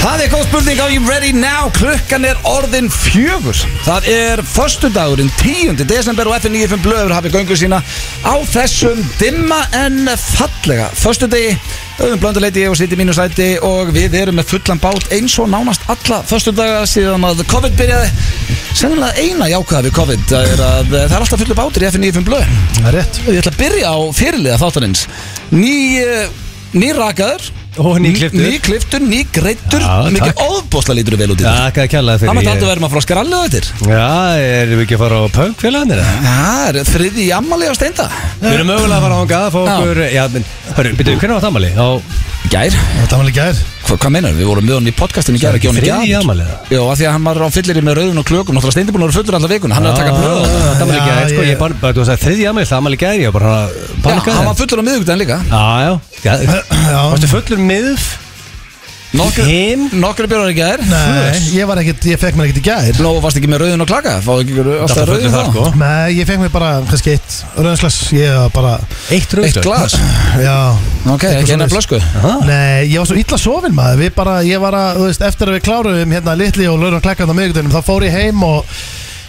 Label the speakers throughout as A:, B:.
A: Það er góð spurning á You Ready Now Klukkan er orðin fjögur Það er föstudagurinn 10. desember og FN95 blöður hafið göngu sína á þessum dimma en fallega föstudegi auðvitað blönduleiti og sitt í mínu sæti og við erum með fullan bát eins og nánast alla föstudaga síðan að COVID byrjaði Sennilega eina jákvæða við COVID er að það er alltaf fullur bátur í FN95 blöð
B: Það er rétt
A: Ég ætla að byrja á fyrirliða þáttanins Ný, eh, nýrakaður
B: Og nýkliptur.
A: Nýkliftur, nýgreittur
B: Já,
A: Mikið óbúsla lítur vel út í
B: Já,
A: þetta
B: það er kjærlega
A: Það
B: fyrir
A: mætti alltaf vera maður frá skrallið þetta
B: Já, erum við ekki að fara á punk félagarnir? eða?
A: Það er þriði ammali á steinda
B: Við erum mögulega að fara á hanga að fá
A: Já.
B: okkur Já, menn, hörru, byrju, hvernig var það amali? Á
A: Gær,
C: Það var alveg gær
A: Hva, hvað meinar, við vorum með honum í podcastinu í gær að gefa honum
B: Þriðji
A: gjafir.
B: afmæli, eða?
A: Jó, af því að hann var á fyllir með rauðun og klökum Náttúrulega steindi búin að vera fullur allar vikuna Hann er að
B: Ah,
A: taka blöð og þetta.
B: Það amali
C: Já,
B: gæði, sko,
C: ég-
B: ég bara, bara, þú sagði þriðji amali, það amali gæði, ég var bara að
A: Já,
B: panika
A: hann var fullur á miðvikudaginn líka
B: Já, já, já
C: Já.
B: Varstu fullur miðf?
A: Nokkur,
B: Him?
A: nokkur björður í gær
C: Nei, ég var ekkert, ég fekk mér ekkert í gær
A: Nó varst ekki með rauðun og klaka Fáðu ekki alltaf
B: var fullur
A: rauðun
B: þar,
A: þá
B: sko
C: Nei, ég fekk mér bara, kannski eitt rauðanslas Ég var bara,
B: Eitt rauðglas
A: Eitt glas
C: já
A: Ok, ekki eina flösku
B: Aha.
C: Nei, ég var svo illa sofin maður Við bara, ég var að, þú veist, eftir að við kláruðum hérna litli og lörum klekkan á miðgutunum Þá fór ég heim og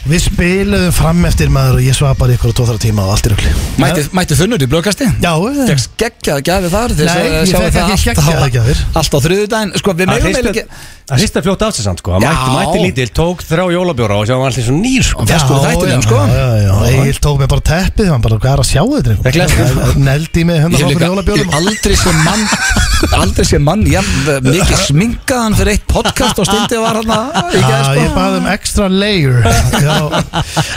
C: við spiluðum fram eftir maður Og ég svaf bara í ykkur og tóþara tíma og allt í rugli
A: Mætti, mætti þunnur í blöðkasti
C: Já,
A: Fekk geggjaða gæði þar til þess
C: Nei,
A: að
C: ég
A: sjá
C: fekk
A: það
C: ekki
A: allt-
C: geggjaða gjafir.
A: Allt á þriðudaginn Sko, við
B: Það
A: megum eiginlega
B: hrista-
A: ekki
B: það hrista fljótt af sig samt sko, hann
A: Já.
B: mætti, mætti lítil, tók þrjá jólabjóra og sjá hann var alltaf eins og nýr sko
A: Já. sko, þættilegum, sko.
C: Já, já, já, Egil tók mig bara teppið, hann bara, hvað er að sjá þetta?
B: Það gleðst þig.
C: drengur?" Negldi í mig hérna
A: Ég hef
C: hundar okkur
A: líka ég
C: jólabjörnum
A: hef aldrei sé mann Aldrei sé mann Já, mikið sminkaðan fyrir eitt podcast og stundið var hann að
C: Já, ég baði um extra layer já.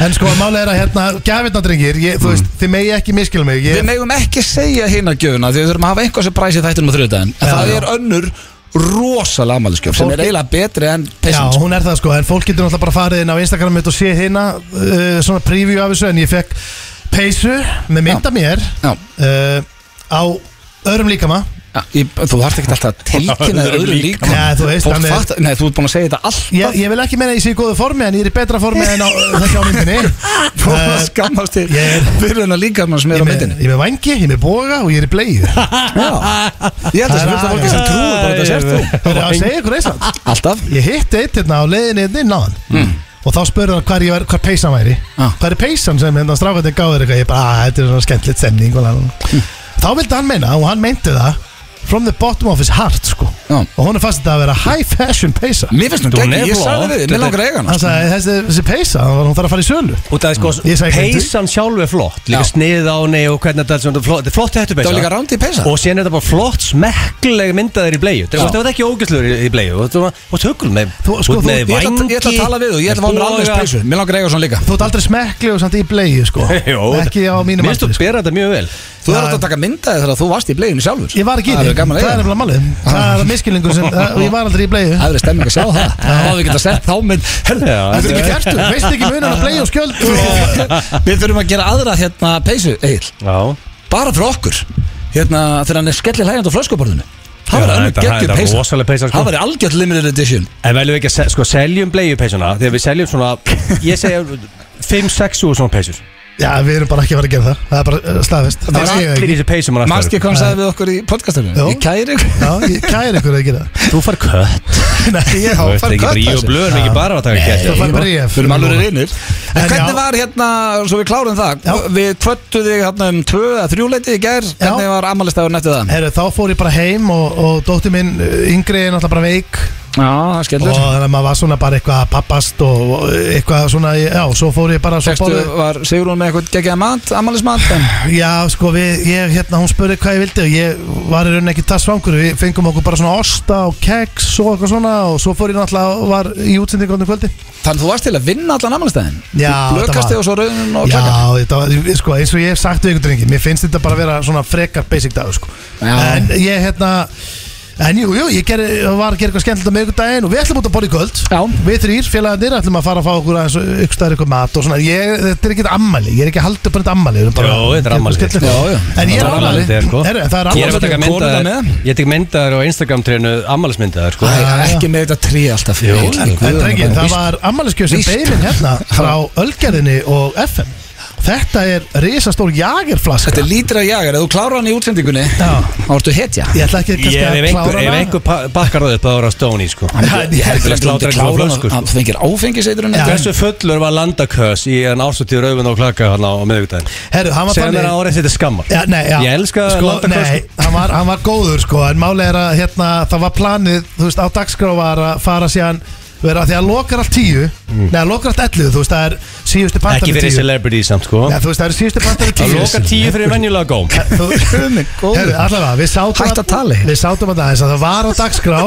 C: En sko, málega er að hérna Gjafirna drengir, ég, þú veist, þið megi ekki miskil mig
A: Við
C: ég,
A: megum Mm. ekki segja hérna gjöfuna Því við þurfum að hafa einhvað sem præsi þættinum á þriðudaginn En
C: Já,
A: það
C: já.
A: er önnur rosalega amaliskjöf sem
C: Fólk-
A: er eiginlega betri en
C: Já,
A: peasant
C: hún er það sko, en fólk getur náttúrulega bara farið inn á Instagram mitt og sé hérna uh, svona preview af þessu, en ég fekk peysu með mynda mér
A: Já.
C: uh, á öðrum líkama
A: Já, ég- Þú þarft ekki alltaf að tilkynna
B: Öðrum
A: öðru
B: líka.
A: líka
C: Já, þú veist, hann er-
A: Nei, þú ert búin að segja þetta alltaf
C: ég, ég vil ekki meina að ég sé í góðu formi, en ég er í betra formi en á uh, þessi á myndinni
A: Þú
C: Eh,
A: að skammast þig
C: ég er-
A: fyrir hennar líka mann sem
C: Ég
A: er á
C: er með,
A: myndinni
C: ég er með vangi, ég er með boga og ég er í bleið
A: Ég held að það sé fullt af fólki sem trúir bara þetta
B: Eh,
A: sért þú
C: Það er að segja ykkur eins og
A: Alltaf
C: Ég hitti eitt hérna á leiðinni hérna inn á hann Og þá spurði hann hvar, ég var, hvar peysan væri
A: Mm. Ah.
C: Hvar er peysan sem hérna strákandi gáður eitthvað Ég bara, að þetta er svona skemmtilegt stemning og hann-
A: Mm.
C: Þá vildi hann meina, og hann meinti það From the bottom of his heart, sko
A: Já.
C: Og hún er fast þetta að vera high fashion peysa
A: Mér finnst hún
B: Þú
A: gegn,
B: nefnir
A: ég sagði
B: það.
A: við þig, mér langar að eiga hana
C: Hann sagði, þessi, þessi peysa, hún þarf að fara í sölu
B: Og það er sko,
C: Ég sagði ekki
B: peysan sjálf er flott Líka
A: Já.
B: sniðið á henni og hvernig þetta er svona flott Þetta er flott hættu
A: Það var líka rándi í peysa
B: Og síðan er þetta bara flott smekkleg myndað þér í bleju
A: Já.
B: Það var ekki ógæslegur í, í bleju Og þú varst hugul með,
C: Þú- sko,
B: út
C: þú-
B: með
A: Ég ætla að-
B: vangi
A: ég ætla að tala við þú, ég ætla að fá mér alveg peysu Mér langar að eiga svona líka
C: Þú ert aldrei smekkli og samt í bleið, sko Ekki á mínum
B: Mér
C: aldri,
B: finnst þú
C: sko.
B: bera þetta mjög vel
A: Þú þarf alltaf að taka myndaði þegar þú varst í bleginu sjálfur
C: Ég var ekki í
A: Það
C: því,
A: er gaman að
C: það er
A: eiga
C: nefnilega málið Það er miskilingur sem, það- ég var aldrei í bleið
A: Það er stemming að sjá það Það hafði getað sett þá mynd Herðu,
B: Já,
A: þetta er
C: Ekki
A: ekki
C: kertu, veist ekki munan að bleið og skjöld og
A: kert Við þurfum að gera aðra hérna peysu, Egil
B: Já
A: Bara fyrir okkur Hérna, þegar hann er skellir hægjandi á flöskuborðinu Það
B: Já,
A: var alveg
B: þetta-
A: geggjum
B: þetta er
A: peysa
B: rosaleg peysa, sko.
A: Það var algjört limited edition
B: En veljum við ekki að se- sko, seljum bleju peysuna Þegar við seljum svona, ég segja 5-6 úr svona peysur
C: Já, við erum bara ekki að fara að gera það Það er bara uh, staðvist
B: Það er allir í þessu peysum hann alltaf
A: Marski
B: eru.
A: kom sagði við okkur í podcastinu
C: Jú.
A: Ég kæri ykkur
C: Já, ég kæri ykkur að gera það
B: Þú far kött
C: Nei, ég
B: Þú
C: á
B: ert
C: fara
B: ekki bara í og blöð En ekki bara að taka
C: Þú
B: kett
C: fær bríf
A: Við erum alveg reynir En
C: En
A: hvernig
C: já.
A: var hérna, svo við klárum það
C: Já.
A: Við kvöttu þig hérna um tvö að þrjúleiti í gær Hvernig var ammælistagurinn eftir það?
C: Herru, þá fór ég bara heim og, og dótti minn uh, yngri er náttúrulega bara veik
A: Já, það
C: og
A: skellur
C: þannig að maður var svona bara eitthvað að pappast og, og eitthvað svona, já, svo fór ég bara svo
A: Sekstu,
C: borðið-
A: var Sigrún með eitthvað geggjað mat, ammælismat en-
C: Já, sko, við, ég, hérna, hún spurði hvað ég vildi og ég var í rauninni ekki það svangur við fengum okkur bara svona osta og keks og eitthvað svona og svo fór ég náttúrulega og var í útsendingu þarna um kvöldi
A: Þannig þú varst til að vinna allan ammælistaginn
C: Já, þetta
A: Blökast
C: var-
A: þig og svo raunin og klaka
C: Já, þetta, var- sko, eins og ég hef sagt við ykkur drengi Mér finnst þetta bara að vera svona frekar basic dag sko.
A: Já.
C: En ég hérna En jú, jú, ég ger, var að gera eitthvað skemmtilegt á miðvikudaginn og við ætlum út að borða í kvöld
A: Já.
C: Við þrýr, félagarnir, ætlum að fara að fá okkur aðeins ykkur staðar ykkur mat og svona ég, Þetta er ekki ammæli, ég er ekki að halda upp á þetta ammæli Jó,
B: Jó, þetta er afmæli.
A: Já, já.
B: Það
C: En ég er
B: er
C: ammæli
B: afmælið, sko.
C: Herru, Það
B: Ég
C: er
B: er að
C: ammæli
B: taka
A: Konur það
B: myndaðar
A: með?
B: Ég tek myndaðar á Instagram trénu Ammælismyndaðar sko
A: Æ,
C: Já, já.
A: ekki með þetta trí alltaf
B: Jú,
A: Ég-
C: En
A: Guð,
C: drengi,
A: bara-
C: það var ammæliskjöf sem
A: Víst.
C: beinin hérna frá Ölgerðinni og FM Þetta er risastór jagerflaska
A: Þetta er lítra jagar, ef þú klárar hann í útsendingunni
C: Já.
A: Þá ertu hetja
C: Ég ætla ekki
B: Ég, ef
C: kannski að
B: einhver,
C: klára
B: ef
C: hana
B: einhver pa- bakkar það upp þá er það stóni sko.
A: Ég heldur að
B: Slátra
A: sláta
B: ekki svo
A: klára
B: flösku,
A: hann
B: sko.
A: Hann fengir áfengiseiturinn
C: Já.
B: Hversu fullur var landakös í en ársóttíð rauðin og klaka hann á, á miðvikudaginn
C: Herru, hann var
B: Segðu mér að
C: þannig
B: árið þetta er skammar
C: Já, nei, já.
B: Ég elska
C: sko,
B: landakös
C: Nei, hann var, hann var góður sko En máli er að hérna, það var planið Þú veist, á dagskrá var að fara síðan vera, Því að lokar allt tíu Nei, að lokar allt ellu, þú veist, það er síðustu
B: Mm. Ekki
C: pantanir
B: fyrir
C: tíu Nei,
B: celebrity samt sko
C: þú veist, það er síðustu pantanir
B: Það
C: tíu
B: loka tíu fyrir venjulega góm
C: Þú-
A: góður.
C: Herru, allavega, við sátum
A: Hætt að tala.
C: Við sátum að það aðeins að það var á dagskrá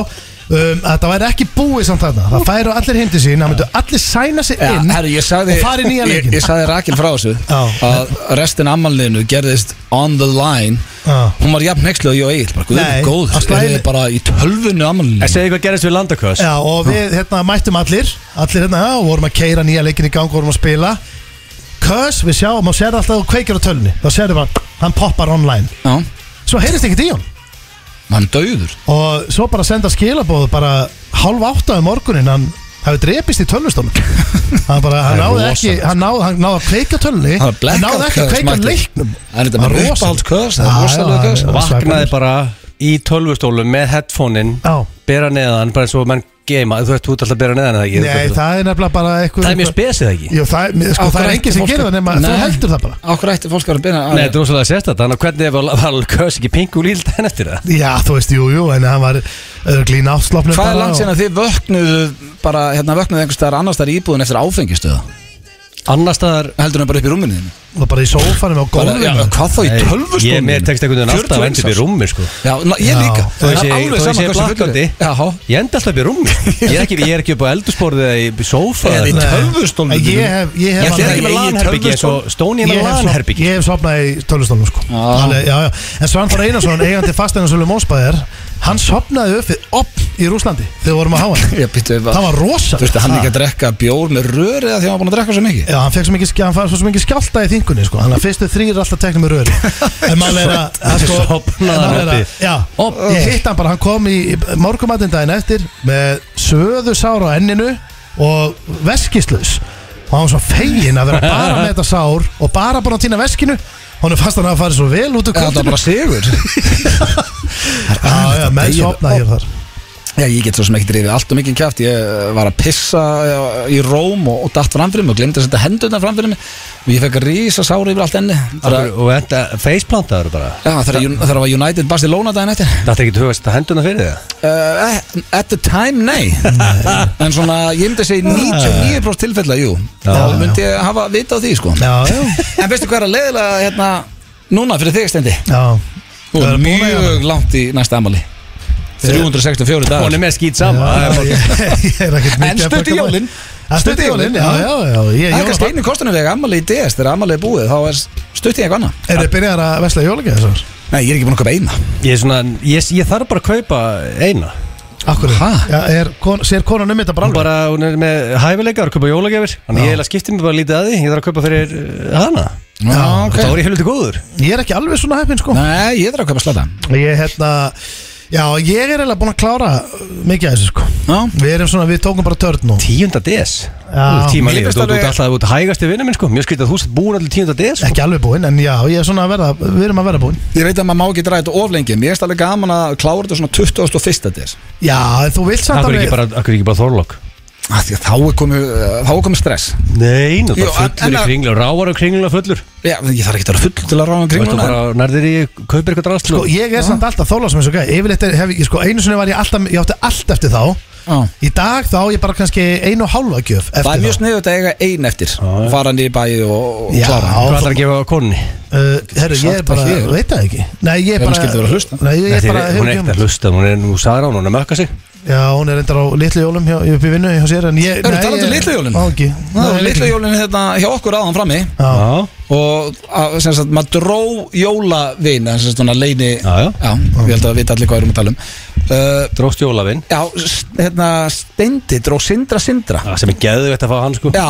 C: Um, að það væri ekki búið samt þarna Það færu allir heim til sín, það myndu allir sæna sig
A: Já,
C: inn
A: herru, ég sagði,
C: og fara í nýja
A: ég,
C: leikinn.
A: ég sagði Rakel frá þessu
C: Já.
A: að restin ammalinu gerðist on the line
C: Já.
A: hún var jafn nexlu og ég og Egil bara
C: Nei,
A: guður góð
C: á slæðinu-
A: eruð þið bara í tölvunni ammalinu
B: En segðu hvað gerðist við landakös
C: Já, og við hérna, mættum allir Allir hérna, já, vorum að keira nýja leikin í gang Vorum að spila Kös, við sjáum, og sér alltaf þú kveikir á tölunni Þá sérðu bara, hann poppar online
A: já
C: Svo heyrist ekkert í hann
A: hann döður
C: Og svo bara senda skilabóð Bara hálf átta um morgunin Hann hafi drepist í tölvustónum Hann bara,
B: Það
C: hann
B: er
C: náði
B: rosalegt.
C: ekki Hann náði, hann náði að kveika á tölunni
A: hann var
C: Hann náði ekki að kveika á leiknum
A: hann er þetta
C: Það
A: með
C: er rosalegt.
A: uppáhald köðs það
C: Já,
A: er rosalega
C: já,
A: köðs
C: já, já.
B: Vaknaði bara í tölvustólum með headphone-in
C: Já.
B: Bera neðan, bara eins og menn geima Þú ert út alltaf að bera neðan eða ekki
C: Nei, það er nefnilega bara eitthvað
B: Það er mjög spesið ekki
C: Jú, það er, mér- sko, það er engin sem gerir það nema Þú heldur það bara
A: okkur ætti fólk að vera að byrja að-
B: Nei, þetta er rosalega sérstætt Þannig að hvernig var, var kös ekki pingu líl daginn eftir það
C: Já, þú veist, jú, jú, en hann var öðruglín áslopnum
A: hvað er langt sen að þið vöknuðu bara hérna vöknuðu einhvers staðar annars staðar í íbúðin eftir áfengistöða
B: Annars staðar
A: heldur hann bara upp í rúminni þínu?
C: og bara í sófanum og
A: Bara- já,
C: góðum
A: hvað þá í
B: Nei,
A: tölvustónum
B: Ég mér tekst einhvern veginn alltaf að enda upp í rúmi sko.
A: Já, na, ég
C: Já.
A: líka
B: Þó ég
A: Það er
B: sé- þó
A: alveg
B: ég
A: sama
B: sé
A: hversu fullur
B: blackouti.
A: ég- Jáhá.
B: Ég enda alltaf upp í rúmi Ég er ekki, ég er ekki upp á eldursporði eða í sófa
A: Eða í
B: eða-
A: tölvustólnum
C: Ég hef, ég hef
B: Ég ætla
A: Ég-
B: ekki
A: ég-
B: með
A: ég-
B: lanherbyggi eins og Stóni er
C: Ég
B: með
C: hef, sop,
B: lanherbyggi
C: ég hef sopnað í tölvustólnum sko.
A: Já.
C: Þannig, já, já. En Svanþór Einarsson, eigandi fasteinarsölu Mósbæðar Hann sopnaði upp við upp í Rúslandi Þegar við vorum að háa hann
A: Ég býttu við
C: Það var rosa
A: Þú veist að hann ekki að drekka bjór með rör eða því að hann var búin að drekka svo mikið
C: Já, hann fekk svo mikið, sk- hann fann svo mikið skjálta í þingunni sko. Þannig að fyrstu þrýr alltaf teknum með röri En maður er að að sko-
B: Sofnaði
C: en maður er
B: hann
C: að-
B: uppi.
C: Já, ég hitt hann bara Hann kom í morgumatinn daginn eftir Með söðu sár á enninu Og veskislaus Og hann var svo fegin að vera bara með þetta sár Og bara búin að týna veskinu Honum fannst hann að fara svo vel út úr
A: Það var
C: kvöldinu
A: bara sigur
C: Já, já, menn
A: deyjandi.
C: sopnaði hér þar
A: Já, ég get svo sem ekki drifið allt og mikið kjátt Ég eh, var að pissa eh, í róm og, og datt framfyrir mig og glemdi að setja hendurna framfyrir mig og ég fekk að rísa sári yfir allt enni Bara-
B: Og enda faceplantaður bara
A: Já, þegar það var United Barcelona daginn eftir
B: Þetta er ekki hugast að henduna fyrir það
A: uh, At the time, nei En svona, ég myndi að segja 99% tilfella, jú Þá myndi ég hafa vita á því, sko
C: Já, já,
A: En veistu hvað er að leiðilega hérna Núna fyrir þig stendi
C: já
A: Þú
C: Það
A: er
C: er búin að eiga
A: mjög langt í næsta amali 364
B: Hún
A: dagar
B: er með skýt sama
C: Já, ég- ég er ekkert
A: En
C: mikið að
A: stutt í
C: borga mæ-
A: jólin
C: En Stutt í jólin, já, já, já Ég er
A: Það er kannski
C: jólabad
A: einu kostunum vega amali í DS Þegar amali er búið þá er stutt í eitthvað annað
C: Er þið byrjar að vesla jólagið þessar?
A: Nei, ég er ekki búin að köpa eina
B: Ég, er svona, ég, ég þarf bara að kaupa eina
C: Akkur
A: Ha?
C: ja, er, kon, Sér konan um þetta bara
B: Hún
C: alveg?
B: bara, hún er með hæfileika, er að kaupa jólagjafir Þannig ég er að skipta mig bara lítið að því Ég þarf að kaupa fyrir uh, hana
A: Já, ok
B: Þá er ég helviti góður
C: Ég er ekki alveg svona heppin sko
A: Nei, ég þarf að köpa slata
C: Ég hérna Já, ég er eiginlega búin að klára uh, mikið af þessu sko
A: Já
C: Við erum svona, við tókum bara törn nú
B: Tíunda DS
C: Já.
B: Tíma
A: Mér
B: líf,
A: finnst
B: þú þú
A: alveg-
B: ert alltaf út hægasti vinnu minn sko Mjög skrítið að þú sett búin allir tíunda DS sko.
C: Ekki alveg búinn, en já, ég er svona að verða Við erum að verða búinn
A: Ég veit að maður má ekki draga þetta of lengi Mér finnst alveg gaman að klára þetta svona 21. DS
C: Já, en þú vilt samt
B: Akkur ekki bara, akkur ekki bara þorlokk
A: Af því að Þá er komið, eh, þá er komið stress
B: Nei, nú
A: Jú,
B: bara
A: en-
B: fullur
A: en
B: í
A: að-
B: kringla Ráar og kringla fullur
A: Já, ég þarf ekki að vera full til að ráða
B: Þú
A: kring
B: ert bara nærðir í, kaupir eitthvað drasl
C: Sko, ég er samt alltaf þóla sem þessu gæði Yfirleitt er, hef ég, sko, einu sinni var ég alltaf Ég átti allt eftir þá
A: Já
C: Í dag þá á ég bara kannski einu og hálfa gjöf eftir
A: Það er mjög
C: þá.
A: sniðut að eiga ein eftir og fara hann í bæi og, og
C: Já.
A: klára
B: Hvað ætlar að gefa konni?
C: Uh, herru, ég er
A: Sagt það
C: bara,
A: hér.
C: veit það ekki Nei, ég er
A: Ef hún
C: bara
A: skyldi vera að hlusta.
C: Nei, ég er
B: Nei,
C: bara
B: þið- Hún er ekkert að hlusta, hún er nú sagra hún, hún er að mökka sig
C: Já, hún er reyndar á litlu jólum hjá, upp í vinnu hjá sér en ég...
A: Eru
C: nei,
A: talandi
C: ég-
A: um litlu jólin?
C: Á, ekki.
A: Það var litla jólinn hérna hjá okkur aðan frammi
C: Já,
B: Já,
A: og að, sem sagt, maður dró jólavin sem sagt, svona leini
B: Já, já.
A: við held að við allir hvað erum að tala um uh,
B: dróst jólavinn
A: Já, s- hérna, Steindi dró Sindra Sindra
B: Já, sem er geðvett að fá hann sko
A: Já,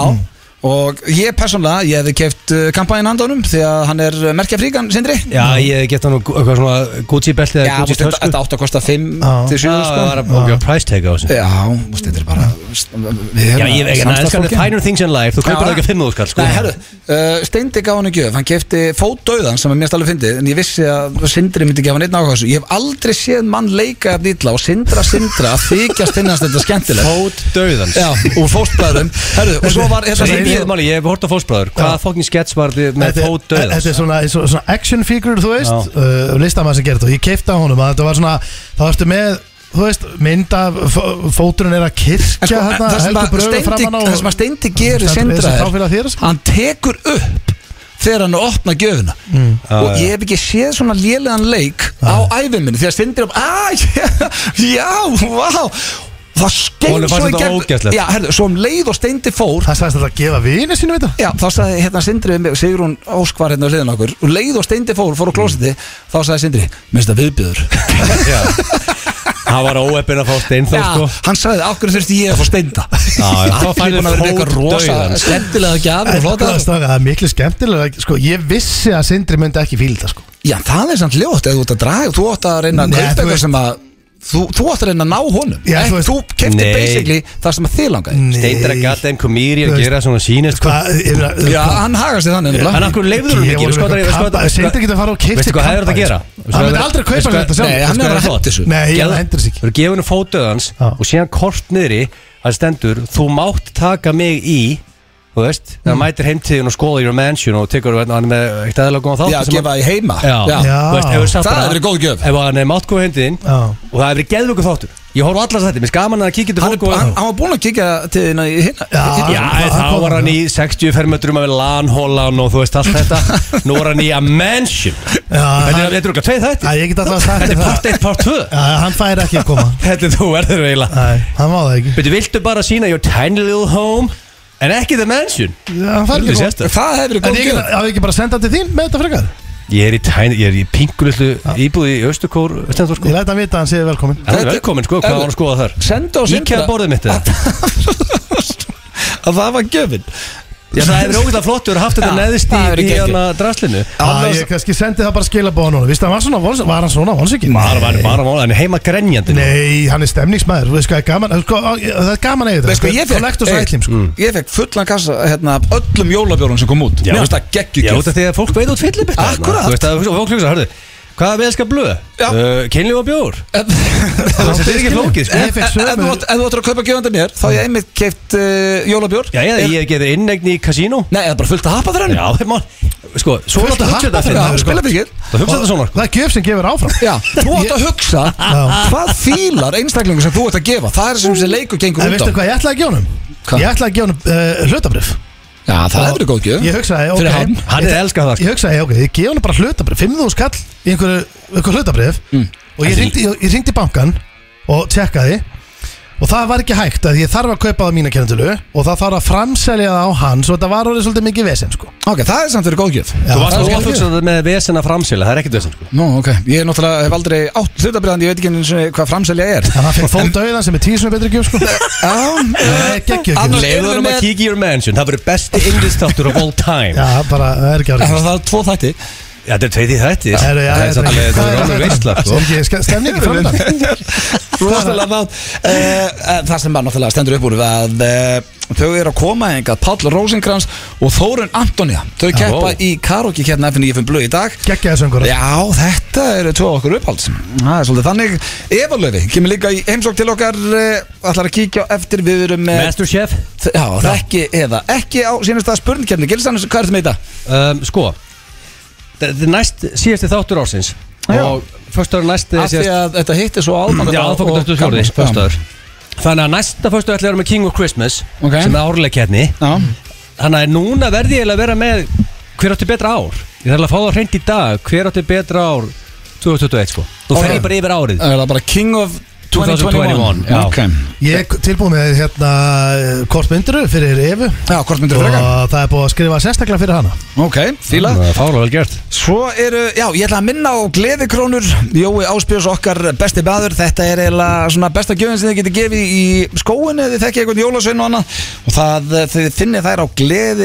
A: Og ég persónulega, ég hefði uh, keft kampanjinn handanum Því að hann er uh, merkjafríkan, Sindri
B: Já, ég geta nú gu- eitthvað svona Gucci belti
A: Já, þú
B: eða
A: veist,
B: Gucci
A: þetta
B: tösku
A: þetta átti að kosta 5
C: Já.
A: til 7
B: Já, það var
A: sko.
B: að bókja price tag á þessu
A: Já, þú veist, þetta er bara Við
B: Já,
A: erum
B: ég veit ekki, en það er finer things in life Þú kaupir það ekki að finna þú skall
A: Nei, herru, uh, Steindi gaf hann í gjöf Hann kefti fótdauðan sem er mest alveg fyndið En ég vissi að Sindri myndi gefa hann einn áhuga á þessu Ég hef aldrei séð mann leika af nýtla Og Sindra Sindra að þykjast innast þetta skemmtilegt
B: Fót döðans
A: Já, úr fóstbæðurum Herru, og svo var
B: Svo
A: hérna
B: ég
A: Steindi-
B: býðið máli, ég hef hort á fósbræður Hvaða fokkin skets var þið með
C: Þetta-
B: fót döðans?
C: Þetta er svona, svona, svona action figure, þú veist uh, Listamann sem gerði þetta og ég keipta honum að þetta var svona, þá ertu með Þú veist, mynd af fó- fóturinn er að kirkja
A: En sko,
C: hérna,
A: það sem
C: heldur
A: að
C: bröðu
A: Steindi-
C: framann á
A: það sem að Steindi gerir
C: Stendur við
A: Sindra
C: þessi
A: er-
C: fráfélag þér, sko.
A: hann tekur upp þegar hann er að opna gjöfuna
B: Mm.
A: og ég hef ekki séð svona lélegan leik
B: Ah.
A: á æfum minni þegar Sindri upp að, já, vá það skein
B: Honum fannst
A: svo í
B: þetta ógeðslegt.
A: gegn já, herðu, svo um leið og Steindi fór
C: Það sagðist þetta að gefa vini sínum þetta
A: Já, þá sagði hérna Sindri við mig, Sigrún Ósk var hérna á hliðin á okkur og leið og steindi fór, fór á klósiti þá sagði Sindri, minnst það viðbjöður
B: Já. Það var óeppin að fá stein þá
A: Já,
B: sko
A: hann sagði, af hverju þurfti ég að fá steinda
B: Já, já.
A: Það
B: Þá færðu
A: fæði með eitthvað rosa
B: fótdauðan.
A: skemmtilega gjafir og
C: Þetta
A: flotta
C: er strákar, það er miklu skemmtilega sko, Ég vissi að Sindri myndi ekki fíla þetta sko.
A: Já, það er samt ljótt eða þú ert að draga Þú átt að reyna að
C: Nei,
A: kaupa
C: þú
A: eitthvað
C: veist-
A: sem að Þú, þú átt að reyna að ná honum
C: Já,
A: Ekki-
C: þú veist-
A: Þú kefti
B: Nei.
A: basically það sem að þið langaði
B: Steindra gæti en komýri að
C: Þú veist-
B: gera svona sínist sko.
C: Hvað, yfir að
A: Já, hann hagast þið þannig
B: En
A: nefnilega.
B: af hverju leifður hún
C: Ég
B: ekki?
C: voru
B: Sko, það
C: með
B: er- sko,
C: eitthvað kampa-
B: það-
C: Steindra getur að fara og keypt
B: Veistu
C: sér
B: hvað hefur þetta að
C: kampa,
B: gera?
C: sko. Hann myndi aldrei kaupa sér þetta sjálf.
A: Nei, hann er að hætta þessu
C: Nei, ég- hann hendur þessu
B: Þú
C: ekki
B: eru gefinu fótöðans
C: Já.
B: og síðan kort niðri að stendur Þú mátt taka mig í Þú veist,
C: Mm.
B: það mætir heimtíðin og skoða your mansion og tekur hérna, hann er með eitt aðlega góðan þátt
A: Já,
B: sem hann-
A: gefa í heima
B: Já,
C: Já.
B: Þú veist, ef þú sagt
A: Það
B: bara-
A: hefur verið góð gjöf.
B: Ef hann er mátt góð heimtíðin
C: Já.
B: og það hefur verið geðvöku þáttur Ég horf á allar þetta, mér skaman að kíkja til
A: Hann,
B: fólk
A: er-
B: og-
A: hann, hann var búin að kíkja til hérna í hinna
C: Já.
B: Já,
C: hann-
B: þá
C: hann kom-
B: var hann í 60 fermetrum að við lanhólan og þú veist allt þetta Nú var hann í a mansion
C: Já,
B: Þetta
C: hann-
B: er eitthvað tveið
C: Æ,
B: þetta
C: Ég get alltaf sagt
B: Þetta er
C: þér það
B: part 1, part 2
C: Já, Hann fær ekki að koma
B: Þetta er þú verður eiginlega
C: Nei, hann má það ekki
B: Veitu, viltu bara sína your tiny little home En ekki the mansion
C: Já, Hann
B: Þetta er
C: fær ekki að koma
B: sérstök
A: Það hefur verið
C: En
A: góð
C: ég get-
A: gjöf.
C: á ég ekki bara að senda hann til þín með þetta frekar
B: Ég er í tiny, ég er í pingulillu íbúði í Östukór Stendur
C: Ég
B: sko
C: læt hann vita að hann séð velkomin
B: Hann er
A: Þetta-
B: velkominn sko, hvað
A: Erðu-
B: var hann að skoða þar
A: Senda og senda
B: Íkjað borðið mitt eða
A: Að það var gjöfin
B: Já, það hefur ógæða flottur haft þetta
A: Já,
B: neðist
A: það
B: í,
A: eru
B: í
A: geggjur.
B: hana draslinu
C: Já, ég kannski sendi það bara skilabóðan honum Vistu, hann var, svona, vons- var hann svona vonsvikinn?
B: Bara, bara, bara, bara, hann er heima grenjandi nú.
C: Nei, hann er stemningsmæður, þú veist hvað er gaman sko, á- Það er gaman eigið
A: Veist, sko, ég fekk-
C: Collectors
A: Ey, mm.
C: item, sko
A: Ég fekk fullan kassa hérna, af öllum jólabjórun sem kom út
B: Já.
A: Mér finnst það
B: Já,
A: geggjugjöf
B: þetta er því að fólk veit út fyllibit
A: Akkúrat.
B: Þú veist að, og fólk hugsa, hörðu Hvað er veðska blöð?
A: Já.
B: Uh, Kynlíf og bjór
A: Þetta
B: Þetta er ekki flókið, sko
C: Ég
A: En
C: fekk
A: en- en
C: sömu-
A: þú átt- ef þú ættir að kaupa gjöfandi mér þá hef ég einmitt keipt uh, jólabjór
B: Já, eða ég getur innegn í kasínó
A: Nei, eða bara fullt að hapa þrænum
B: Já, þeir má Sko, svo
C: Fullt
B: láttu
C: að
B: hugsa
C: happa
B: þetta fyrir
C: fyrir það,
B: það,
C: sko.
B: sko.
A: Spila fyrir
B: Það hugsa þetta svona sko.
C: Það er gjöf sem gefur áfram
A: Já, þú átt að hugsa hvað fílar einstaklingur sem þú ert að gefa Það er sem þessi leikur gengur
C: En
A: út á
C: veistu hvað ég ætlaði að gefa honum?
A: Hvað?
C: Ég ætlaði að gefa honum uh, hlutabrif
A: Já, það hefur góð gjöf
C: Ég hugsaði, ok
A: Fyrir hann.
B: Hann er elskað það sko.
C: Ég hugsaði, ok, ég gefa honum bara hlutabrif 5.000 skall í einhverju einhver hlutabrif
B: Mm.
C: Og ég ringdi, ég, ég ringdi í bankan Og tjekkaði Og það var ekki hægt að ég þarf að kaupa það á mína kjærendulu Og það þarf að framselja það á hann Svo þetta var orðið svolítið mikið vesinn, sko
A: Ok, það er samt verið góð gjöf
C: Já,
B: Þú varst
C: það
B: nú
C: var
B: að
C: skemmtilegt.
B: hugsa þetta með vesen að framsýla Það er ekkert vesen sko.
A: Nú, ok, ég náttúrulega hef aldrei átt hlutabriðan, ég veit ekki einu sinni hvað framselja er
C: Þannig að hann fekk fónd auðan sem er tíu sem er betri gjöf, sko
A: Já,
C: Nei, geggjur
A: Annars- erum
C: gjöf
B: Leður
A: við
B: um að
A: með-
B: kíkja í your mansion Það verður besti English þáttur of all time
C: Já, bara, það er ekki árið
A: það það er tvo þætti
B: Já, þetta er tveiti þetta
C: Herru, já,
B: Það er samt alveg Það
C: hvað
B: er
C: að
B: alveg
C: frétta?
B: veistla sko.
C: Er ekki ske- stemning í framöndan?
A: Rosalega mátt Eh, Það sem bara náttúrulega stendur upp úr að eh, þau eru að koma engað Páll Rósingrans og Þórun Antonija Þau keppa
B: vó.
A: í karaoke hérna FNF blöð í dag
C: Gekkjaði söngur
A: Já, þetta eru tvo okkur upphalds Það er svolítið þannig Eva Löfi kemur líka í heimsók til okkar eh, ætlar að kíkja á eftir við erum með
B: Masterchef
A: Já, þekki eða ekki á sínast að spurningkjarni Gilsannes, hvað er þetta með þetta?
B: um, Sko Þetta er næst síðasti þáttur ársins
A: Já.
B: Og Föstaður næst
A: Af því að þetta hittir svo
B: Mm, Já,
A: aðfangandag
B: þá fyrir 24. föstudagur. Þannig að næsta föstudagur ætla að vera með King of Christmas
A: Ok.
B: sem er árleikjarni
A: Já,
B: Þannig að núna verði ég eiginlega að vera með hver átti betra ár Ég þarf að fá það hreint í dag Hver átti betra ár 2021 sko Nú
A: Ok.
B: fer ég bara yfir árið
A: það er það bara King of
B: 2021 já.
A: Ok
C: Ég er tilbúið með hérna kortmynduru fyrir Evu
A: Já, hvort myndir þú
C: og
A: freka?
C: það er búið að skrifa sérstaklega fyrir hana
A: Ok, fíla
B: Það er fálega vel gert
A: Svo eru, já, ég ætla að minna á gleðikrónur Jói Áspjörs okkar besti baður Þetta er eiginlega svona besta gjöfin sem þið getur gefið í skóinu eða þið þekkið eitthvað jólasvein og annað og það, eh, þið finnið þær á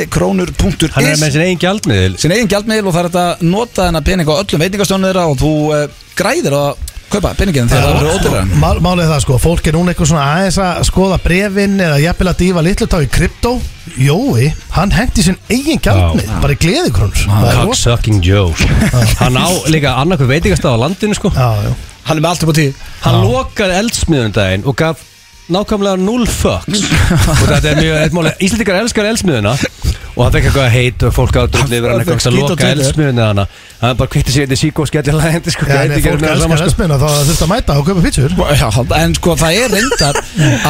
B: Hann er með
A: gleðikrónur.is
B: sin eigin gjaldmiðil
A: sin eigin gjaldmiðil og það er þetta að nota þennan pening á öllum veitingastónu þeirra og þú eh, græðir að kaupa peningin þegar það eru ódýrara
C: Mál, Málið er það sko, fólk er núna eitthvað svona aðeins að skoða brefin eða jafnvel að dýfa litlu tá í kryptó Jói, hann hendi sinn eigin gjaldmið, bara í gleðikrúnur Það er rosa
B: Cocksucking Joe Hann á líka annarkvöð veitingastað á landinu sko
C: Já, já
A: Hann er með allt upp á tíu
B: Hann lokaði eldsmiðunum daginn og gaf nákvæmlega null fucks og þetta er mjög eitt máli Íslandikar elskar eldsmiðuna og hann fekk eitthvað heit og fólk átt út yfir hann
A: fékk
B: eitthvað að
A: skít á
B: loka
A: Twitter.
B: eldsmiðuna hana hann bara kvitti sér þetta sík og skellir lægandi sko,
C: Já, en ef
B: gæti ekki verið
C: fólk
B: meira
C: elskar
B: saman, sko.
C: hessmina þá þurft að mæta og kaupa pítsur
A: Já, en sko það er reyndar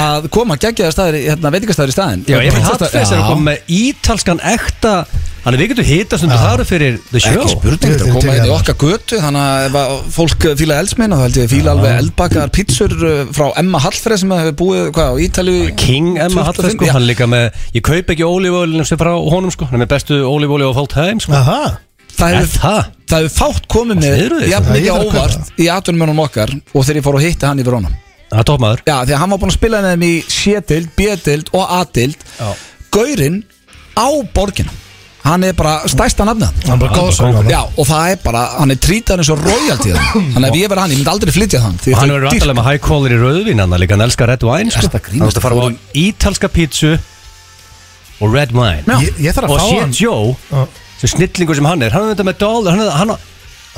A: að koma geggjaðar staðir, í- hérna veitingastæður í staðin
B: Já, ég finnst þetta þess að hann kom með ítalskan ekta hann er við getum hitast undir þaru fyrir the show
A: Ekki spurning,
C: Ég
A: þetta er
C: til
A: að koma
C: í
A: hérna í
C: það.
A: okkar götu Þannig að ef að fólk fíla eldsmeina þá held ég að fíla alveg eldbakaðar pítsur uh, frá Emma Hallfreð sem hefur búið hvað, á Ítalíu
B: King Emma
A: 25,
B: Hallfræð sko,
A: já.
B: hann er líka með ég kaup ekki ólífólinu sem frá honum sko hann er með bestu ólífólinu á full time sko
C: Aha,
A: Það
B: Er
A: hefur
B: það?
A: Það hefur fátt komið
B: Það sniðrugðist,
A: með jafn
C: það.
A: mikið óvart í
C: Ég þarf að kaupa
A: atvinnumönum okkar og þegar ég fór að hitta hann í Verona
B: Það er topmaður
A: Já, því að hann var búin að spila með þeim í C-dild, B-dild og A-dild
B: Já.
A: Gaurinn á borginum Hann er bara stærsta nafnið
B: Hann
C: hann er bara hérna.
B: er bara
C: góðsögn
B: kóngur.
A: Já, og það er bara, hann er trítið eins og royalty þarna. Þannig að ef ég verið hann, ég myndi aldrei flytja þann
B: Og hann verður alltaf með high quality rauðvin hann líka, hann elskar red wine sko.
A: Ertu að grínast?
B: Hann þarf að fara á ítalska pítsu og red wine
C: Ég, ég þarf
B: Og
C: að fá
B: sé
C: hann
B: Joe,
C: Já.
B: sem snillingur sem hann er hann er þetta með dollar, hann, hann, hann þarf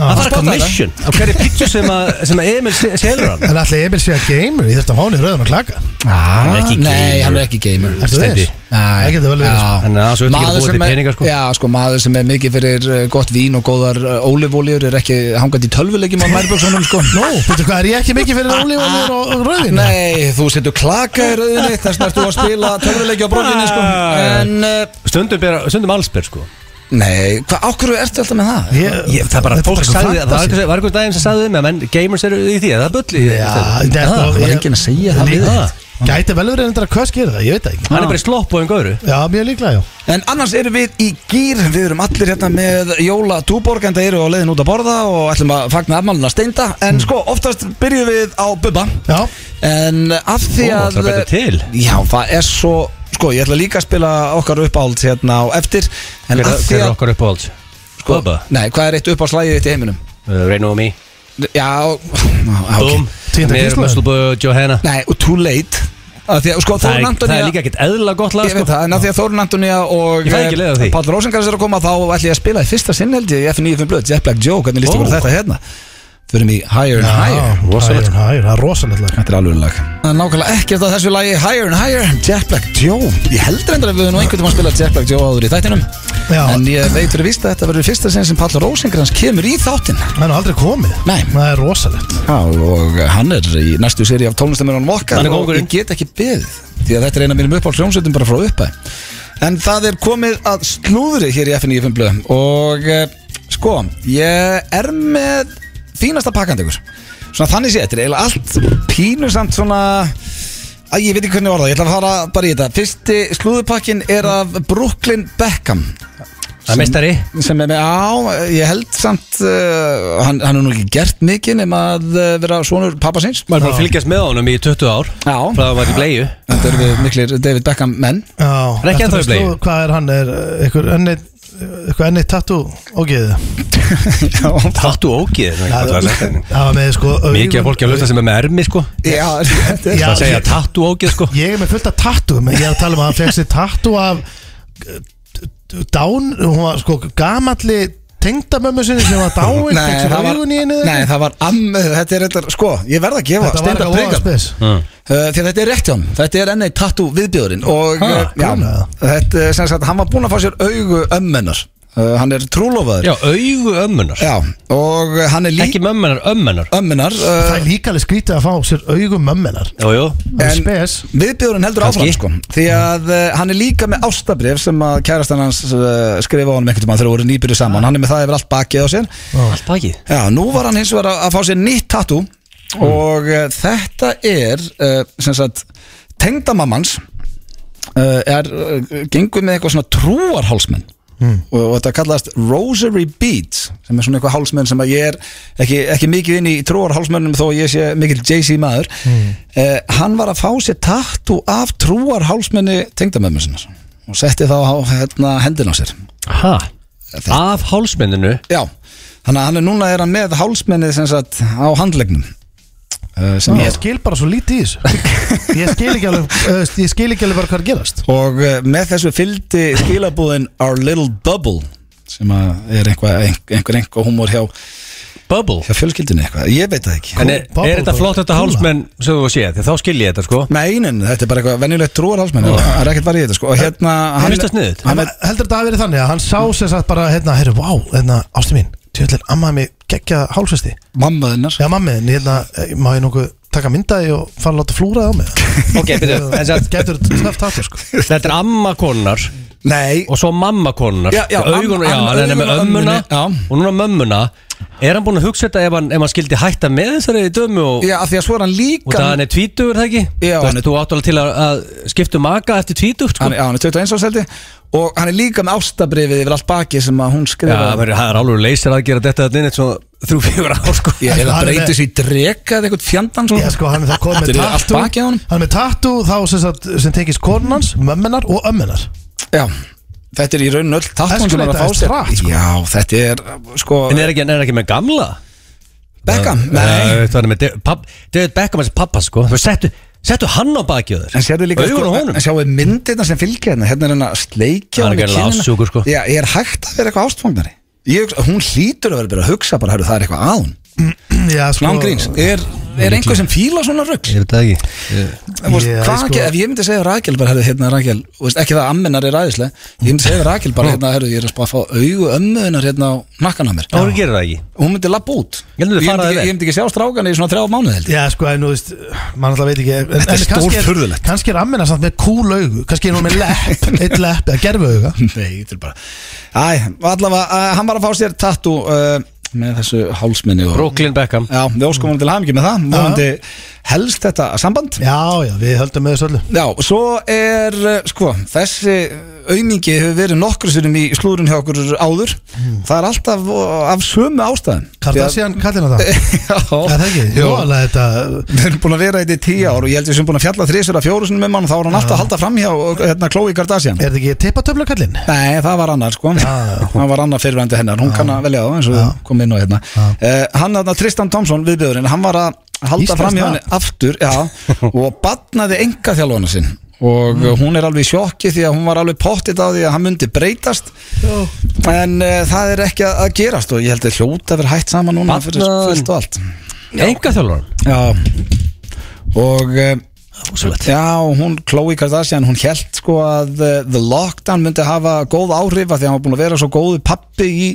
B: að
A: Spottaði
B: commission á hverju pítsu sem, að, sem að Emil se- selur hann
C: En allir Emil sé að gamer, ég þurft að fá hann í rauðan og klaka
A: Hann
B: er ekki
A: Ah, Nei,
B: gamer.
A: hann er ekki gamer
C: Ertu
B: Steindi.
C: þess? Það getur vel verið, sko.
B: Þannig að það er ah, svo ekki að búa til
A: sem er-
B: peninga, sko.
A: Já, sko, maður sem er mikið fyrir uh, gott vín og góðar uh, ólifóljur er ekki hangat í tölvuleikjum á nærböksunum, sko
C: Nú, veitu hvað, er ég ekki mikið fyrir ólífanir og og rauðin?
A: Nei, þú setur klaka í rauðinni þess að þú að spila tölvuleikja á brókinni, sko
B: Ah.
A: En, uh,
B: stundum, ber, stundum allsber sko
A: nei, hvað, ákvörðu ertu alltaf með það?
C: Ég,
B: Ég, það er bara,
C: Þetta
B: fólk
C: eitthvað
B: sagði, það var
C: fantasy.
B: einhver- var einhvern daginn sem sagði um að menn, gamers eru í því, eða það er bulli í því,
C: Já,
B: þetta.
C: þetta er
A: Það
C: sko-
A: var
C: ég-
A: enginn að segja það við
B: Líka.
A: það.
C: Gæti vel verið endur að hvað skýra það, ég veit það ekki
B: Hann er bara í slopp og einhverju
C: Já, mjög líklega, já
A: En annars erum við í gýr, við erum allir hérna með Jóla Túborg en það eru á leiðin út að borða og ætlum að fagna afmáluna steinda En
B: Hmm.
A: sko, oftast byrjum við á Bubba
C: Já,
A: En af því
B: Ó,
A: að
B: ætlar að breyta til.
A: Já, það er svo Sko, ég ætla líka að spila okkar uppáld hérna á eftir En
B: Hver
A: af því
B: hver er
A: að
B: okkar uppáhalds?
A: sko,
B: Bubba,
A: Nei, hvað er eitt uppáldslagið þitt í heiminum?
B: uh, Rain on Me
A: Já, á,
B: Búm,
A: ok
C: Tíunda
B: mér er
C: kynslóðin.
B: Musselbø Johanna
A: Nei, og Too Late Af því að, sko,
B: Það er,
A: Þórun
B: það er
A: Antonija
B: líka ekkert eðla gott lag
A: Ég
B: sko.
A: veit það, en af því að Þórun Antonija og
B: Ég fæ ekki leið á því.
A: Pál Rósengars er að koma þá ætlum ég að spila í fyrsta sinn held ég í F95 blöð, Jet Black Joe, hvernig líst ykkur
B: Ó.
A: oh. þetta hérna? Förum í Higher and Higher
B: rosalegt.
C: hægur, hægur, það er rosalegt lag
A: Þetta er alveg lag Það er nákvæmlega ekkert að þessu lagi Higher and Higher Jet Black Joe Ég heldur endur að við höfum nú einhvern veginn að spila Jet Black Joe áður í þættinum
C: Já.
A: En ég veit fyrir víst að þetta verður í fyrsta sinn sem Pall Rósengrans kemur í þáttin
C: Það er nú aldrei komið
A: Nei.
C: Það er rosalegt
A: Já og hann er í næstu séri af tónlistamörunum okkar
B: Hann er
A: Og
B: kóngurinn.
A: ég get ekki beðið Því að þetta er eina mínum uppáld hljómsveitum bara frá uppæð En það er komið að slúðri hér í FN95 blöðum Og eh, sko, ég er með fínasta pakkandegur Svona þannig sé, þetta er eiginlega allt pínusamt svona Æ, ég veit ekki hvernig orða, ég ætla að fara bara í þetta Fyrsti slúðupakkin er af Brooklyn Beckham
B: Það er meistari
A: sem er með, á, ég held samt uh, hann, hann er nú ekki gert mikið nema að uh, vera sonur pappa síns
B: Maður er búin að fylgjast með honum í 20 ár
A: Já,
B: Frá að maður í bleiðu
A: þetta eru við miklir David Beckham menn
C: Já
B: er ekki
C: þetta
B: ennþá í
C: veist
B: blei.
C: þú, Hvað er hann, er uh, einhver önnið eitthvað ennið tattoo og geðið
A: Já,
B: Tattu ógið
C: Það var með sko
B: Mikið af fólki að hlusta sem er með ermi sko
A: já þetta er
C: Já,
B: Það segja
C: ég-
B: tattu ógið sko
C: Ég er með fullt af tattoo menn Ég er að tala um að hann fekk sér tattoo af uh, d- Dán, hún var sko gamalli tengdamömmu sinni sem var dáin
A: Nei,
C: fekk sér
A: það var,
C: augun í henni eða
A: nei,
C: eitthvað.
A: það var amm, þetta er eitthvað, sko, ég verð að gefa
C: Þetta var
A: Steindar
C: eitthvað
A: prikan.
C: voða spes
A: Uh, því að þetta er rétt hjá hann þetta er enni tattu viðbjóðurinn og
B: Ha,
A: uh, já,
C: konaða.
A: þetta er sem sagt hann var búinn að fá sér augu ömmennar uh, hann er trúlofaður
B: Já, augu ömmunar
A: já, og uh, hann er lík
B: Ekki mömmunar, ömmunar
A: ömmennar
C: Það
A: uh,
C: er líka alveg skrítið að fá sér augum mömmenar
B: Jú, jú
C: Það er
A: En-
C: spes
A: viðbjóðurinn heldur
B: Kannski.
A: áfram sko því að uh, hann er líka með ástabrif sem að kærastan hans uh, skrifa á honum einhvern tímann þegar voru nýbyrju saman hann er með það yfir allt bakið á sér
B: Allt bakið
A: já, nú var hann hins vegar að, að fá sér nýtt tattu og uh, þetta er uh, sem sagt tengdamammans uh, er, uh, gengur með eitthvað svona trúarhálsmenn og, og þetta kallast Rosary Beads sem er svona eitthvað hálsmenn sem að ég er ekki, ekki mikið inn í trúarhálsmennum þó að ég sé mikill Jay-Z maður mm. hann var að fá sér tattu af trúarhálsmenni tengdamömmu sinna og setti þá á hérna, hendin á sér
B: Ha? Af hálsmenninu
A: Já, þannig að hann er núna er hann með hálsmennið sem sagt á handlegnum uh, sem
C: Ég
A: ég
C: skil bara svo lítið í þessu Ég skil ekki alveg, uh, ég skil ekki alveg bara hvað er að gerast
A: og uh, með þessu fylgdi skilabúðin Our Little Bubble sem að er einhver einhver, einhver humor hjá,
B: Bubble
A: hjá fjölskyldinu eitthvað, ég veit það ekki
B: En er,
C: Bubble
B: er þetta
C: Bubble.
B: flott þetta
C: Kúla.
B: hálsmenn sem þú séð? Því Þá skil ég þetta sko
A: Nei, nein, þetta er bara eitthvað venjulegt trúar hálsmenn það er ekkert varðið þetta sko og hérna, hann,
B: finnst það sniðugt.
A: hann
C: Hann
A: er,
C: heldur þetta að verið þannig að hann sá sér satt bara hérna, heyrðu, vá, hérna, ástu mín Tjöldin, ammaði mig geggja hálfesti
A: mammaðinnar
C: Já, mammi, en hérna, eh, má ég nokkuð taka myndaði og fara að láta flúra á mig
B: Ok, byrju, en satt-
C: Getur þetta snöft hattu, sko
B: Þetta er amma konunar
A: Nei,
B: og svo mamma konunar
A: Já, já,
B: Augun,
A: am-
B: já
A: am-
B: hann er með
A: augun og
B: ömmuna
A: ömmunni, já.
B: og núna mömmuna Er hann búinn að hugsa þetta ef hann, ef hann skildi hætta með þessari dömu og,
A: já, af því að svo er hann
B: og það
A: líka
B: hann er tvítugur það ekki?
A: Já,
B: Þú
A: hann er-
B: veist, Þú átt alveg til að, að skiptu maka eftir tvítugt sko
A: hann, já, hann er 21 áseldi og hann er líka með ástabrifið yfir allt baki sem að hún
B: Já,
A: skrifaði
B: það er- það er alveg leysir að gera þetta þarna inn eitt svona þrjú, fjögur ár sko
A: Ég hef
C: Hann
A: að
C: er
A: breyta
C: með-
A: þessu í dreka eða eitthvað fjandann
C: Já,
A: svona
C: sko, hann er það komið
A: Þetta
C: með
A: er allt
C: tattu
A: bakið á honum.
C: Hann er með tattu þá sem, sagt, sem tekist konunans, mömmunar og ömmunar
A: Já, þetta er í raun öll tattun sem hann er að
C: Escalator
A: fá sér
C: hratt, sko.
A: Já, þetta er sko
B: En er ekki, hann er ekki með gamla?
A: Beckham, nei
B: Það er með De- papp- David Beckham hans pappa sko Þú settu, settu hann á bakið á þér
A: En sérðu líka sko,
B: Augun á honum
A: En sjáu myndirna sem fylgja hérna Hérna er hann að sleikja honum
B: Hann er
A: í
B: gerðilega
A: kinnina.
B: ástsjúkur, sko.
A: Já, ég er hægt að vera eitthvað ástfangnari Ég, hugsa- Hún hlýtur að vera að byrja að hugsa bara Hörru, það er eitthvað að hún
C: Já, sko
A: Nángríns, er, er einhver sem fíla svona rugg?
B: veit það ekki
A: Þú veist,
C: Ég-
A: hvað
C: sko-
A: ekki, ef ég myndi segja Rakel bara, herru, hérna Rakel, þú veist, ekki það að ammennar er aðeinslega, ég myndi segja Rakel bara, hérna, herru, ég er að spá að fá augu ömmuðunar hérna á nakkan á mér.
B: Það voru gerir það ekki
A: hún myndi lappa út
B: Ég myndi fara
A: ekki,
B: þér.
A: ég myndi ekki sjá strákan í svona þrjá mánuð held ég.
C: Já, sko, en þú veist, mann alltaf veit ekki en- en kannski
A: stórfurðulegt.
C: Kannski er ammina samt með kúl augu Kannski er hún með lepp, eitt lepp eða gerfi auga
A: Nei, þetta er bara Æ, allavega, uh, hann var að fá sér tattu uh, með þessu hálsminni og...
B: Brooklyn Beckham
A: Já, við óskum hann til hamingi með það Móndi helst þetta samband
C: Já, já, við höldum með þessu öllu
A: Já, svo er, uh, sko, þessi aumingi hefur verið nokkur sérum í slúrun hjá okkur áður Það er alltaf uh, af sömu ástæðum
C: Hmm. Kardashian kallir hann það
A: Já,
C: Já, það ekki,
A: Jú.
C: jú, alveg þetta
A: Við erum búin að vera í þetta í tíu ár og ég held við sem búin að fjalla þrísur að fjórusunum um hann og þá er hann alltaf að halda fram hjá hérna, Chloe Kardashian
C: Er þetta ekki tippatöfla kallinn?
A: Nei, það var annar sko
C: já.
A: Það var annar fyrirvændi hennar, hún kann að velja það eins og við komum inn á hérna uh, Hann, þarna, Tristan Thompson, viðbjöðurinn, hann var að halda
C: Íslands
A: fram hjá
C: nafn.
A: henni aftur já, og batnaði enga þjálfana sinn og
C: Mm.
A: hún er alveg í sjokki því að hún var alveg pottit á því að hann myndi breytast en uh, það er ekki að að gerast og ég held að hljóta að vera hætt saman núna fyrir
B: Barnaðan.
A: fullt og allt
B: Enga þjálfur
A: Já Og eh, Já, hún, Khloe Kardashian, hún held sko að eh, The Lockdown myndi hafa góð áhrif að því að hann var búin að vera svo góðu pappi í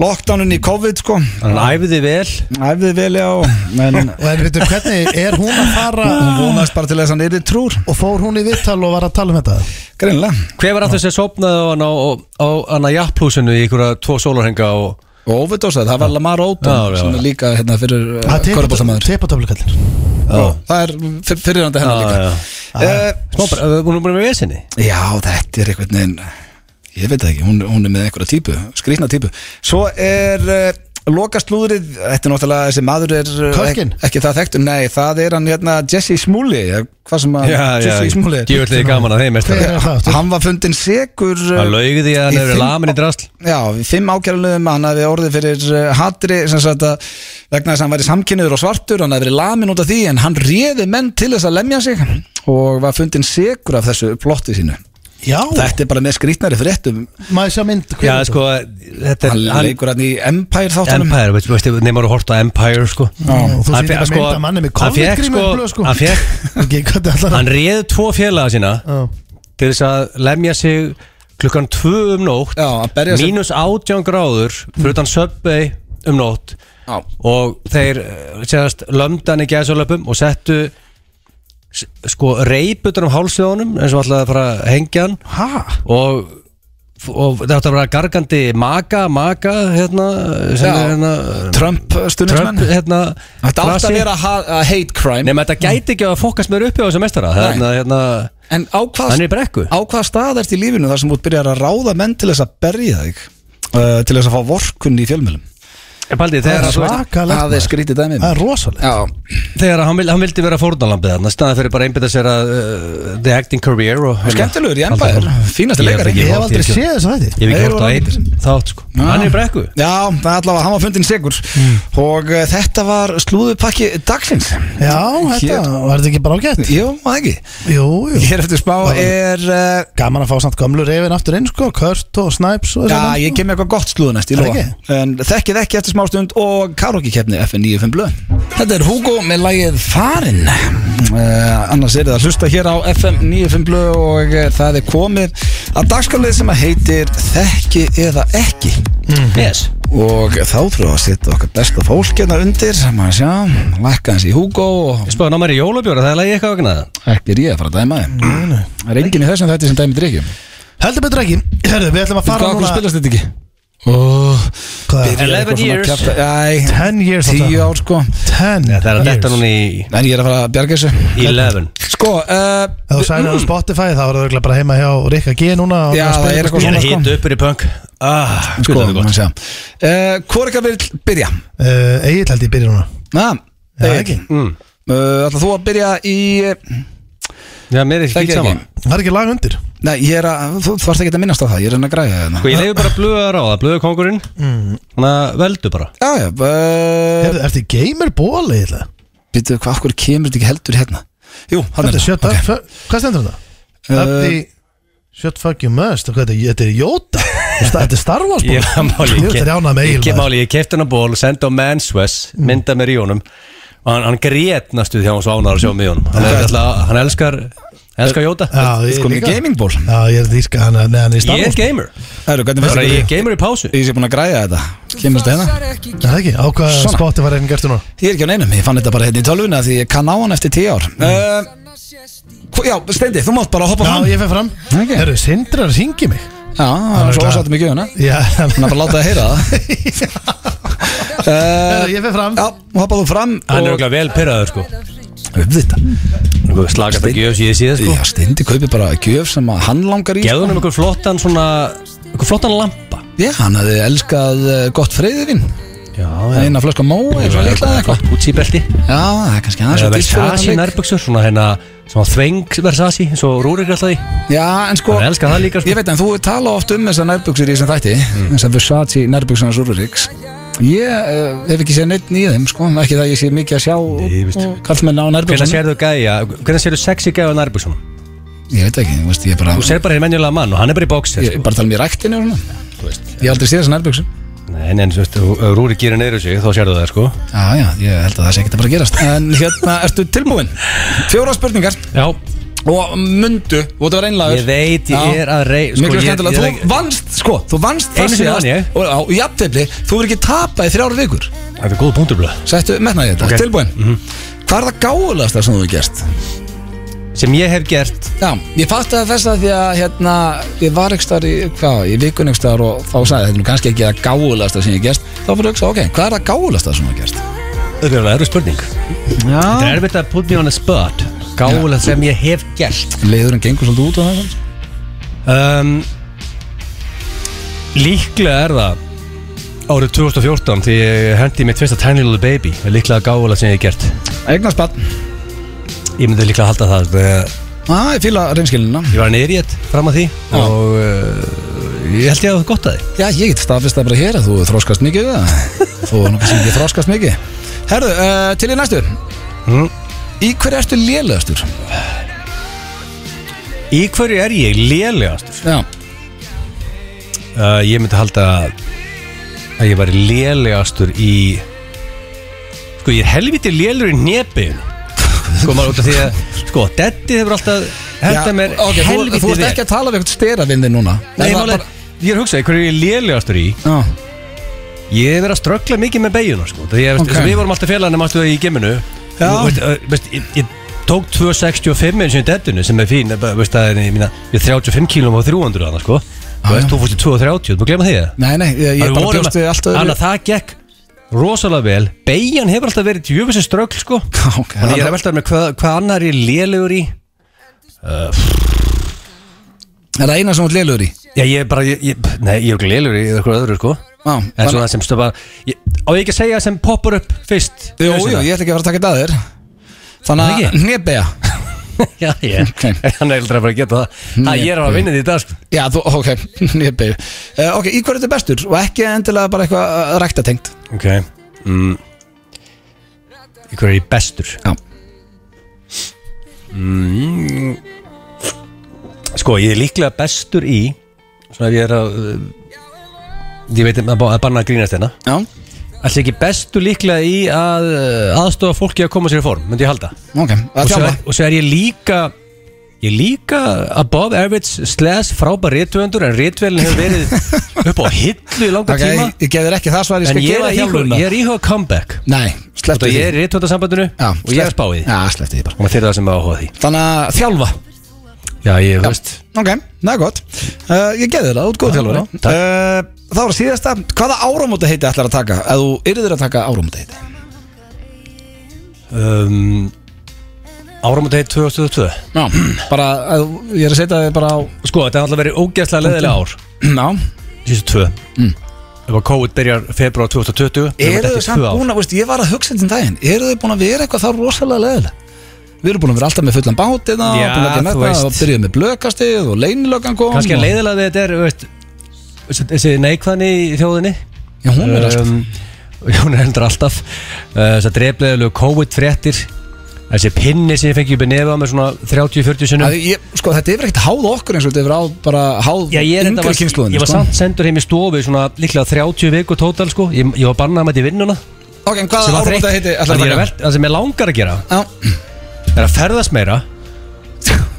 A: lockdowninni í COVID sko
B: Hann æfiði vel
A: Æfði vel já, en
C: Og en veitum hvernig er hún að fara
A: hún vonast bara til þess að hann yfir trúr
C: Og fór hún í vittal og var að tala um þetta
A: Greinlega
B: Hver var að þessi sopnaði á hann á, á, á hann að jafnplúsinu í ykkur tvo sólarhenga og
A: Og overdosað, það var Lamar
B: Já,
A: Odom
B: já,
A: sem er
B: já.
A: líka hérna fyrir korabóttamæður
C: Tippatöfla kallinn
A: Það er fyrirhandi hennar
B: Já,
A: líka
B: já.
A: Eh,
B: Smá, bara, eh, hún er búin með vesinni
A: Já, þetta er einhvern veginn Ég veit það ekki, hún, hún er með einhverja típu Skrýtna típu Svo er uh, lokast lúðrið Þetta er náttúrulega þessi maður er eh,
C: Kölkin?
A: Ekki, það þekktum, nei, það er hann hérna Jesse Smulli eða Hvað sem að Jesse Smulli er.
B: Djöfull er gaman að þeim mestar
C: Hver er það aftur?
A: Hann var fundin segur eh,
B: Hann laugi því
A: Í
B: að hann hefur
A: fimm-
B: lamin í drasl
A: Já, í fimm ákjærulegum hann hefði orðið fyrir uh, hatri sem sagt að vegna þess að hann væri samkynniður og svartur hann hefði verið lamin út af því en hann réði menn til þess að lemja sig og var fundin segur af þessu plotti sínu
C: Já,
A: Þetta er bara með skrýtnari fréttum
C: maður sjá mynd hver
B: Já,
C: er þetta?
B: sko, þetta er
A: hann,
B: hann-
A: leikur hann í Empire þáttunum
B: Empire, veistu, veistu, neymar að horta á Empire, sko
C: og þú
B: Hann
C: sýnir
B: fékk, sko,
C: bara mynd af manni með
B: hann fékk,
C: COVID-grímu í blöð, sko.
B: Hann fékk,
C: Ekki, hvað þetta allar
B: hann réð tvo félaga sína til þess að lemja sig klukkan tvö um nótt
A: Já, að berja sig-
B: mínus átján gráður fyrir utan Subway um nótt
A: Já.
B: og þeir eh, séðast lömdan í gæðsólöpum og settu s- sko reyputur um hálsið á honum eins og alltaf að fara að hengja hann
C: Hæ?
B: og og það átti að vera gargandi maka, maka hérna,
A: Já.
B: sem er hérna
A: Trump uh,
B: Trump,
A: stuðningsmenn
B: hérna
A: Þetta átt
B: frasi.
A: að vera ha- uh, hate crime
B: Nei, menn, þetta gæti ekki að fókast mér uppi á þessu mestara
A: Nei.
B: hérna, hérna,
A: En á hvað,
B: Hann er í brekku.
A: á hvað stað ert í lífinu þar sem þú byrjar að ráða menn til þess að berja þig uh, Til þess að fá vorkunni í fjölmjölum
B: En Paldi, þegar,
C: er
B: þú veist,
C: svak. Svakalegt,
A: Það er skrítið dæmi
C: Það er rosalegt
A: Já,
B: þegar hann, vil, hann vildi vera fórnalambið þarna, staðan fyrir bara að einbytta sér að uh, the acting career og, hérna,
A: skemmtilegur í
B: halda
A: Empire,
B: áfram.
A: fínasti
B: Ég held
A: leikari
B: ekki-
C: Ég hef
B: horfði
C: aldrei
B: ekki á-
C: séð þess að
B: Ég hef
C: þetta
B: ekki
A: Nei,
B: hort á
A: voru
B: einn þátt sko
A: Já.
B: Hann er í brekku
A: Já, það er allavega, hann var fundin sigur
B: Mm.
A: Og uh, þetta var slúðupakki dagsins
C: Já, þetta
A: Hér-
C: var þetta ekki bara ágætt
A: Jú, það ekki
C: Jú, jú
A: Hér eftir smá er uh,
C: Gaman að fá samt gömlu reyfin aftur inn sko Kurt og Snipes og
A: Já,
C: menn, sko.
A: ég kem með eitthvað gott slúðu næst, ég
C: Er það
A: lofa En þekkið ekki eftir smá stund og karaoke-keppni FN95 blöð Þetta er Hugo með lagið Farin uh, Annars er það að hlusta hér á FM95 blöð og uh, það er komið að dagskalið sem að heitir Þekki eða ekki
B: Yes
A: Og þá þurfum við að setja okkar besta fólk hérna undir sem að sjá, lækka hans í Hugo og
B: Ég spáði ná mér í jólabjóra, það er lagi eitthvað vegna það
A: ekki er ég að fara að dæma þið Það er enginn í þessum þetta sem dæmi drikkjum
C: Heldur betur ekki Herðu, við ætlum að
A: Hvað
C: fara
A: okkur
C: núna
A: spilast þetta ekki? Oh,
C: Hvað er-
B: 11 years.
A: Æ,
C: 10 years
A: Tíu ár sko
C: 10
B: Það er að detta
C: years
B: núna í
A: En ég er að fara að bjarga þessu
B: 11
A: Sko uh,
C: Ef þú sælir á Spotify þá er það örugglega bara heima hjá Rikka G núna og
A: Já,
C: að spila
A: það er
B: Ég
A: Svona,
B: er
A: sko.
B: hitt uppur í punk Ah,
A: Sko,
B: sko
A: mann segja uh, Hvor ekki að vil byrja?
C: Uh, Egil held ég byrja núna
A: Na,
C: Já,
A: Egill.
C: ekki.
A: Mm. uh, Ætla þú að byrja í eh,
B: Já, mér er ekki fínt saman
C: Það er ekki lag undir
A: Nei, ég er að Þú, þú varst ekki að minnast á það Ég er enn að græja hérna. það
B: Sko, ég leiði bara blöðu að ráða, blöðu kongurinn Þannig að veldu bara
A: Já, já uh,
C: Er þetta gamer ból Egil?
A: Býttu, hvað okkur kemur þetta ekki heldur hérna? Jú, hann
C: Þetta er shut up
A: Ok.
C: fu- Hvað stendur þetta?
A: Uh,
C: Up the Shut fuck you must og hvað er Þetta Þetta er Jóta Þetta er Star Wars ból
B: Ég máli,
C: Ég er ránað með
B: ég,
C: Egil
B: ég,
C: maður.
B: máli, ég kefti hann að ból, sendi á Manswes Mynda mér í honum Og hann, hann grét næstu því að hann svo ánar að sjá mig í honum Hann, er alltaf, hann elskar, elskar Jóta
C: Já, ég
A: Sko, mér
C: líka.
A: gamingból
C: Já, ég er dýrka hann Nei, hann er í Star
B: Ég er
C: Wars
B: gamer
A: Æru, hvernig finnst
B: Bara
A: þetta?
B: ég er gamer í pásu
A: Ég sé búin að græja þetta Kemur þetta hérna?
C: Er það ekki? Á hvað
A: Svona.
C: Spotify er einn gert núna?
A: Ég er ekki á neinum, ég fann þetta bara hérna í tölvuna Því ég kann á hann eftir tíu ár uh, Já, Steindi, þú mátt bara hoppa
C: Mm.
A: fram
C: Já, ég fer fram
A: Ok.
C: Herru, Sindri er að ringi mig
A: Já, það er svo
C: glaður.
A: ósáttum í gjöfuna
C: Já,
A: Þannig að bara láta það heyra það
C: Herru,
A: uh,
C: ég fer fram
A: Já, hoppa þú fram
B: Hann er
A: og
B: okkur vel pyrraður sko
A: uppvita
B: Slagast að gjöf síðið síðan sko
A: Já, Steindi kaupir bara gjöf sem að hann langar í
B: Gefðu hann um einhver flottan svona Einhver flottan lampa
A: Já, hann hefði elskað eh, gott freyðivinn
B: Já,
A: Eina flösku mói, eitthvað líklað eitthvað
B: Útsýbelti
A: Já, það er kannski aðeins of dýrt fyrir
B: Versace
A: þennan leik.
B: nærbuksur Svona hérna Svona þveng Versace Eins og Rúrik alltaf í
A: Já, en sko
B: Hann elskar það líka, sko.
A: Ég veit en þú tala oft um þessar nærbuksir í þessum þætti
B: Mm.
A: Þessar Versace nærbuksarnas Úruriks Ég uh, hef ekki séð neitt í þeim sko Ekki það ég sé mikið að sjá
B: Nei, veist.
A: Kallmenn á
B: Hvernig
A: nærbuksunum
B: sérðu gæja Hvernig sérðu sexy gæja á nærbuksunum
A: Ég veit ekki, þú veist, ég bara
B: Þú sér bara hér menjulega mann Og hann er bara í bóksir
A: Ég
B: sko.
A: er bara að tala um í ræktinu og svona Ég hef aldrei séð þessar nærbuksum
B: Nei, en þú veist ef Rúrik gerir neyru sig Þá sérðu það sko
A: Já, já, ég held að það sé ekki að bara gerast En hérna, ertu tilbúin? Fjóra spurningar
B: Já
A: og mundu Þú ert að vera einlagur
B: Ég veit, ég er að rey- sko,
A: Miklu
B: ég-
A: skemmtilega,
B: ég er
A: þú
B: ekki-
A: vannst, sko Þú vannst
B: Einu sinni vann ég.
A: Og á jafntefli, þú verður ekki tapa í þrjár vikur
B: Það er góð punktur blöð
A: Sættu, metnaði þetta,
B: Ok. Mhm.
A: tilbúin Hvað er það gáðulegasta sem þú hefur gert?
B: Sem ég hef gert
A: Já, ég fatti það þess að því að hérna, ég var ekki starf í, hvað, í vikun ekki starf og þá sagði þetta er nú kannski ekki það gáðulegasta sem ég hef gert þá fyrir að hugsa, ok, hvað er það gáðulegasta sem þú hefur gert?
B: Þetta er erfið spurning Þetta er erfitt að put me on a spot Gáðulegt sem ég hef gert
A: Leðurinn gengur svolítið út á það kannski?
B: um, Líklega er það Árið 2014 því ég hendi í mitt fyrsta Tiny Little Baby er Líklega gáðulegt sem ég hef gert
A: Eignast barn.
B: Ég myndi líklega halda það eh,
A: Já, ég fýla reynskilinna
B: Ég var neyriðt fram að því Og uh, ég held ég að það gott að því
A: eh, Já, ég get staðfist að bara hér að þú þróskast mikið við það. Þú er nokkuð sem ég þróskast mikið Herðu, uh, til í næstu
B: Mm.
A: Í hverju ertu lélegastur?
B: Í hverju er ég lélegast?
A: Já,
B: Uh, ég myndi halda að ég var lélegastur í Sko ég er helviti lélur í nebiðinu Sko maður út af því að Sko, Detti hefur alltaf
A: Já,
B: Henda mér
A: ok, þú,
B: helviti
A: þú ert
B: vel.
A: ekki að tala við eitthvað styravindi núna
B: Nei,
A: Er
B: ég,
A: það
B: málega, ég er að hugsa, hverju ég er lélegastur í
A: Já,
B: Ég hef verið að ströggla mikið með beiguna sko. Því ég,
A: Ok.
B: okay. Við vorum alltaf félagarnir máttu í geminu
A: Já.
B: Þú veist, ö, veist, ég, ég tók 265 eins og í dettinu sem er fín eh, bara, veist, það er, ég, mína, ég er 35 kílum og 300 hana, sko. Þú
A: Ah,
B: veist, þú fórst í 2.30, þú glemma því það
A: Nei, nei, ég, ég
B: Við
A: bara
B: vorum
A: bjóst við
B: að-
A: alltaf
B: Þannig að það gekk rosalega vel Beigjan hefur alltaf verið tjöfisins ströggl sko
A: Ok,
B: Þannig að ég er að velta með hvað, hvað annar er lélegur í
A: Er það eina sem hún lélur í?
B: Já, ég er bara, ég, ég, nei, ég er ekki lélegur í eitthvað öðru sko
A: Já,
B: En
A: þannig-
B: svona sem stöpa ég, Á ég ekki að segja sem poppar upp fyrst
A: Jú, jú, ég ætla ekki að fara að taka þetta að þér Þannig að
B: Ekki?
A: hnebega
B: Já, ég,
A: Ok.
B: hann er eldra bara að geta það Það ég er að vinna því í dag sko
A: Já, þú, ok, hnebega uh, Ok, í hverju þetta er bestur og ekki endilega bara eitthvað uh, ræktatengt
B: Ok mm. Í hverju er ég bestur?
A: Já.
B: Mm. Sko, ég er líklega bestur í Svona ef ég er að uh, Ég veit að, að banna að grínast hérna
A: Já,
B: Ætli ekki bestur líklega í að uh, aðstofa fólki að koma sér í form Myndi ég halda
A: ok,
B: og
A: að
B: svo,
A: þjálfa
B: er, og svo er ég líka Ég er líka above average slash frábær réttvöndur En réttvölin hefur verið upp á hillu í langa
A: Ok,
B: tíma
A: ég, ég gef þér ekki það svar, ég
B: En
A: skal hérna.
B: ég er
A: gefa
B: að íhuga-
A: þjálfuna
B: ég er íhuga comeback
A: Nei,
B: Þetta
A: slepptu
B: ég
A: því
B: er í réttvöndasambandinu
A: Já,
B: og ég er að spá í því
A: Já, slepptu því bara
B: og maður þeirra það sem er áhuga á því
A: Þannig að þjálfa
B: Já, ég veist
A: Ok, það er gott uh, Ég geði þér það, þú ert góð
B: Já,
A: þjálfari
B: já, takk.
A: uh, Það var síðasta Hvaða áramóta heiti ætlar að taka? Ef þú yrðir að taka áramóta heiti
B: um, Áramótið 2002
A: Já, bara, ef þú- ég er að setja þig bara á
B: Sko, þetta er alltaf verið ógeðslega leðilega ár
A: Já
B: Síðustu tvö mm. Ef að COVID byrjar februar 2020 þá er þetta
A: Eru þau
B: eftir
A: samt
B: tvö ár.
A: búin að, veist, ég var að hugsa þetta um daginn Eru þau búin að vera eitthvað þá rosalega leðilega? Við erum búin að vera alltaf með fullan bát eða,
B: Já,
A: búin að gera með
B: þú
A: þetta
B: veist.
A: og byrjuðum með blökastið og leynilögan kom
B: Kannski að
A: og-
B: leiðilega við þetta er þú veist, þessi- Þessi neikvæðni í þjóðinni
A: Já, hún er alltaf
B: um, Hún er hendur alltaf uh, Þessar drefleðilegu COVID-fréttir Þessi pinni sem ég fengi upp í nefa með svona 30-40 sinnum
A: Að ég, sko, þetta er yfir ekkert háð okkur eins og þetta er yfir á bara háð
B: Já, ég er enda
A: yngri
B: var,
A: kynnslóðinni,
B: ég var
A: sko.
B: samt sendur heim í stofu í svona líklega 30 viku tótal sko Ég, ég var bannað með þetta í vinnuna
A: Ok, en hvaða
B: var
A: áramóta
B: þreytt.
A: heiti
B: Það
A: ætlar
B: ég er
A: að
B: að vel- það sem ég langar að gera
A: taka? Já,
B: er að ferðast meira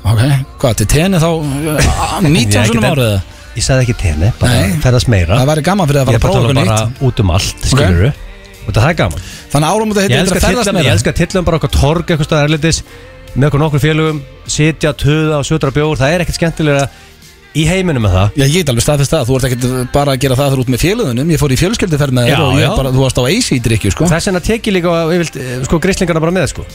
A: Ok, hvað, til tenni þá á, 19
B: Ég
A: sunum
B: get-
A: árið eða?
B: Ég sagði ekki tenni, bara
A: Nei.
B: ferðast meira
A: Það væri gaman fyrir það að
B: Ég
A: fara
B: er
A: að
B: bara
A: prófa okkur
B: að tala bara
A: nýtt
B: út um allt, skilur Og það er gaman
A: Þannig að áramóta
B: Ég
A: heitir þetta
B: elska
A: að ferðast
B: tillum,
A: með
B: ég
A: það
B: elska tillum bara okkar torg eitthvað staðar erlendis með okkur nokkur félögum, sitja, töða og sötra bjór það er ekkert skemmtilega í heiminum með það
A: Já, ég get alveg staðfest það, þú ert ekkert bara að gera það þar út með félöðunum Ég fór í fjölskylduferð með
B: Já,
A: þér og
B: já.
A: ég bara, þú varst á AC drikju, sko
B: þess vegna tek ég líka eh, yfirleitt, eh, sko, grislingarna bara með sko.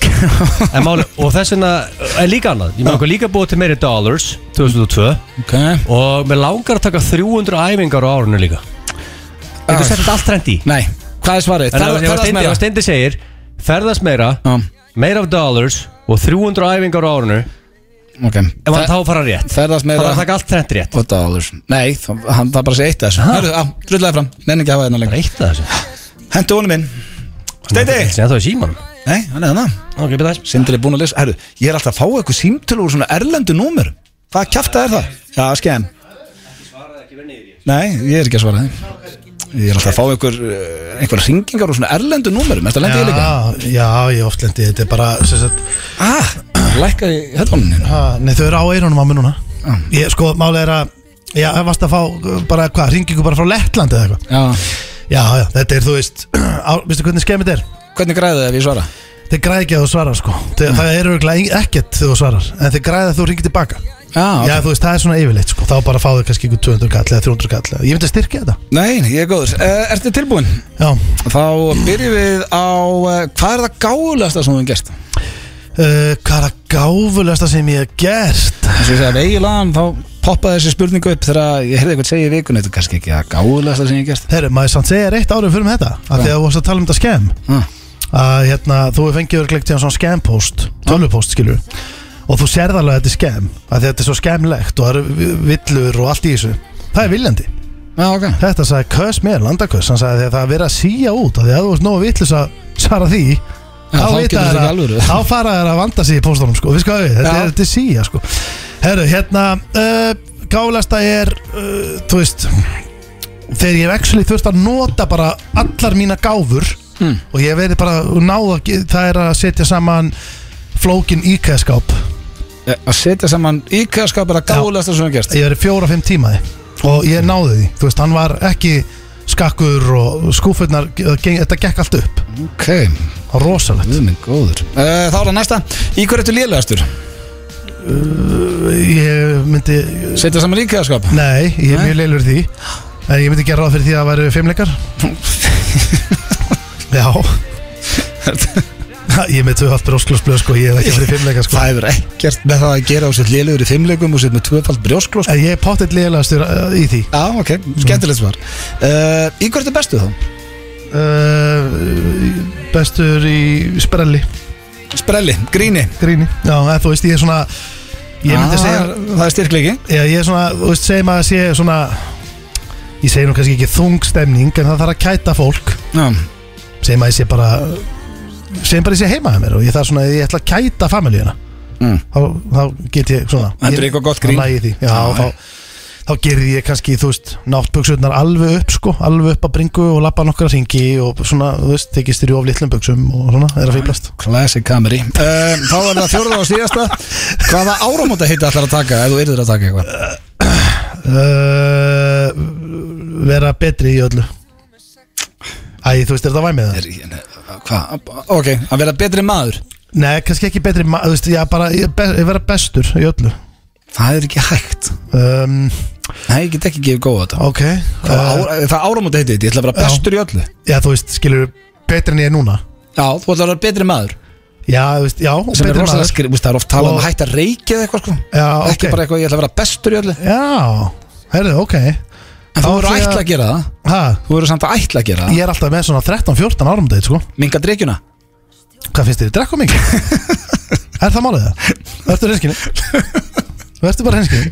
B: En máli, og þess vegna eh, er líka annað ég með okkur líka búið til meiri dollars 2002
A: Ok,
B: og mér langar að taka 300 æfingar á árunu líka
A: Ah.
B: eitthvað setja þetta allt reynd í
A: nei, hvað er svarið?
B: en
A: Ferða-
B: ef að
A: Ferðast
B: Steindi-
A: með
B: ef að
A: það
B: Steindi segir ferðast meira, meira af dollars og 300 æfingar á árunu ef
A: Ok,
B: hann þá fara rétt
A: ferðast með
B: Það var að
A: það
B: taka allt trend rétt
A: Og dollars Nei, þá- hann það bara sé eitt af þessu
B: Ha?
A: Hörðu, á, drullega fram, nenni ekki að hafa þennan lengur
B: Reitt að þessu
A: Hentu honum inn Steindi!
B: Það er það í símanum
A: Nei, hann er þannig
B: Ok, betur þess
A: Sindri er búin að lesa Herru, ég er alltaf að fá eitthvað símtölu úr svona erlendu númur Hvað kjafta er það? Já, skemm Nei, ég er ekki að svara þið Ég er alltaf að fá einhver, eh, einhver ringingar úr svona erlendu númurum Þetta lendi ég líka
C: Já, já, ég oft lendi í þetta er bara, sem sagt,
A: Ah, lækka í headphone-inu hérna.
C: ha, Nei, þau eru á eyrunum á mér núna Ég, sko, máli er að Já, það varst að fá, uh, bara, hvað, ringingu bara frá Lettlandi eða eitthvað
A: Já,
C: Já, já, þetta er, þú veist, á, veistu hvernig skemmið er?
A: hvernig græði þið ef ég svara?
C: Þeir græði ekki að þú svarar, sko Þeir,
A: Mm.
C: Það eru örugglega ekkert þegar þú svarar En þeir græði að þú ringir tilbaka
A: Já, Ah, ok
C: Já, þú veist, það er svona yfirleitt, sko Þá bara fá þau kannski ykkur 200 kall eða 300 kall eða- Ég myndi að styrkja þetta
A: Nei, ég er góður uh, Ertu tilbúin?
C: Já,
A: Þá byrjum við á uh, Hvað er það gáðulegasta sem þú hefur gert?
C: uh, hvað er að gáfulegasta sem ég hef gert?
A: Þess að ég segja að eiginlegan Þá poppaði þessi spurningu upp Þegar ég heyrði eitthvað segja í vikun Þetta er kannski ekki að gáðulegasta sem ég hef gert
C: Herru, maður samt segja reitt árið fyrir með þetta Af því að þú varst að tala um þetta skemm
A: ah.
C: að hérna, þú hefur fengið örglegt tíðan svona skemmpost,
A: Ah.
C: tölvupost skilur og þú sérð alveg að þetta er skemm að þetta er svo skemmlegt og það eru vi- villur og allt í þessu, það er viljandi
A: Já, ok
C: þetta sagði Kös mér, landakös hann sagði að það er verið að síja út að því að þú veist nógu villus að svara því
A: Já, þá
C: vita
A: getur þetta
C: þeir að-
A: ekki alvöru.
C: þá fara þær að vanda sig í póstunum sko, við skoðum við, þetta
A: Já.
C: er, þetta er síja sko herru, hérna uh, gáðlegasta er uh, þú veist þegar ég hef actually þurft að nota bara allar mína gáfur
A: Hmm.
C: og ég hef verið bara náða það er að setja saman flókin íkæðskáp
A: Að setja saman íkæðaskap er að gáðulegasta sem hefur gerst
C: ég hef verið fjóra fimm tímaði og ég náði því, þú veist, hann var ekki skakkur og skúfurnar geng- þetta gekk allt upp,
A: Ok,
C: það var rosalegt
A: við minn góður Eh, Þá er það næsta Í hverju ertu lélegastur?
C: ég myndi
A: Setja saman íkjaðskap
C: Nei, ég er
A: Nei.
C: mjög leilur því En ég myndi gera ráð fyrir því að það væri fimmleikar Já Ha, Ég er með tvöfald brósklósblöð sko, ég hef ekki fyrir fimmleikar sko
A: Það hefur ekkert með það að gera og sér lélugur í fimmleikum og sér með tvöfald brjósklós
C: En ég er pottitt leilastur í því
A: Já, ok, Mm. skemmtilegt svar uh, Í hvort er bestu þá?
C: uh, Bestur í sprelli,
A: Sprelli, gríni
C: gríni Já, eða, þú veist, ég er svona Ég myndi
A: Ah,
C: segja,
A: Það er styrkleiki
C: já, ég er svona, þú veist, segjum að sé svona Ég segi nú kannski ekki þung stemning En það þarf að kæta fólk
A: Já,
C: segjum að ég sé bara segjum bara ég sé heima hjá mér og ég þarf svona ég ætla að kæta familíuna
A: Mm.
C: þá, þá get ég svona
A: Hendur
C: ég-
A: eitthvað gott grín.
C: þá næ ég því já,
A: Já, já.
C: þá, þá gerði ég kannski þú veist náttbuksurnar alveg upp sko alveg upp að bringu og lappa nokkra ringi og svona þú veist tekist þér í of litlum buksum og svona er að fýblast
A: classic kameri uh, Þá er það fjórða og síðasta Hvaða áramóta heita ætlar að taka ef þú yrðir að taka eitthvað?
C: uh, vera betri í öllu Æ, þú veist, er þetta væmið það?
A: Er, hvað? Ok, að vera betri maður
C: Nei, kannski ekki betri, ma- þú veist, já, bara, ég, be, ég vera bestur í öllu
A: Það er ekki hægt
C: um,
A: Nei, ég get ekki gefið góða þetta
C: Ok
A: Það,
C: uh,
A: uh, það áramóta heiti þetta, ég ætla að vera bestur í öllu
C: Já, þú veist, skilur betri en ég er núna
A: Já, þú ætlar að vera betri maður
C: Já, þú veist, já, og
A: sem er
C: betri
A: rosalega
C: maður.
A: skrið, það er oft talað um
C: Og-
A: að hætta að reykja eða eitthvað sko
C: Já,
A: ekki
C: ok.
A: bara eitthvað, ég ætla að vera bestur í öllu
C: Já, herðu, ok
A: en þú
C: Þá
A: verður
C: ætla ég
A: ætla
C: að-
A: að gera það,
C: ha,
A: þú verður samt að ætla að gera það
C: Ég er alltaf með svona 13-14 árum deit, sko
A: minga drikkjuna
C: Hvað finnst þér, drekkum mikið? er það málið það? Vertu reyskinni? Vertu bara reyskinni?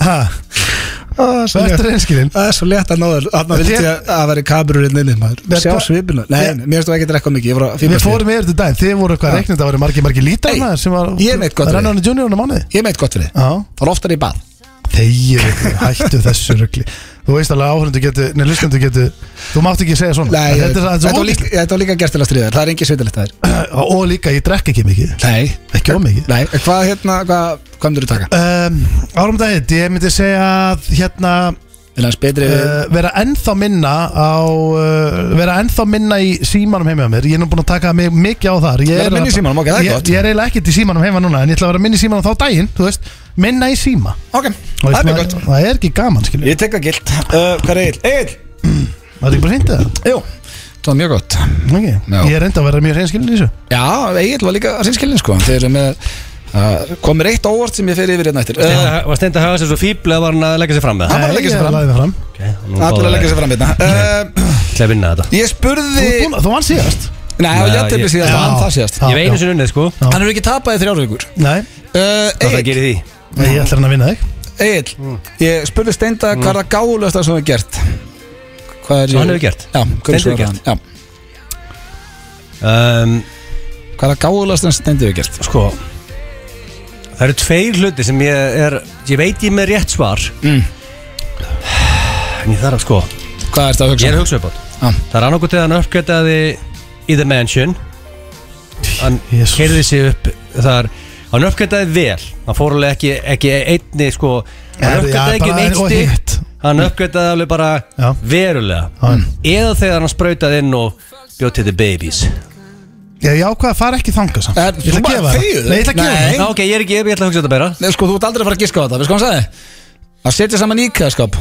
C: Ha, vertu reyskinni?
A: það er svo létt að náður að maður vildi að það væri kabrur inn inni maður
C: Nei,
A: sjá
C: hva-
A: svipinu,
C: Ég-
A: nei, mér finnst þú ekki að drekka mikið ég var að
C: Við
A: fíblast við.
C: fórum yfir til daginn, þið voru eitthvað reiknir Það voru margir, margir lítar
A: Hey,
C: maður sem var
A: Ah. ég veit gott
C: Renna
A: við.
C: hann í juniorinu mánuði
A: ég meit gott fyrir,
C: Já,
A: fór oftar í bað
C: þegir ykkur, hættu þessu rugli Þú veist alveg að áhörundu getur, nei hlustundu getur Þú mátt ekki segja svona
A: nei,
C: En þetta, er-
A: þetta
C: þetta
A: var
C: er
A: líka- þetta var líka gert til að stríða þér, það er engin sveitilegt það er
C: svo Og líka, ég drekk ekki mikið
A: nei,
C: Ekki of mikið
A: nei, hvað hérna, hvað hvað myndir þú taka?
C: um, Árum daginn, ég myndi segja að hérna
A: er hans betri við
C: uh, vera ennþá minna á uh, vera ennþá minna í símanum heima hjá mér ég er nú búin að taka mig mikið á þar ég
A: Vera
C: er
A: minna í
C: að-
A: símanum, ok, það er
C: ég,
A: gott.
C: ég er eiginlega ekkert í símanum heima núna en ég ætla að vera minna í símanum þá daginn, þú veist minna í síma
A: ok,
C: Þú
A: það
C: veist,
A: er mjög
C: maður-
A: gott
C: það er ekki gaman, skilju
A: ég tek það gilt, Uh, hvað er Egil? Egil?
C: það er ekki bara hreint það
A: Jú, það var mjög gott
C: okay.
A: Já.
C: ég er reynda að vera mjög hreinskilin í þessu
A: Já, Egil var líka að sinnskilin sko Þeir eru með uh, komir eitt óvart sem ég fer yfir hérna eftir uh,
B: Var stend að hafa sér svo fíbl eða var hann að leggja sér fram með
A: Hann- bara að leggja sig
C: Nei, ég
A: fram.
C: lagði mig fram.
A: Eh, Allir að leggja sér fram hérna uh,
B: Til að vinna þetta
A: Ég
C: Þú
A: spurði
C: ert búinn- þú vann síðast
A: Nei,
B: Nei,
A: ég jætti mig
B: ég-
A: síðast
C: Já.
A: og hann það síðast
C: Já.
B: Ég veit einu sinni unnið sko Hvað
A: Hann er ekki tapað í þrjár vikur
C: Nei,
A: uh,
B: það gerir því?
C: nei, ég ætla hann að vinna þig
A: Egil,
B: Mm.
A: ég spurði Steinda hvað er það gáðulegasta sem þú hefur gert Hvað er
B: Sem hann hefur gert?
A: Já, hvað er
B: Steindi hefur
A: svo hann?
B: gert?
A: Já,
B: Um,
A: hvað er það gáðulegasta sem Steindi hefur gert
B: Sko Það eru tveir hluti sem ég er Ég veit ég með rétt svar
A: Mm.
B: En ég þarf að sko
A: Hvað er það að
B: Ég er
A: hugsa?
B: að hugsa upp á
A: Já.
B: Það er annarkot eða hann uppgötaði í The Mansion Hann
C: Jesus.
B: kerði sig upp þar Hann uppgötaði vel Hann fór alveg ekki, ekki einni sko Hann
C: Herri, já,
B: uppgötaði ekki um
C: bara
B: eitt
C: og hitt. Mm.
B: stík Hann uppgötaði alveg bara
C: Já.
B: verulega
C: Já.
B: Eða þegar hann sprautaði inn og bjóð til The Babies
C: Ég ég ákvað að fara ekki þangað samt
A: Er-
C: Ég
A: þú
C: ætla að
A: bara
C: gefa það
A: þegiðu.
C: Nei, ég ætla að gefa
A: Nei.
C: það
B: Ná, ok, ég er ekki, ég ætla að hugsa þetta beira
A: Nei, sko, þú ert aldrei að fara að giska á þetta, veist hvað hann sagði? Að setja saman íkæðskap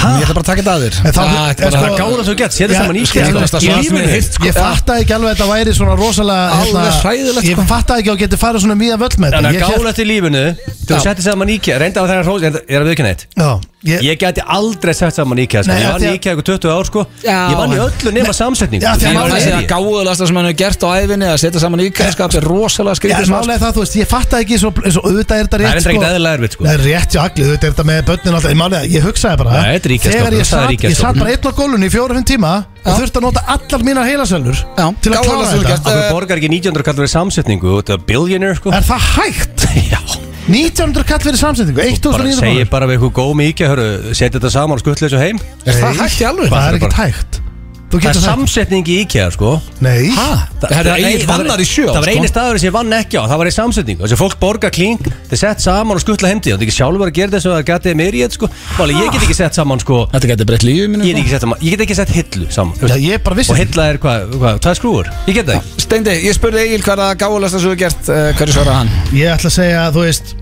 C: Ha?
A: Ég ætla bara að taka þetta að þér
C: En þá-
A: Ah, þetta er
C: en
A: bara-
B: Það er gáður að þú gett, séð
C: Sko- Já,
B: þetta saman í
C: sko,
A: Ég
B: sko.
A: veist það
B: Í
A: svar sem
B: lífinu.
A: ég heilt sko
C: Ég fattaði ekki alveg að þetta væri svona rosalega
A: Alveg
C: hérna,
A: hræðilegt,
C: Ég
A: sko.
C: fattaði ekki að geta farið svona mýða völd með þetta
B: Þannig
C: Ég
B: að
C: hélt-
B: gála til lífinu Þú
A: Já.
B: settir saman íkja, reynda á þeirra hrós Ég er að viðkynna eitt
C: Já, ég-
B: Ég gæti aldrei sett saman íkja sko.
C: Nei,
B: Ég
C: af
B: vann
C: því
B: í
C: að-
B: íkja eitthvað 20 ár sko.
A: Já.
B: Ég vann í öllu nema samsetningu
C: Já, því að
B: Ég
A: Ég var
C: málið
B: vann
A: að
C: er-
A: segja að
B: í-
A: gáðulegasta sem hann hefur gert á æfinni að setja saman íkæðskap er rosalega
C: Já,
A: skrítið svar
C: málega það, þú veist, ég fattaði ekki svo, svo auðvitað er þetta
B: Það er
C: rétt
B: enda ekkert eðlilega erfitt, sko.
C: Það er rétt hjá allir, auðvitað er þetta með börnin og alltaf En málega, ég hugsaði bara
B: Nei, þetta er ríkjaskapur,
C: Þegar
B: það
C: ég
B: er
C: satt, ég
B: ríkjaskapur.
C: satt bara einn á gólunni í fjóra-fimm tíma
A: Já.
C: Og þurfti að nota allar mínar heilasölur
A: Já,
C: Til
A: gáfulegasta
C: að klára
A: sem þú
C: þetta
A: gert.
B: Akkur borgar ekki 1900 kallar við samsetningu Þetta er billionaire sko
C: Er það hægt?
B: Já
C: 1900 kall fyrir samsetningu,
B: Bara segi
C: 1900 krónur.
B: bara við eitthvað góð með íkja Setja þetta saman og skuttlega þessu heim
A: Er það hægt í alveg?
C: Það
B: Bara-
C: er ekkert hægt Þú Ah,
B: Það er
C: getur það
B: samsetning í IKEA sko
C: Nei
A: Það er
B: ein-
A: einn vannar í sjö ár,
B: Það var
A: sko.
B: eini staður sem ég vann ekki á, það var í samsetningu Þessi fólk borga kling, þeir sett saman og skuttla heimdi Það er ekki sjálfur að gera þessu að gæti mér í þetta sko Máli, ég get ekki sett saman sko
A: Þetta getur breytt lífið mínu
B: Ég get ekki sett, saman, ég get ekki sett hillu saman
C: Já, ég bara vissi
B: Og
C: það.
B: hilla er hvað, hva, hvað skrúur? Ég get það ekki
A: Steindi, ég spurði Egil hvað er það gáðulegsta sem þú hefur gert uh, Hverju svaraði hann?
C: Ég ætla að segja að þú veist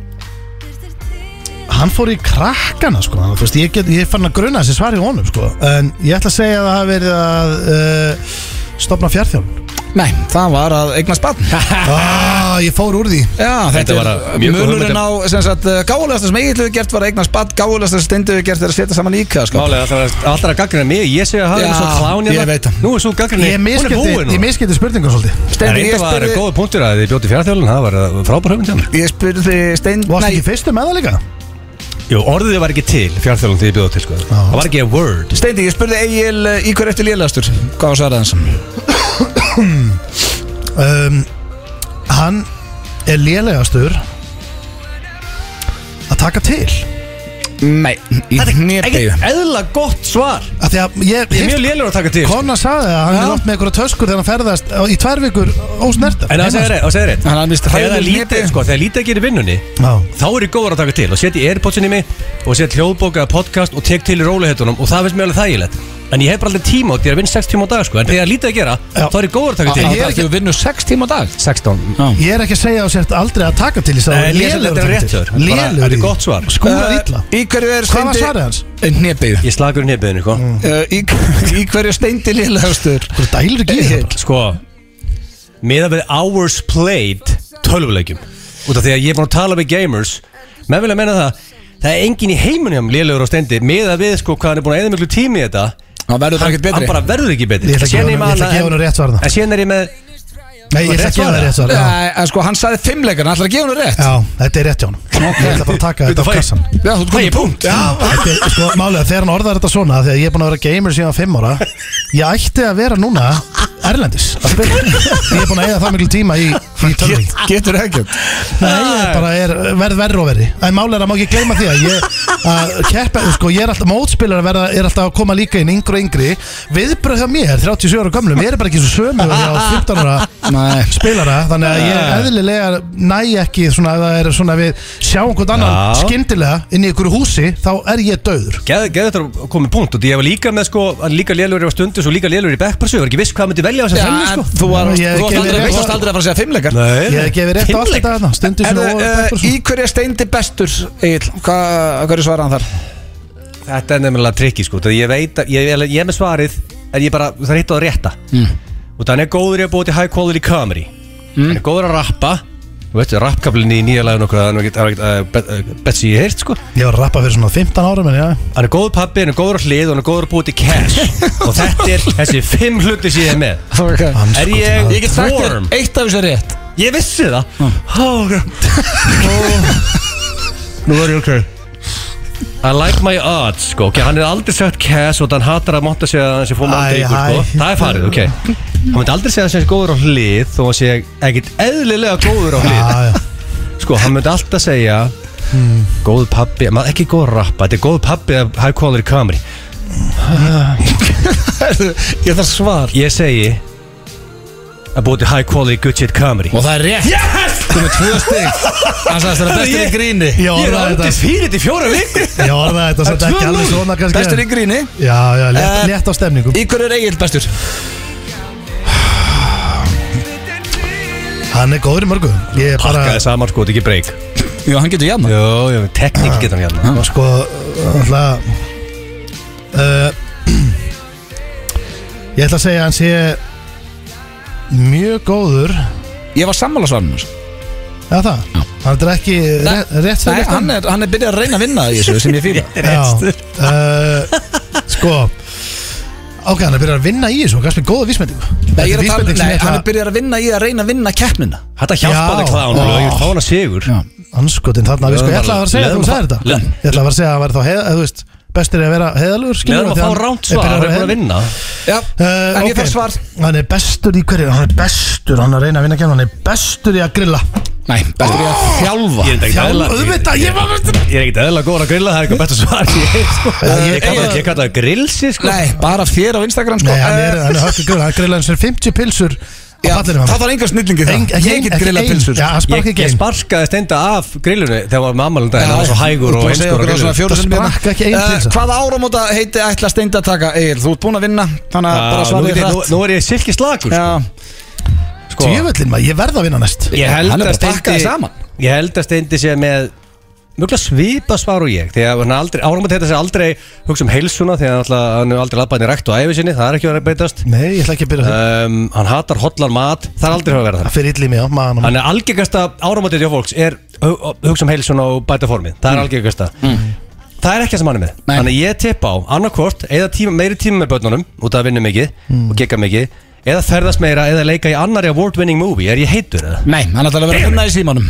C: Hann fór í krakkana sko Þú veist, ég, get, ég fann að gruna þessi svar í honum sko En ég ætla að segja að það hafi verið að uh, Stopna fjárþjálun
A: Nei, það var að eignast barn Já,
C: ah, Ég fór úr því
A: þetta
B: var
A: er
B: að- mjög góð hugmynd.
A: munurinn á sem sagt, gáðulegsta sem Egil hefur gert var að eignast barn Gáðulegsta sem Steindi hefur gert er að setja saman líka sko.
B: Máli, það var allra gaggrina mig, ég segi að það
A: Já,
B: er svo klán hérna.
A: ég veit það.
B: Nú er svo gaggrina,
C: Ég miskildi, ég miskildi spurningun svolítið
A: Steindi, ég
B: Það var
A: spurði
B: góð punktur að þið bjóti fjárþjálun Það var uh, frábær höfum til
A: Ég spurði Steindi
C: Varst
A: Nei,
C: ekki fyrstu með það líka?
B: Jú, orðið var ekki til, fjárþjálun þið bjóti til sko Það var ekki a word
A: Steindi, ég spurði Egil eh, í hverju eftir lélegastur Hvað var svaraði hans?
C: um, Hann er lélegastur Að taka til
A: Nei, í hnébegju
B: Ekkert eðla gott svar
C: að Því að ég,
B: Ég er mjög lélur að taka til
C: Kona sagði að hann
A: Já.
C: er oft með einhverja töskur þegar hann ferðast á- í tvær vikur ósnertar
B: En það segir rétt, það segir rétt
A: Hann er vist
B: Þegar
A: hræður
B: það
A: í hnébeygju.
B: lítið, sko, þegar lítið að gera í vinnunni
C: Já,
B: Þá er ég góður að taka til og setja airpodsinni mig og setja hljóðbóka eða podcast og tek til í rólihettunum og það finnst mér alveg þægilegt En ég hef bara aldrei tíma á því að vinna 6 tíma á dag sko En þegar lítið að gera,
C: Já.
B: þá er ég góður að taka
A: Það
B: til
A: er ekki að vinna 6 tíma á dag
B: 16
C: ég er ekki að segja að þú sért aldrei að taka til í þess að
B: Nei,
C: þú
B: ég-
C: ert
B: þetta
C: lélegur
B: er
C: að taka
B: rétt
C: til.
B: hjá þér. Bara-
C: Lélegur
B: þetta er
C: í því.
B: gott svar. Uh,
C: Skúrar
A: Eh,
C: illa
A: Í hverju er
C: Hvað
A: Steindi Eh,
C: var svarið hans?
A: Hnébegju
B: Ég slagur í nefniðinu sko
C: Mm.
A: Uh, í, í hverju steindi liðlegastur
C: Hvað dælur ekki í þetta?
B: Sko, meða við hours played tölvuleikjum Út af því að ég er búin að tala við gamers Menn vilja menna það Það er engin í heiminum lélegur á stendi Meða við sko hvað hann er búin að eða miklu tími í þetta
A: Það verður það ekkert
B: Hann
A: betri
B: bara verður ekki betri
C: Ég ætla að
B: Síðan ég
C: gefa honum- ég ætla að
B: man
C: gefa honum rétt svar þarna.
B: En síðan er ég með
C: Nei, ég ætla
B: Rétt
C: að gefa
B: svar,
C: það rétt svar já.
A: Nei, en sko, hann sagði fimmleikarn, ætlar að gefa hann rétt
C: Já, þetta er rétt hjá hann Ég ætla bara að taka þetta
B: Veitu,
C: á
B: fæ-
C: kassan
A: Já, þú ert
B: Fæ ég
A: komið
B: punkt?
C: Þetta er, sko, málega, þegar hann orðar þetta svona Þegar ég er búin að vera gamer síðan fimm ára Ég ætti að vera núna Erlendis að spila. Ég er búin að eiga það miklu tíma í, í tölvum
A: Get, Getur ekkert
C: Nei, ég bara er verð verri og verri En máli er að má ekki gleyma því að ég að keppa, sko, ég er alltaf mótspilar verða, er alltaf að koma líka inn yngri og yngri Viðbröð hjá mér, 37 ára gömlum Ég er bara ekki svo sömu að ég á 15 ára
A: Nei,
C: spilara Þannig að ég eðlilega næ ekki svona, ef það er svona að við sjáum hvort annan
B: Já.
C: skyndilega inn í ykkur húsi, þá er ég döður
B: Geð geð þetta að komið punkt Og því ég var líka með sko hann Líka lélegur í stundus og líka lélegur í backpressu Ég var ekki viss hvað myndi velja á þess
A: Já,
B: að fremni
A: en
B: sko
A: þú var-
C: Já, ég
A: þú varst
C: gefi
A: aldrei
C: rétt
A: þú varst
C: svar.
A: aldrei að fara að segja fimmleikar
B: Nei,
C: Ég hef gefið rétt á allt þetta þarna, stundu
A: Er,
C: sinni og
A: uh,
C: og-
A: Í hverju er steindi bestur, Egil? Hvað hverju svaraði hann þar?
B: Þetta er nefnilega trikki sko Það ég veit að ég, ég, ég er með svarið En ég bara, það er hitt á að rétta mm. Og þannig er góður í að búa til high quality comedy
C: Mm.
B: Hann er góður að rappa Þú veistu, rappkaflinni í nýja laginu okkur Þannig að það er ekkert uh, Betsy ég heirt sko
C: Ég var að rappa fyrir svona 15 árum en já,
B: Hann er góður pappi, hann er góður á hlið og Hann er góður að búa til cash Og þetta er þessi fimm hluti sem ég er með
A: Okay.
C: sko,
B: Er ég,
A: Ég get sagt þér,
B: warm?
A: eitt af þessu er rétt
B: Ég vissi það oh, okay. Nú er ég ok I like my odds sko. okay, Hann er aldrei sagt cash og hann hatar að monta sig að hann sé fór
C: Æ,
B: mann
C: æ.
B: sko. Það er farið, ok Hann myndi aldrei segja að hann sé góður á hlið þó að hann sé ekkit eðlilega góður á hlið
C: já, já.
B: Sko, hann myndi alltaf segja Góð pabbi, maður ekki góð að rappa Þetta er góð pabbi að high quality comedy
A: Ég þarf svar
B: Ég segi að búið til high quality good shit comedy
A: Og það er rétt yes! Þú með tvö stig Hann sagði það er bestur í
B: Ég-
A: gríni
C: Ég
B: Ég er
C: orðaði
B: aldrei
C: þetta
B: fyrir þetta í fjóra vikur
C: Ég orðaði þetta samt ekki alveg
B: 2-0.
C: svona kannski
A: Bestur í gríni
C: Já, já,
A: Eh,
C: létt, létt á stemningum
A: Í hverju er Egil bestur?
C: Hann er góður í mörgu Ég er bara,
B: Pakkaði saman sko, þetta er ekki break
A: Jú, hann getur jafna
B: Jó, jó, tekník getur hann hérna
C: sko, alltaf uh, Ég ætla að segja að hann sé Mjög góður
A: Ég var sammála svarnum
C: Já það, hann er ekki rétt, rétt
A: Nei,
C: fyrir rétt
A: hann er, hann er byrjað að reyna að vinna í þessu sem ég fýla
C: uh, Sko Ok, hann er byrjað að vinna í þessu og kannski góða vísmendingu
A: Nei, ég er að tala,
C: vísbending sem
A: nei,
C: ég
A: hann er
C: ætla
A: byrjað að vinna í að reyna að vinna keppnina
B: Þetta hjálpaði
C: Já.
B: klánu og ég vil fá hana sigur
C: Anskotin þarna, við sko, ég ætla að vera að segja að
B: Leðum
C: þú
B: að-
C: sagðir þetta
B: leðum.
C: Ég ætla að vera að segja að hann væri þá heiða, þú veist Bestir er að vera heiðalur
B: Leðum að fá ránt svar, hann er búin að vinna
A: Já,
C: Eh,
A: en ég
C: ok.
A: þarf svar
C: Hann er bestur í hverju, hann er bestur Hann er að reyna að vinna kemna, hann er bestur í að grilla
A: Nei, bestur ég að þjálfa
B: Ég er þetta ekkert
C: Þjálfa,
B: eðla-
C: auðvitað, ég var
B: Ég er ekkert eðla góður að grilla, það er eitthvað besta svar Ég, sko. ég kalla það- ég kalla það grillsi sko.
A: Nei, bara þér á Instagram sko
C: Nei, hann er, hann er höfðu grill Hann grillar hans er 50 pilsur
A: Já,
C: á pallinum
A: Það
C: hann
A: þarf enga snillingi það
C: Eng- ekki
A: Ég
C: ein-
A: get
C: ekki
A: grillað sko.
C: ein.
A: pilsur
C: Já, hann sparkar
B: Ég,
C: ekki
B: ég
C: einn
B: sparkaði stenda af grillinu þegar var mammalum daginn, það var svo hægur og einskur á grillinu
C: sprakk ekki ein pylsa.
A: Hvað hérna. Eh, áramóta heiti ætla steind að taka Egil? Þú ert búinn að vinna Þannig að bara
B: Ah, Nú
A: svara
B: get
A: þér
B: ég- nú-
A: hratt
B: nú er ég silki slagur
A: Já,
B: sko.
C: Djöfullin maður, ég verð að vinna næst
B: Ég held
A: Hann er
B: að
A: bara pakkaði
B: Steindi-
A: saman.
B: Ég held að steindi sé með Mjöglega svipa svar og ég Þegar hann aldrei, áramönd þetta sé aldrei Hugsa um heilsuna því að hann náttúrulega- hann er aldrei Laðbæðin í rekt og æfi sinni, það er ekki verið að breytast
C: Nei, ég ætla ekki að byrja það
B: um, Hann hatar hotlan mat, það er aldrei að vera það
C: Það fyrir illi í mig á maðan
B: Þannig að algengasta áramöndið hjá fólks er hu- hu- Hugsa um heilsuna og bæta formið Það er algengasta Það er ekki það sem hann er með
A: Mm. Nei.
B: Þannig að ég tippa á annarkvort Eða tíma, meiri tíma með börnunum Út að vinna mikið
A: Mm.
B: og gegga mikið Eða ferðast meira eða leika í annari award-winning movie Er ég heitur eða?
A: nei, hann ætlar að vera að minna í símanum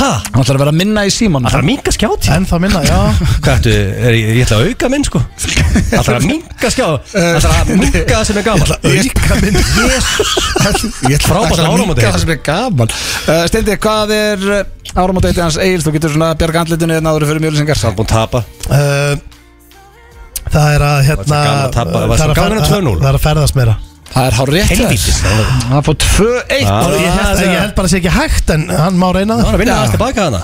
A: Hann
B: Ha?
A: ætlar að vera að minna í símanum
B: Það er að minga skjátíma
C: En það minna, já
B: Hvað ertu, er, ég, ég ætla að auka minn sko Það er að minka skjá Það er að minka það sem er gaman
C: Auka minn
B: Frábært
A: Ætlar að
B: áramótaheiti.
A: minnka Það sem er gaman uh, Steindi, hvað er eh, áramóta heiti hans Egil? Þú getur svona að bjarga andlitinu en áður fyrir mjölusingar
B: Það er búin að tapa
C: Uh, Það er að hérna
B: Það var svo gaman að tapa- það var svo
C: er
B: gaman að
C: fer-
B: 2-0.
C: það er að ferðast meira
A: Það er hár rétt
B: Helvítis Það er
A: Það fór 2-1
B: Ah.
C: Og Ég held, ég held bara að sé ekki hægt en hann má reyna það
B: að vinna
A: Já.
B: aðeins tilbaka hana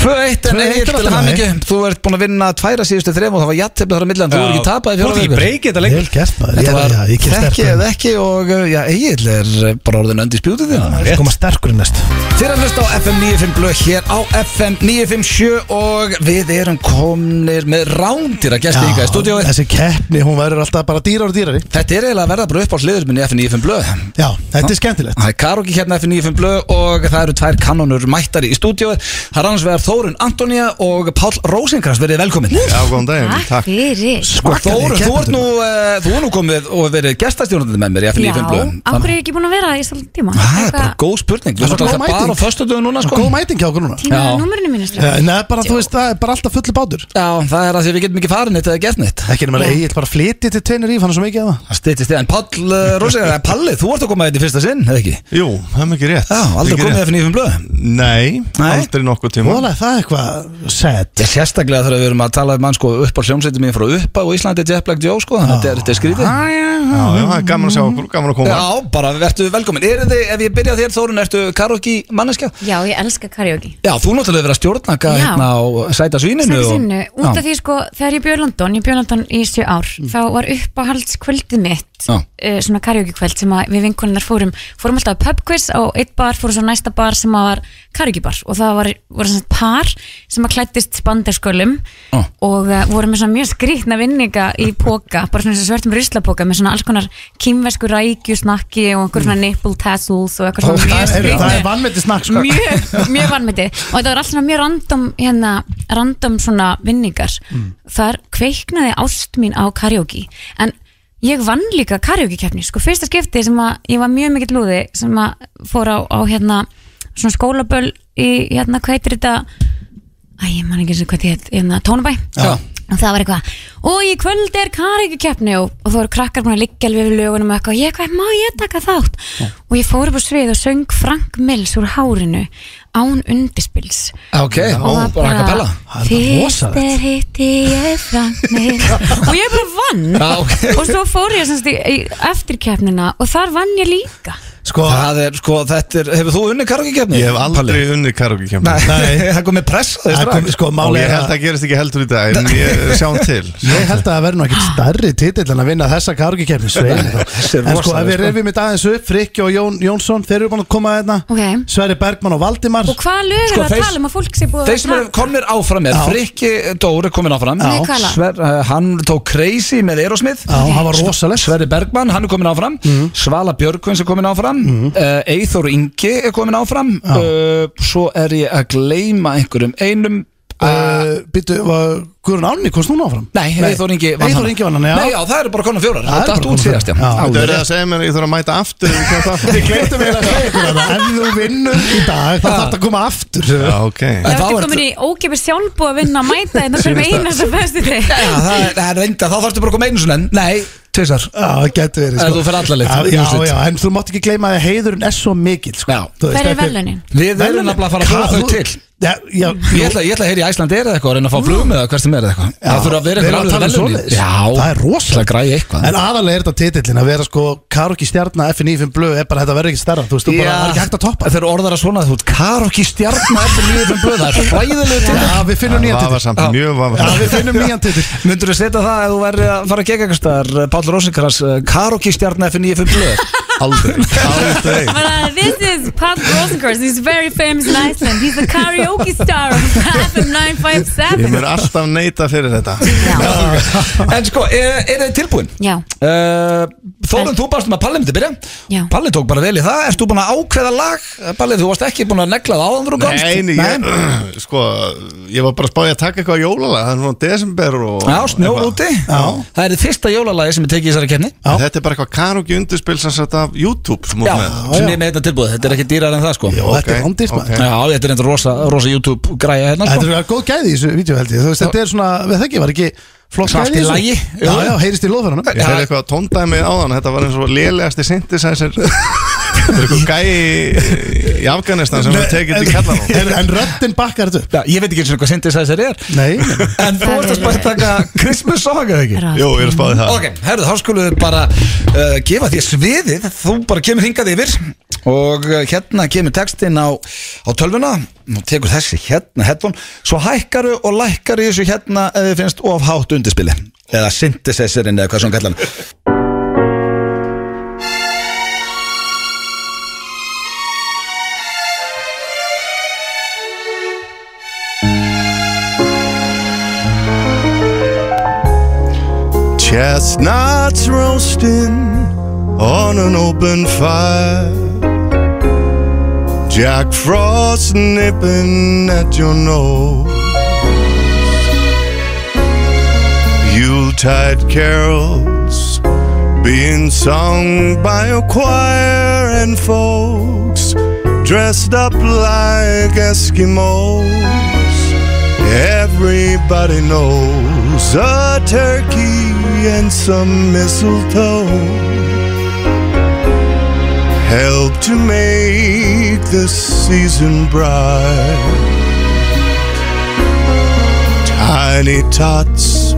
A: 2-1 en
C: 2-1
A: Egil
C: er
A: til
C: alltaf
A: hamingju Þú ert búinn að vinna tværa síðustu þrem og það var jættefni þar á millan Þú voru ekki tapað í
B: Þú voru
A: fjóra
B: ekki breykið þetta
C: Vel
B: lengur
C: gert maður, ég
A: Þetta
C: er
A: var
C: já, ég kem
A: þekki
C: sterkur
A: eða ekki og uh, já, Egil er uh, bara orðin öndi spjútið þinn
C: Ég koma sterkur í næst
A: Þér að hlusta á FM 95 blöð hér á FM 957 og við erum komnir með rándir að gæsta ykkar í stúdíói
C: Þessi keppni, hún verður alltaf bara dýrar og dýrari
A: Þetta er eiginlega að verða bara upp á hliður minni FM 95 blöð
C: Já, þetta er skemmtilegt
A: Það er Karogi hérna F95 blöð og það eru tvær kanonur mættari í stúdíói Það er annars vegar Þórun Antonía og Páll Rósinkrast verið velkomin
D: Já, góðan daginn,
E: Takk fyrir
A: Sko Þórun, þú ert nú,
C: keppendur.
A: uh, þú er nú komið og verið gestastjórnandi með mér í
E: Já,
A: F95 blöð
E: af hverju er ég ekki búin að vera í svolítið tíma?
A: Það er bara góð spurning Þú
C: Það er
A: ert
C: svo
A: alltaf
C: góð
A: bara á
C: mæting.
A: föstudöðu núna sko
C: Góð mæting hjá okkur núna
E: Tíma
A: Já.
E: er númurinu mínu
C: Eh,
E: strá
C: Nei, bara þú veist, það er bara alltaf fullu bátur
A: Já, það er að því að við getum ekki farin eitt eða gert neitt
C: Ekki nema að ég er bara að flytja til teinir í, fann svo mikið að það
A: Það styttist þið, en Páll uh, Rósinkrast, Palli, þú ert að koma þetta í fyrsta sinn, eða ekki?
D: Jú, það er mikið rétt
A: Já, aldrei
D: Mikið
A: komið
D: rétt.
A: F95 blöð
D: Nei,
A: Nei.
D: aldrei nokkuð tíma
C: Móðlega, það er eitthvað sad
A: Ég sérstaklega þegar við erum að tala um mann sko upp á hljómsveitum minn frá uppa og Íslandi Jet Black Joe sko, þannig að þetta er- þetta er skrítið
D: Já, já, það er gaman að sjá okkur, gaman að koma
A: Já, bara verðu velkomin Eru þið, ef ég byrja á þér Þórun, ertu karaoke manneskja?
E: Já, ég elska karaoke
A: Já, þú náttúrulega verið að stjórna hvað
E: Já.
A: hérna á sæta svíninu
E: Sætti
A: og-
E: sinnu, út af
A: Já.
E: því sko þegar ég bjóð í London, ég bjóð í London í sjö ár þá var uppáhaldskvöldið mitt
A: Já.
E: uh, svona karaokekvöld sem að við vinkonunnar fórum fórum alltaf á pubquiz á eitt bar fórum svo á næsta bar sem að var karaokebar og það var, voru svona par sem að klættist spanderskölum
A: Já.
E: og uh, voru með svona mjög skrýtna vinninga í póka, bara svona eins og svörtum ruslapoka með svona alls konar kýmvesku rækju snakki og einhver svona nipple tassels og eitthvað svona mjög
C: Það er,
E: skrýtna
C: það er vannmeti snakk sko.
E: mjög, mjög vannmeti og þetta var alls svona mjög random hérna, random svona vinningar þar kveiknaði ást mín á karaoke en ég vann líka karaoke keppni, sko fyrsta skipti sem að ég var mjög mikill lúði sem að fór á, á hérna svona skólaböll í hérna hvað heitir þetta Æ, ég man ekki eins og hvað þið heit, hérna, Tónabæ
A: Já.
E: og það var eitthvað, og í kvöld er karikikeppni og, og þú eru krakkar búin að liggja alveg við lögunum og eitthvað, ég hvað, má ég taka þátt og ég fór upp á svið og söng Frank Mills úr hárinu án undirspils
A: Ok,
E: og
A: bara bara a cappella
C: Það er bara rosalegt.
E: fyrst er hitti ég Frank Mills og ég bara vann
A: Já, ok.
E: og svo fór ég semst í, í eftirkeppnina og þar vann ég líka
C: Sko,
A: Það er, sko, þetta er, hefur þú unni karaoke kefni?
D: Ég hef aldrei unnið karaoke kemur
A: Nei, það komið pressa því
C: það
A: strax
C: kom, sko
D: Og
C: máli
D: ég
C: er
D: held að
C: að
D: það gerist ekki heldur í dag En ég sjáum til
C: Ég held að það verður nú ekkert stærri titill en að vinna þessa kargikefni
A: Þessi er
C: En sko,
A: rosaleg,
C: ef við
A: sko.
C: reyfum í aðeins upp Frikki og Jón, Jónsson, þeir eru búin að koma að hérna
E: Ok.
C: Sverri Bergmann og Valdimar
E: og hvað lög er
A: Sko,
E: það að
A: þeir-
E: tala um að fólk sé búið að
A: Þeir sem eru
E: taka?
A: komnir áfram með,
C: Já.
A: Frikki Dóri komin áfram
E: Með Kala.
A: Sver, uh, Hann tók Crazy með Aerosmith
C: Já, það var rosalegt Mhm.
A: Sverri Bergmann, hann er komin áfram Svala Björkvins er komin áfram mm. Eithor Ingi er komin áfram uh, Svo er ég að gleyma einhverjum einum Eh,
C: Uh, Býtu, var Guðrún Ánni komst núna áfram?
A: Nei, Eithor Ingi vann
C: Eyþór Ingi vann hana, já.
A: Nei, já, það eru bara konar fjórar Það
C: Það eru
A: er
C: bara
A: allt út
C: konar
A: síðast, já
C: fjórar. Já.
A: Alveg
D: Þetta er
A: rétt.
D: að segja mér að ég þarf að mæta aftur við kemst aftur.
C: Gleitum eiginlega að segja ykkur þetta Ef þú vinnur í dag þá þarf þetta að koma aftur
D: Já, ok
E: Það
A: þá
E: ertu
A: ertu-
E: komin í ógefið
F: hérna
E: sjálfbúið að vinna að mæta þetta fyrir með einasta föstu þig
A: Já, það er- það er reynda, þá þarfstu bara að koma einu svona en- Nei, tvisar
C: Já, það getur verið sko.
A: En þú ferð alla leið,
C: Já,
A: í
C: Já,
A: úrslit.
C: já, en þú mátt ekki gleyma að heiðurinn er svo mikill sko.
A: Já.
C: Þú veist,
F: Hver er
C: þetta
F: verðlaunin?
A: Við erum nefnilega að fara að búa
C: Hvað,
A: þau
C: þú-
A: til
C: Já, já,
A: Ég ætla, ég ætla að heyra í Æsland er eða eitthvað og reyna að fá flugum eða hvert sem er eða eitthvað Það þurfa að vera
C: við erum
A: eitthvað
C: að tala um svoleiðis.
A: Já,
C: Það er rosalegt.
A: Það græði eitthvað
C: En aðalega er þetta titillin að vera sko Karoki stjarna FN í fimm blöð er bara þetta verður ekki stærra Þú veist, þú bara, það er ekki hægt að toppa
A: Þeir eru orðar að svona þú ert karokki stjarnar eftir lífið um blöð Það er hræðilegu til
C: Já, við finnum nýjan
D: Það var
C: titill
D: samt mjög
C: Já,
D: vafa
C: við finnum nýjan titill
A: Myndur þú setja það ef þú væri að fara að gegja eitthvað staðar Páll Rósinkrans, karokki stjarnar eftir lífið um blöð
D: Aldrei Aldrei
F: But, uh, this is Pat Rosenkranz. He's very famous in Iceland. He's the karaoke star of FM 957.
D: Ég mun alltaf neita fyrir þetta
F: Já.
A: En sko, er, er þið tilbúin?
F: Já.
A: Uh, Þórun, þú barst um að Palli myndi byrja
F: Já.
A: Palli tók bara vel í það Erst þú búin að ákveða lag? Eh, Palli, þú varst ekki búin að negla það áðan þú komst
D: Nei, nei, ég, sko, ég var bara að spája að taka eitthvað jólalega Það er svona desember og
A: Já, snjór
D: eitthvað.
A: úti Það er þið fyrsta jólalagi sem er tekið í þessari kefni
D: En Þetta er bara eitthvað karugi undirspil sem sett af YouTube sem
A: Já,
D: hún með
A: sem ég með þetta tilbúið, þetta er ekki dýrar en það sko
C: Jó, þetta er
D: ok,
C: vandist
D: ok.
C: maður
A: Já, þetta er enda rosa, rosa YouTube græja hérna
C: Þetta
A: sko
C: er góð gæði í þessu vídeo held ég Þú veist, þetta er svona, við þekki, var ekki flott
A: Svart
C: gæði
A: í lagi.
C: þessu? Já, já, heyrist í loðferðanum
D: Ég fyrir eitthvað tóndæmi á þann Þetta var eins og lélegasti synthesizer Þetta er eitthvað gæi í Afganistan sem hún tekið til kallan
C: En, en röddinn bakkar þetta upp
A: Já, ég veit ekki eins og hvað synthesizer er
C: Nei, nei.
A: En þú ert að spæta taka Christmas song eða ekki?
F: Ráð.
D: Jú, ég er að spáði það
A: Ok, herðu, þá skulum við bara uh, gefa þér sviðið, þú bara kemur hingað yfir og uh, hérna kemur textinn á, á tölvuna og tekur þessi hérna, headphone svo hækkaru og lækkaru í þessu hérna eða þið finnst of hátt undirspili eða synthesizerinn eða hvað svona kallan
D: Chestnuts roasting on an open fire. Jack Frost nipping at your nose. Yuletide carols being sung by a choir and folks dressed up like Eskimos. Everybody knows a turkey and some mistletoe help to make the season bright. Tiny tots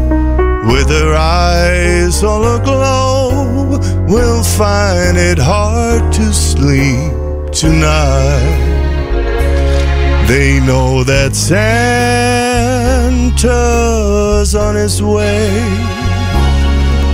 D: with their eyes all aglow will find it hard to sleep tonight. They know that Santa's on his way.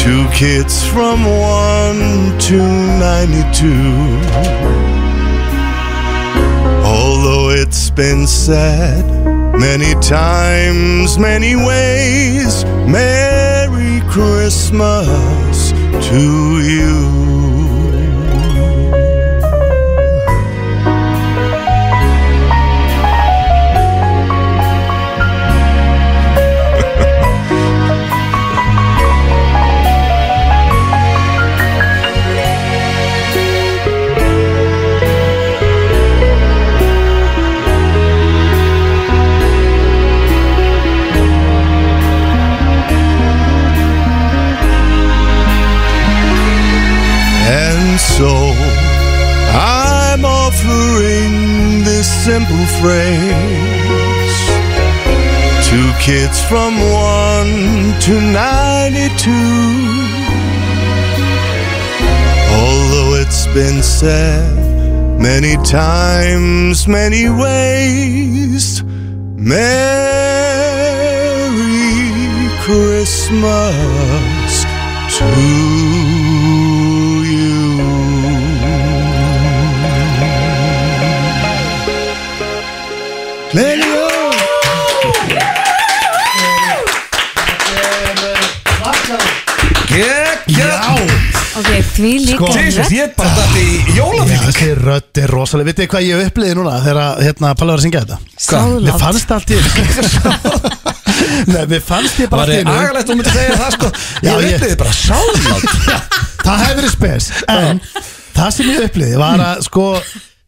D: to kids from 1 to 92. Although it's been said many times, many ways, Merry Christmas to you. And so I'm offering this simple phrase to kids from 1 to 92. Although it's been said many times, many ways, Merry Christmas to you. Glenn Jón
A: Gekk,
C: Já,
F: Því líka um
C: Sko,
A: Jesus,
F: rödd.
A: ég er bara dætt í jólafíling
C: Þessi rödd er rosalega, vitið þið hvað ég uppliði núna þegar hérna, Palli var að syngja þetta
F: Sáðlát.
C: Mér fannst allt í Nei, mér fannst ég
A: Var
C: bara allt í
A: þið
C: einu-
A: agalegt að þú myndi segja það sko Ég
C: Já, ég-
A: upplýði bara sáðlátt
C: Það hefði verið spes En það sem ég uppliði var að sko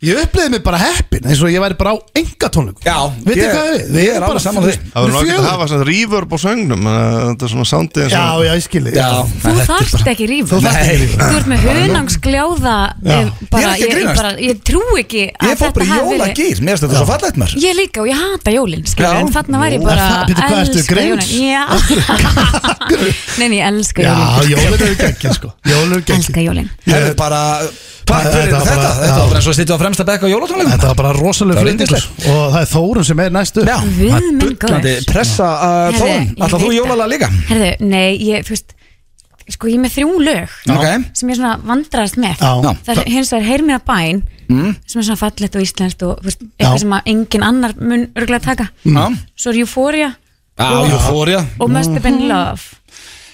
C: Ég uppliði mig bara heppin eins og ég væri bara á enga tónleikum
A: Já,
C: Vitið
A: ég-
C: þið hvað við?
A: ég er alveg sammála því.
D: Það verður nokkið að
C: fjögur
D: hafa svona reverb á söngnum þannig að Þetta er svona soundið
C: Já, já, ég skilji
F: Þú þarft
C: Þú
F: ekki rífur
C: þarft ekki rífur.
F: Þú ert með hunangsgljáða
C: Já.
F: eh, bara,
A: Ég er ekki að
F: ég,
A: grínast.
F: bara, ég trú ekki að
A: Ég fór bara í
F: þetta hafi verið
A: jólagýr, mér finnst þetta svo fallet mér
F: Ég líka og ég hata jólinn, skilur,
A: Já.
F: en þarna væri
C: Nú,
F: bara
C: er það- bíddu, hvað ertu,
F: elska
C: Grinch?
F: jólin. Já Nei, nei, ég elska
C: Já,
F: jólinn
C: jólun eru geggja sko Jólun eru
F: Elska
C: geggja
F: jólinn
A: Hefur bara, takk
C: Þetta
A: fyrir
C: var bara-
A: þetta Þetta
C: já.
A: var bara eins og að sitja á fremsta bekk á jólatónleikum
C: Þetta var bara rosalega
A: Það var
C: flutningur
A: yndislegt.
C: Og það er Þórun sem er næstu
A: Já,
F: Guð
A: það er
F: minn
A: bullandi
F: góður.
A: pressa
C: uh,
A: að
F: Herðu,
A: þóðum
F: ég
A: Ætla þú
F: veit
A: jólalega
F: það.
A: líka?
F: Herðu, nei, ég, þú veist Sko, ég er með þrjú lög
A: Ok.
F: Sem ég svona vandræðast með
C: Já. Já.
F: Það er hins vegar Heyr mér að bæn
A: Mm.
F: Sem er svona fallegt og íslenskt og þú veist, eitthvað sem að engin annar mun örgulega taka
A: Já,
F: Svo er Euphoria
A: Mm. já, júfória
F: og Must Have
A: Mm.
F: Been Love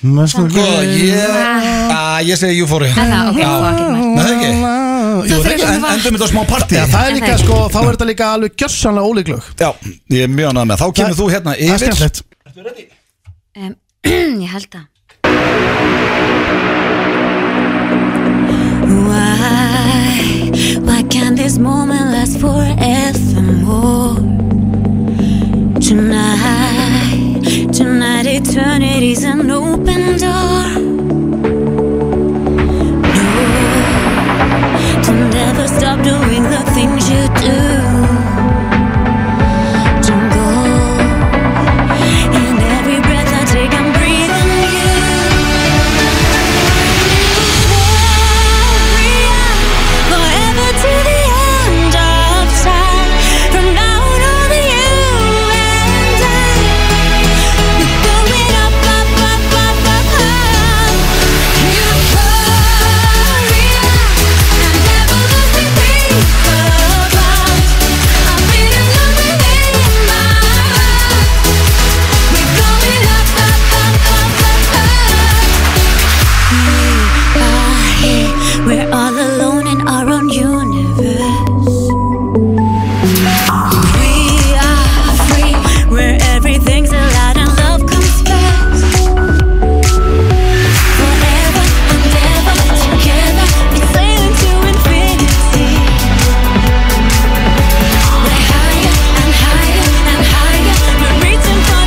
C: Næstu
A: Góð, ég, að ég segi júfória
F: En það, Ah. ok, þú ekki með
A: Nei, það ekki Jú,
F: Þú
A: það
F: fyrir
A: ekki,
F: svona
A: en
F: var-
A: endum þetta á smá partí
C: Já, það er líka
F: Nei.
C: sko, þá er þetta líka alveg gjössanlega ólíklög
A: Já, ég er mjög annað með Þá kemur þú hérna
C: Það er
A: yfir
C: skemmtilegt
F: Um, ég held að Why, why can't this moment last forevermore Tonight, tonight eternity's an open door No, to never stop doing the things you do Don't go in every breath I take, I'm breathing you. Euphoria, forever to the end of time. From now on, only you and I. We're going up, up, up, up, up, up. Euphoria, I never lost a thing of us. I'm feeling nothing in my heart. We're going up, up, up, up, up, up. We are here. We're all alone in our own universe. We are free, where everything's allowed and love comes first. Forever and ever, together, we're sailing to infinity. We're higher and higher and higher. We're reaching for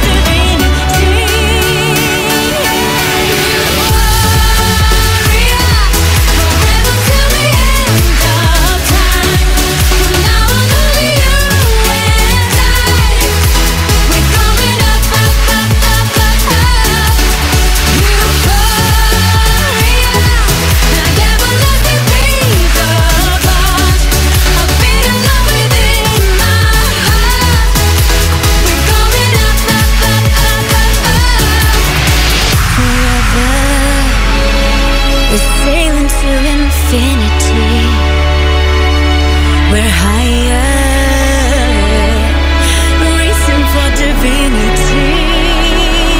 F: We're sailing to infinity. We're higher, racing for divinity.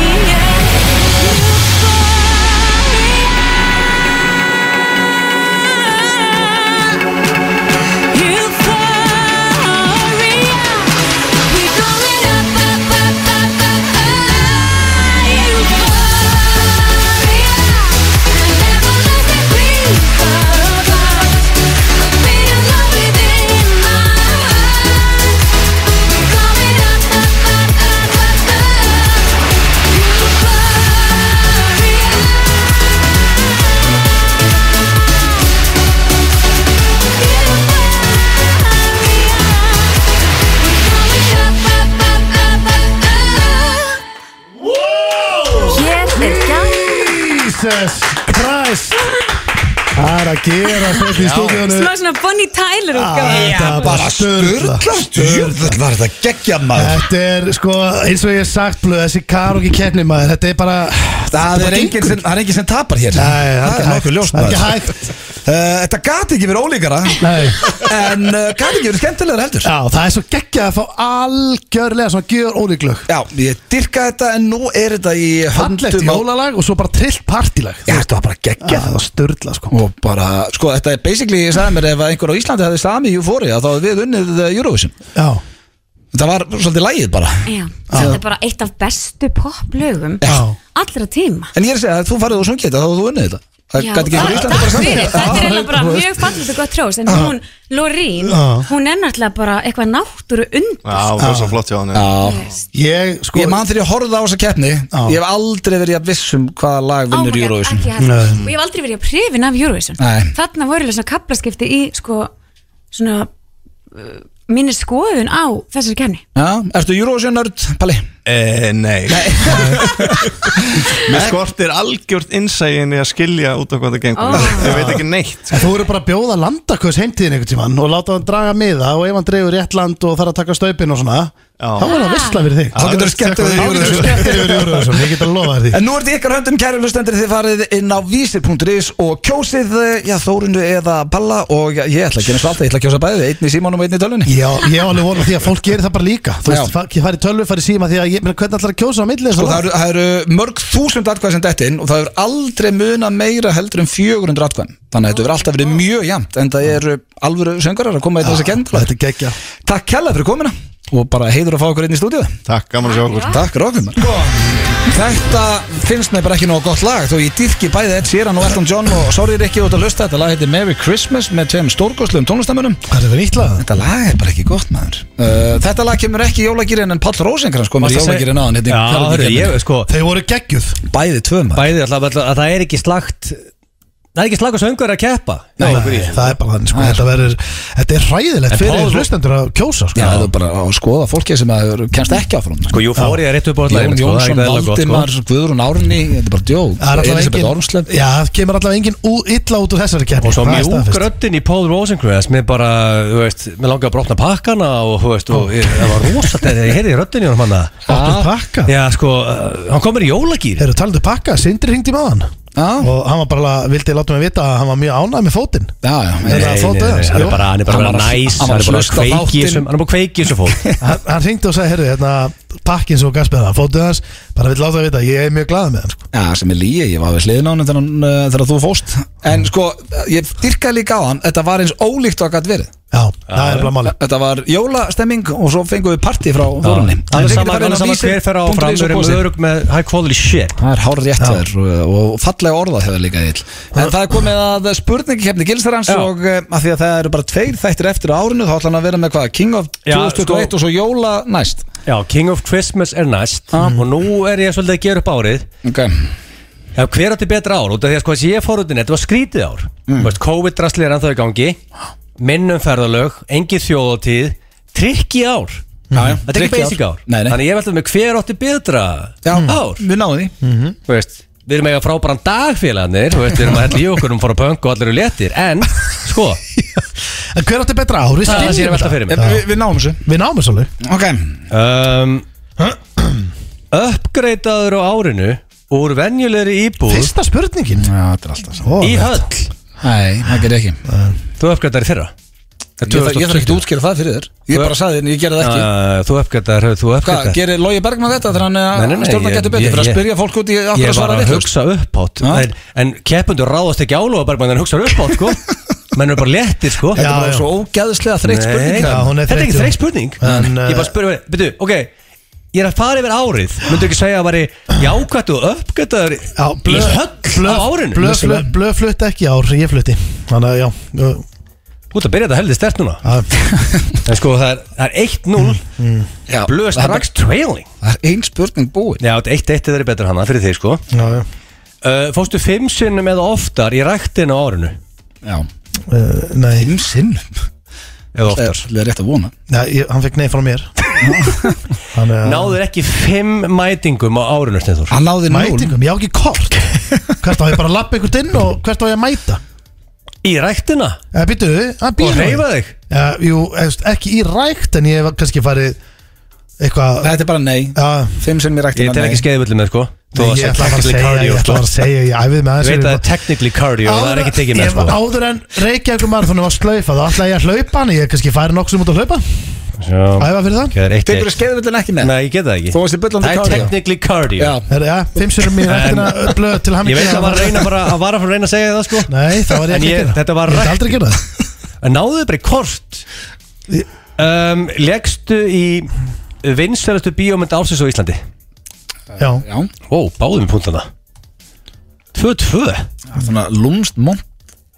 F: Euphoria, euphoria. We're going up, up, up, up, up, up. Euphoria, I never lost a thing of us. I'm feeling love within my heart. We're going up, up, up, up, up, up. er
C: Jesus Christ Það er að gera þetta í stúdíunum
F: Smá svona Bonnie Tyler útgáfa
C: Þetta er bara sturla
A: Sturðl var þetta geggja maður
C: Þetta er sko, eins og ég hef sagt blöð, þessi karaoke keppni maður, þetta er bara
A: Það
C: bara
A: er enginn
C: gengur.
A: sem, það er enginn sem tapar hér
C: Nei, það er ekki
A: er nokkuð
C: hægt.
A: ljóst
C: Það er ekki
A: maður.
C: hægt.
A: Eh, Þetta gati ekki verið ólíkara
C: Nei,
A: En uh, gati ekki verið skemmtilegur heldur
C: já, það er svo geggjað að fá algjörlega svona gjör ólíklög
A: Já, ég dyrka þetta en nú er þetta í
C: Fallegt
A: höndum á-
C: jólalag og svo bara trillt partílag
A: Já, þetta var bara geggjað
C: það var sturla sko
A: og bara, sko, þetta er basically, ég sagði mér ef einhver á Íslandi hefði sami Euphoria þá hefði við unnið eh, Eurovision
C: Já,
A: það var svolítið lægið bara
F: Já, þetta er bara eitt af bestu poplögum
C: Já.
F: allra tíma
A: en ég er að segja að þú farið og sungið þetta þá hefði þú unnið þetta það
F: Já,
A: gæti ekki einhver á
F: það-
A: Íslandi bara
F: takk fyrir,
A: samið
F: Þetta er
C: Já,
F: eiginlega bara
C: þú veist.
F: mjög fallið og gott trós En hún, Lorín,
C: Já.
F: hún er náttúrulega bara eitthvað náttúru undur
D: Já, það er svo flott hjá hann
A: Já,
C: ég sko
A: ég man þegar ég horfði á þessa keppni ég hef aldrei verið að vissum hvaða lag
F: Oh my
A: vinnur
F: God,
A: Eurovision
F: ekki heldur. og ég hef aldrei verið að prifin af Eurovision
A: Nei.
F: þarna voru svona kaplaskipti í sko, svona uh, minni skoðun á þessari kefni
A: Já, ertu Eurovision nörd, Palli?
D: Eh, Nei Mér skortir algjört innsægin í að skilja út af hvað það gengur
F: Ó.
D: Ég veit ekki neitt
C: En þú eru bara að bjóða landaköðs heimtíðin einhvern tímann og láta hann draga miða og ef hann dregur rétt land og þarf að taka staupin og svona
D: Já.
C: þá er það vissla fyrir þig
A: Þá getur þú skemmt
D: Þá
A: við
D: geturðu
A: Eurovision
C: Skemmtir yfir Eurovision, ég get að lofa þér því
A: En nú er þetta ykkar höndum kæru hlustendur þið farið inn á vísir.is og kjósið eh, já, Þórundu eða Palla og já, ég ætla að gera eins og alltaf, ég ætla að kjósa bæði einn í símanum og einn í tölunni
C: Já, ég hef alveg vona því að fólk gerir það bara líka Þú veist,
A: Já.
C: fa- ég fari tölvu, fari síma því að ég, menn, hvernig ætlar að kjósa á milli þess
A: Sko, það, eru, það eru mörg þúsund atkvæð sem detti inn og það eru aldrei muna meira heldur en 400 atkvæð þannig að þetta verður alltaf verið mjög jæmt en það eru alvöru söngarar að koma í þessa kendla
C: Þetta er geggja
A: Takk kella fyrir komina og bara heiður að fá okkur inn í stúdíu
D: Takk, gaman að sjá okkur
A: Takk Rókum Þetta finnst mér bara ekki nóg gott lag þó ég dýrki bæði Ed Sheeran og Elton John og sorry Rikki út að hlusta þetta lag heitir Merry Christmas með tveim stórgóðslegum tónlistamönnum
C: Það er verið nýtt lag
A: Þetta lag er bara ekki gott maður uh, Þetta lag kemur ekki í jólagýrin en Pall Rósengrans kom hérna í jólagýrin á hann
B: Já, hörru, ég, sko
C: Þeir voru geggjuð
A: Bæði tvö maður
B: Bæði alltaf, alltaf að það er ekki slagt Það er ekki slagt að söngur að keppa
C: Nei, það er bara þannig sko, þetta, verður, þetta er hræðilegt
B: En Paul-
C: fyrir hlustendur að kjósa sko.
A: Já, það er bara að skoða fólki sem að kemst ekki áfram
B: Sko, jú, fór ég að rétt upp á sko,
A: Jón
B: allavegin
A: Jónsson, Valdimar, Guðrún Árni Þetta er bara djók
C: Það er allavega
A: Elisabeth
C: engin,
A: Ormslev
C: já, það kemur allavega engin ú, illa út úr þessari keppni
B: Og svo
C: Það er
B: mjúk
C: staðfest.
B: röddin í Paul Rosengrens Mér bara, þú veist, mér langar að brotna pakkana Og, þú veist, og ég- það var rosa Þegar ég heyrði röddin í honum hann
C: Brotna pakka?
B: Já, sko, uh, hann komur í jólagýr
C: Þeir eru talandi pakka, Sindri hringdi með hann
B: Ah.
A: Já,
C: og hann var bara, vildi láta mig vita að hann var mjög ánægð með fótinn
A: já, já
C: Nei, nei, nei, nei,
B: hann er
C: jú.
B: bara, hann er bara
A: Hann
B: að vera
A: var- hann
B: næs Hann
A: var
B: er bara
A: að
B: að
A: hlusta á
B: kveiki í
A: þáttinn.
B: þessum Hann er bara að kveiki í þessum fólk
C: hann, hann hringdi og sagði, heyrðu, hérna, pakkin sem hún gafst með það, fótið hans bara vill láta það vita, ég er mjög glaðið með hann sko.
A: Já, sem er líi, ég var við hliðin á hann þegar, hann, uh, þegar þú fóst En sko, ég dyrkaði líka á hann Þetta var eins ólíkt og að gætt verið
C: já, það er bara máli
A: Þetta var jólastemming og svo fengum við parti frá Þorunni
B: Hann er sama, hann er sama hver fer á fram Við erum örug með high quality shit
A: Það er hár rétt þér og, og fallega orðað hefur líka ill En það er komið að spurningakefni Gilsarans
B: Já.
A: og eh, af því að það eru bara tveir þættir eftir á árinu þá ætla hann að vera með hvað, King of
B: Já,
A: 2021
B: sko-
A: og svo jóla næst
B: Já, King of Christmas er næst Og nú er ég svolítið að gera upp árið
A: okay.
B: Já, hver átti betra ár? Út af því að sko þessi ég fór út inn, þetta var skrítið ár mm. COVID-drasli er ennþá í gangi Minnum ferðalög, engin þjóðatíð Trikki ár
A: Já, já,
B: Þetta er ekki
A: trikki
B: basic ár,
A: Nei, nei.
B: Þannig ég veltaði með hver átti betra
A: Já,
B: ár
A: við náðum því
B: Þú veist, Við erum eiga frábæran dagfélagarnir Við erum að hella í okkur um fór að pöngu og allir eru léttir En, sko,
C: en hver átti betra ári,
B: það er það sem ég er að
C: skiljum
B: velta fyrir
A: Eh,
B: mér
A: Við, við náum þessu
C: þetta við náum þessu alveg
A: Ok,
B: um, Uppgreitaður á árinu Úr venjulegri íbúð
C: fyrsta spurningin
A: já, þetta er alltaf saman
C: Ó,
B: Í höll
A: Nei, það gerir ekki
B: Þú uppgreitaður í fyrra
A: Ég þarf ég þarf ekki að útskýra það fyrir þér Ég bara saði þér, en ég gerði það ekki
B: Uh, þú uppgættar, þú
A: Hvað,
B: uppgættar
A: gerir Lógi Bergman þetta þegar hann
B: Nei, nei, nei,
A: eh, stjórnar
B: ég-
A: getur betur
B: ég-
A: Fyrir að
B: ég-
A: spyrja fólk út í okkur
B: Ég
A: að
B: var
A: svara
B: að
A: við
B: hugsa upphátt
A: Ha?
B: en, en keppundur ráðast ekki álóa bergmann en hugsa upphátt sko menn er bara léttir sko
A: Þetta
C: Já,
A: var
C: já.
A: svo ógæðislega
B: Nei,
A: þreytt spurning
C: já, hún er
B: Þetta er ekki
C: þreytt,
B: þreytt spurning
C: En, uh,
B: Ég bara spurði, veitu, ok Ég er að fara yfir árið Myndu ekki segja að væri jákvætt og uppgættar
C: Já,
B: Í
C: blöð-
B: höll á árinu
C: blöð flu- blöð flutt ekki í ár, ég flutti þannig að já ö,
B: Þú ert að byrja þetta heldur stert núna
C: að- Mm.
B: En sko það er, það er 1-0
A: Já, það
B: Blöð
A: er bara-
B: strax trailing
A: Það er ein spurning búin
B: Já, 1-1 er verið betur hana fyrir þig sko
C: já, já.
B: uh, Fóstu fimm sinnum eða oftar í ræktinu á árinu
A: Já,
C: Ö, Eh, nei,
A: fimm sinn Það
B: Eða oftar
A: er svolítið rétt að vona
C: Nei, ég, hann fekk nei frá mér Þannig að-
B: Náður ekki fimm mætingum á árinu
C: Ah.
B: Steinþór
A: Hann náði núl
C: Mætingum, ég á ekki kort Hvert á ég bara að lappa einhvert inn og hvert á ég að mæta
B: Í ræktina
C: Eða býtu, að
B: Og
C: býra
B: reyfa þig
C: ja, Jú, eðst, ekki í rækt en ég hef kannski farið eitthvað
A: Þetta er bara nei
C: ja,
A: Fimm sinn mér rækti
B: Ég tel ekki skeiðvöldi með sko Þú
C: Ég
B: varst
C: ætla bara að
B: technically
C: segja, ég
B: cardio
C: ætla
B: sko.
C: bara að segja Ég æfið með
B: Ég veit að það
C: þessu
B: er technically cardio og Það er ekki tekið með
C: Ég-
B: sko
C: Áður en Reykjavík marathonu var slaufa þá ætla ég að hlaupa hann Ég er kannski færi nokkuð sem út að hlaupa
B: Sjá.
C: Æfa fyrir það
B: Ok, það er eitt
A: Tekur þú
B: eitt.
A: skeiðvillin ekki með?
B: Nei, ég get það ekki
A: Þú varst í bullandi
B: Það er
A: cardio.
B: technically cardio
A: Já,
C: Herra, ja, Fimm sérum mín eftir að blöða til hann
B: Ég veit að var að reyna bara að vara fyrir að reyna að segja það sko
C: Nei, það var
B: En
C: ég ekki að
B: ég-
C: gera
B: þetta var
C: Ég myndi
B: rætt.
C: aldrei gera það
B: En náðu þið bara í kort um, Legstu í vinsverðastu bíómynd ásins á Íslandi
C: Já,
A: já
B: Ó, báðum punktana 2-2 Þetta
A: Það er Svona lúmst mont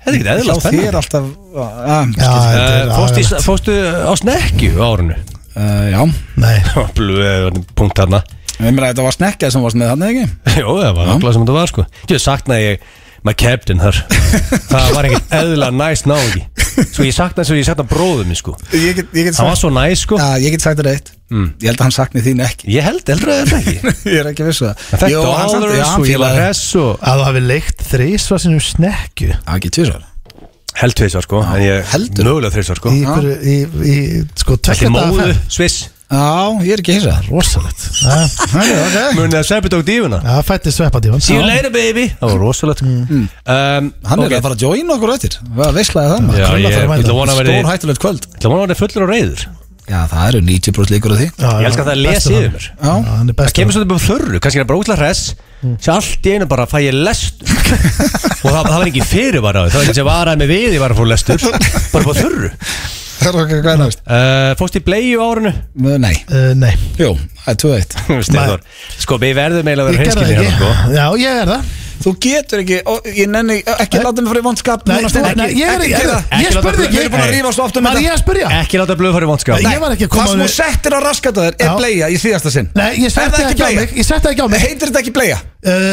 B: er ekki
A: Hjá
B: eðlilega
A: þér
B: spennandi
A: alltaf Ah, að,
C: já, þetta
B: Uh,
C: er
B: fórstu,
C: agalegt.
B: í- fórstu á snekju á árinu
A: uh, Já
C: Nei,
B: Blöð, punkt hana
A: Ég meina þetta var snekkjað sem varst með hann ekki
B: Jó, það var nákvæmlega sem þetta var sko Ég saknaði ég my captain þar Það var ekkert eðla næs náði Sko ég saknaði svo ég saknaði bróðum minn sko
A: Ég get, ég get
B: Það var svo næs sko
A: Já, ég get sagt þér eitt Ég held að hann sakni þín ekki
B: Ég held, heldur að þetta ekki
A: Ég er ekki viss um það
B: Þetta
A: Jú, hann saknaði- já,
B: áður
A: hann
B: og ég var
A: fílaði-
B: hress og
C: að þú hafi leikt þrísva sinum snekju
A: Já, ekki tvisvar
B: Held tveisvar sko En ég
A: heldur.
B: mögulega þreisvar sko
C: í, ykkur, í, í sko
B: Þetta
C: tvekja
B: er
C: daga
B: móðu,
C: ferð.
B: sviss
A: Já, ég er ekki hissa
C: Rosalegt Já,
A: okay.
B: Munið að Sveppi tók dífuna
C: Það fætti sveppa dívan
B: See you later baby Það var rosalegt um,
A: Mm. Hann er
B: ok.
A: að fara að join okkur eftir Hvað veistlega það maður
B: Já,
C: Krulla
B: ég
C: þarf að mæta.
B: ætla að vona að
A: Stór
B: verði-
A: hættulegt kvöld
B: ætla að vona að verði fullur og reyður
A: Já, það eru 90 brúst líkur á því
B: Ég elska að það lesi yfir mér
A: Já.
C: Hann er
B: Það
C: bestur
B: kemur svolítið bara þörru, kannski er það bara útla hress
C: Mm.
B: Sér allt í einu bara fæ ég lestur Og það, það var ekki fyrir bara Það var ekki sem varaði mig við, ég var að fór lestur Bara bara þörru
A: Það er okkar hvað næst
B: uh, Fóst í bleiu á árinu
A: Nei,
C: Uh, nei,
A: jú, það er 2-1
B: Steindór. Sko, við verðum eiginlega að
C: ég
B: vera
C: gerði það
B: hreinskilni
C: ekki
B: hérna, sko.
C: Já, ég er það
A: Þú getur ekki, og ég nenni ekki láta mig fyrir vondskap
C: Nei,
A: núna,
C: þú,
A: Steini.
C: nei, ég er ekki,
A: gera
C: Ég
B: Ekki láta
C: spurði
B: blöð-
C: ekki
B: við erum búin að
C: Nei.
A: rífa oss oft um
C: Var
A: þetta.
C: ég að spurja?
B: sko. Ekki láta blöð fara í vondskap
C: Nei. Ég var ekki að koma
A: Það sem
C: með-
A: þú settir á raskata þér er
C: Já.
A: bleia í síðasta sinn
C: Nei, ég
A: Er
C: setti
A: það
C: ekki,
A: ekki
C: á
A: bleia?
C: mig Ég setti ekki á mig
A: Heitir þetta ekki bleia?
C: Uh,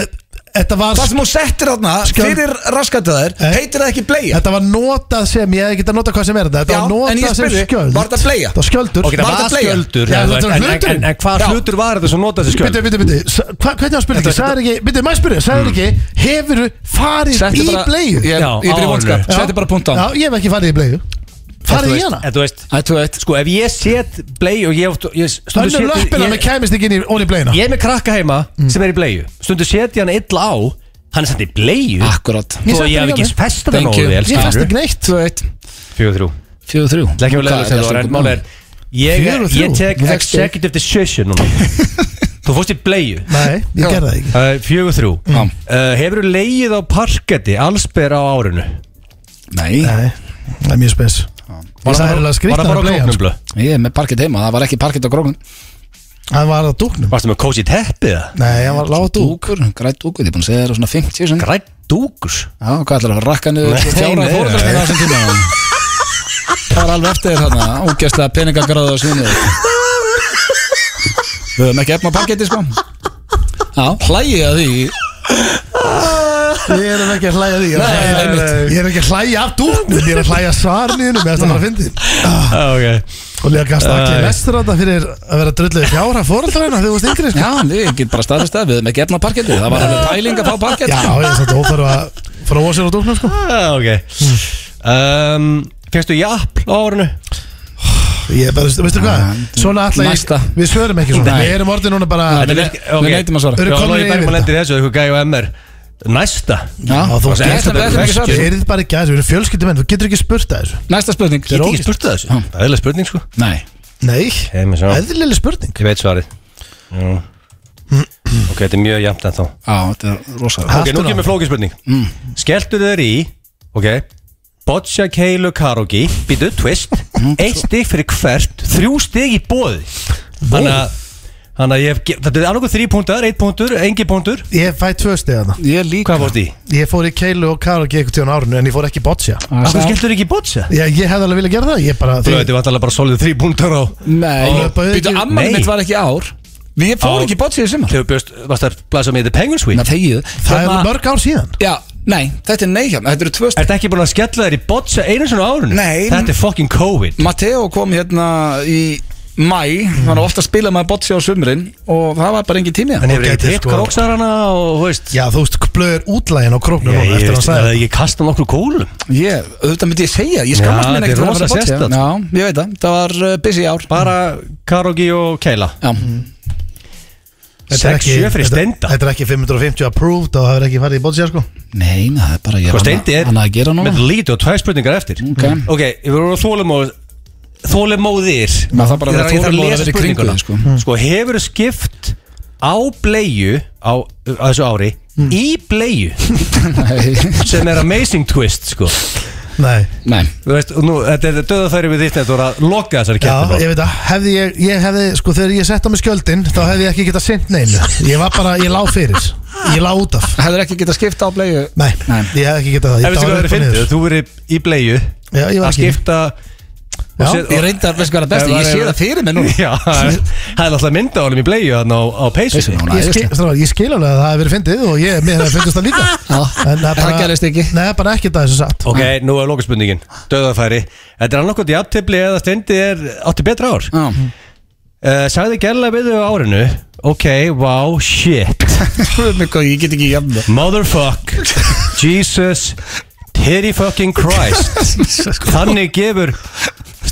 C: Þetta var,
A: Það sem þú settir þarna
C: Skal-
A: fyrir raskata þér
C: Nei.
A: heitir þetta ekki bleia?
C: þetta var notað sem Ég hef ekki að nota hvað sem er þetta Þetta
A: Já,
C: var
A: en ég
C: notað sem
A: spurði,
C: skjöld
A: var þetta bleia?
C: Það var skjöldur
B: Ok, það
A: Var
B: var
A: þetta bleia?
B: skjöldur
C: Já,
B: en-
C: þetta var
B: en-
C: hlutur.
B: En, en hvað
A: Já.
B: hlutur var þetta sem notaði þessi skjöld?
C: Bitti, bitti, bitti Hvernig var spurning? Sæður ekki, bitti, maður spurði Sæður ekki, hefur farið í
A: bara-
C: bleiðu?
A: Ég,
B: Já,
A: ég
B: á
A: fyrir vondskap,
B: árinu.
A: settir bara punkt á
C: Já, ég hef ekki farið í bleiðu Farið í hana
B: En þú veist,
A: Það er 2-1
B: sko, ef ég set bleið og ég, oft- ég stundum
C: Önnur
B: set-
C: löppina
B: ég-
C: með Mm. kæmist ekki inn í onni bleiðina
B: Ég er með krakka heima sem er í bleiðu Stundu setja hann illa á Hann er samt í bleiðu
C: Ah,
A: Akkurat
C: Ég
B: Þó
C: setti
B: ég hef
C: hann
B: ekki
C: hjá mér.
B: festað það
A: Thank
B: nógu
A: you.
B: vel
C: Ég fæst ekki neitt
A: 2-1
B: Fjögur þrjú
A: 4-3
B: Það er sko. ekki mjög leiður sem það var En mál er Ég,
C: Fjögur og þrjú?
B: ég tek
C: Þú fékkst þig.
B: executive decision núna Þú fórst í bleiðu
C: Nei, ég gerði það ekki
B: uh, Fjögur þrjú
A: Já.
B: uh, Hefur þú leið á parketti allsber á árinu?
A: Nei,
C: Nei, það er mjög spes
B: Var það
C: Það er
B: bara-
C: alveg skrýtna
B: Var það bara á
C: sko?
B: króknum blöð?
A: ég er með parkett heima, það var ekki parkett á grókun
C: Hann var á dúknum
B: Varstu með cozy teppið það?
C: Nei, hann var lág á dúk
A: Dúkur, grætt dúkur, ég er búin að segja þér á svona 50 sinni.
B: Grætt dúkus
A: Já, hvað ætlar að fara að rakka niður
B: Nei,
A: fjóra
B: nei, nei.
A: fórhaldsmenn á þessum tíma Það var alveg eftir þér þarna Ógæslega peningagráðu á svinni Við höfum ekki efna á parketti sko Já, hlægið að því
C: Ég er ekki að hlæja því Ég er
A: Nei,
C: að hlæja-
A: nei, nei.
C: Ég er ekki að hlæja af dúknum Ég er að hlæja svarniðinu Mér er þetta bara að fyndi
B: okay.
C: Og líka gasta
B: Æ.
C: allir vestur þetta fyrir að vera drullið fjára fóröldræna þegar þú varst yngri sko.
A: Já, við getum bara staðist að við höfum ekki efna á parketti Það var alveg pæling að fá
C: Já,
A: parketti
C: ég er þetta óþarf að fróa sér á dúknum sko.
B: ah, okay.
C: Hmm.
B: um, Fyrstu jafn á árinu?
C: Ég er bara, veistu- veistu hvað, svona alltaf
A: Næsta.
C: ég, Við svörum ekki svona,
A: Nei.
C: Ah, við erum orðin núna bara
A: Nei,
B: Þetta
A: við- við neitum að svara.
C: Eru
B: Já,
C: komin
B: Logi
C: yfir
B: Bergmann
C: þetta?
B: lendir í þessu, þú gæði og MR Næsta
A: Já,
C: Já, þú
A: það
C: varst
A: er
C: ekki
A: eftir
C: að
A: við ætlum ekki
C: Þú
A: svar
C: erið bara ekki aðeins, við erum fjölskyldumenn, þú getur ekki spurt að þessu
A: Næsta spurning
B: Ég get ekki spurt það þessu Það er eðlileg spurning sko
A: Nei,
C: Nei,
B: Ég með sjá.
C: eðlileg spurning
B: Ég veit svarið Já. Ok, þetta er mjög jafnt ennþá
A: á, þetta er rosalega
B: Ok, nú
C: Aftur á.
B: kemur flókið spurning Skelltu þeir í Ok Boccia, Keilu, Karogi Býtu, twist Eitt stig fyrir hvert Þrjú stig í bóði Þannig að Þannig að ég hef ge- Þetta er annarkoð þrý punktar Eitt punktur Engi punktur
C: Ég fæ tvö stið hana
A: Ég líka
B: Hvað fórst í?
C: Ég fór í Keilu og Karagi eitthvað tíðan árinu en ég fór ekki í boccia
B: Af hverju
A: Sá-
B: skelltu ekki í Boccia?
C: Já, ég hefði alveg viljað gera það, ég bara
B: Þú veit, þetta var alltaf bara solið þrý punktar á
A: Nei,
C: Og-
A: býtu,
B: Nei.
A: ammanum mitt var ekki í ár Við
B: Á-
A: fórum ekki í bótsið í sumar
B: Þegar bjóst Varst það að blæsa með The Penguins Week
A: Þannig að þegið Hérna,
C: Það er mörg ár síðan
A: Já, nei, þetta er neihjálm, þetta eru tvö stund
B: Ertu ekki búin að skella þér í botsa einu svona árun?
A: Nei.
B: Þetta er fucking COVID
A: Matteo kom hérna í mæ, hann var ofta að spila með botsi á sumrin og það var bara engin tími hérna.
B: Hann
A: það
B: hefur
C: gæti
B: ekki hitt
C: sko-
B: króksarana og þú veist
C: Já, þú veist, blöður útlægin á króknum
B: Ég,
C: núna
B: ég,
C: eftir að hann
B: veist, að
C: sagði
B: ég kasta nokkru kólum
A: Ég, auðvitað myndi ég segja, ég skammast
B: Já,
A: mér ekkert fyrir að
B: þetta er rosalega
A: vera
B: sérstakt.
A: botsi Já, ég veit það, það var uh, busy ár
B: Bara karogi og keila
A: Já,
C: Þetta er
B: 6
C: ekki-
B: 7 fyrir
C: þetta-
B: steinda
C: Þetta er ekki 550 approved og það er ekki farið í boccia sko
A: neina, það er bara ég
B: Hvað Sko, steindi er Mm.
A: hann að gera núna Mm.
B: með lít og tvær spurningar eftir
A: Ok.
B: Ok, ég verður að þólum og þólemóðir
A: Maður þarf bara að vera
B: Ég þarf- ég þarf
A: þolinmóður að
B: lesa
A: vera í kringum
B: spurninguna.
A: þig, sko.
B: Sko, hefur skipt á bleiu á, á þessu ári í bleiu
A: Nei,
B: sem er amazing twist sko.
C: Nei
A: sko. nei
B: Þú veist, og nú, þetta er döðafæri við þitt þetta voru að loka þessari
C: Já,
B: keppni
C: ég veit að, hefði ég, ég hefði, sko, þegar ég sett á mig skjöldin, þá hefði ég ekki getað sint neinu. Ég var bara, ég lá fyrir, ég lá út af.
A: Hefur ekki getað skipta á bleiðu
C: Nei,
A: Nei.
C: ég hefði ekki getað það.
B: Ef veistu hvað það er fyndið, þú verið í bleiu
C: Já, ég
B: að
C: var ekki.
B: skipta
C: Já,
A: Ég reyndar, veistu hvað er best Ég sé það fyrir mig nú
B: Já, það er það er alltaf mynda á honum í bleiu hann á, á peysunni
A: Peysunni, hún
C: Ég skil,
A: æðisleg.
C: strafar, ég skil alveg að það hefði verið fyndið og ég, mér hefði fyndist það líka.
A: Já,
C: En
A: það gerðist ekki.
C: Nei, bara ekki það þessu satt.
B: Ok, nú er lokaspurningin, döðafæri Þetta er annarkot í aftefli eða stendi er átti betra ár uh,
A: Já.
B: Sagði gerlega við þau á árinu Ok, wow, shit
A: Guð minn góður, Ég get ekki jafn
B: Motherfuck Jesus Titty fucking Christ Þannig gefur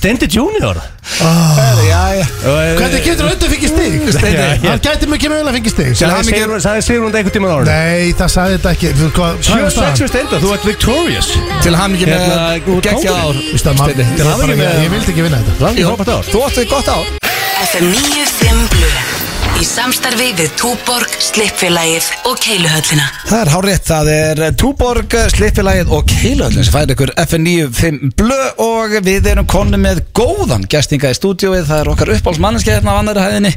B: Stendi Junior
C: Hvernig getur hann undan fengið stig?
B: Steindi.
C: Hann gæti mjög kemur að fengið stig.
A: hann ekki-
B: Sæði Sigrun þetta einhvern tímann á árinu
C: Nei, það sagði þetta ekki. Þú, hvað, hvað
B: 76
C: er staðan?
B: fyrir Steindi, þú ert victorious
A: Til hann ekki
B: Hérna,
A: með
B: úr
A: geggja ár
B: kóngurinn.
C: Veistu að maður-
A: Steindi.
C: þetta er
B: Hamingju
C: bara-
B: með-
C: Ég vildi ekki vinna þetta.
B: Rangi
A: Jú,
B: frábært ár
A: Þú áttu þig gott ár
G: FM 95 Blu Í samstarfi við Túborg, Slippfélagið og Keiluhöllina
A: Það er hárrétt, það er Túborg, Slippilagið og Keilöldin sem færi ykkur FN95 blö og við erum konni með góðan gestinga í stúdíóið, það er okkar uppáhaldsmanniski hérna á annari hæðinni,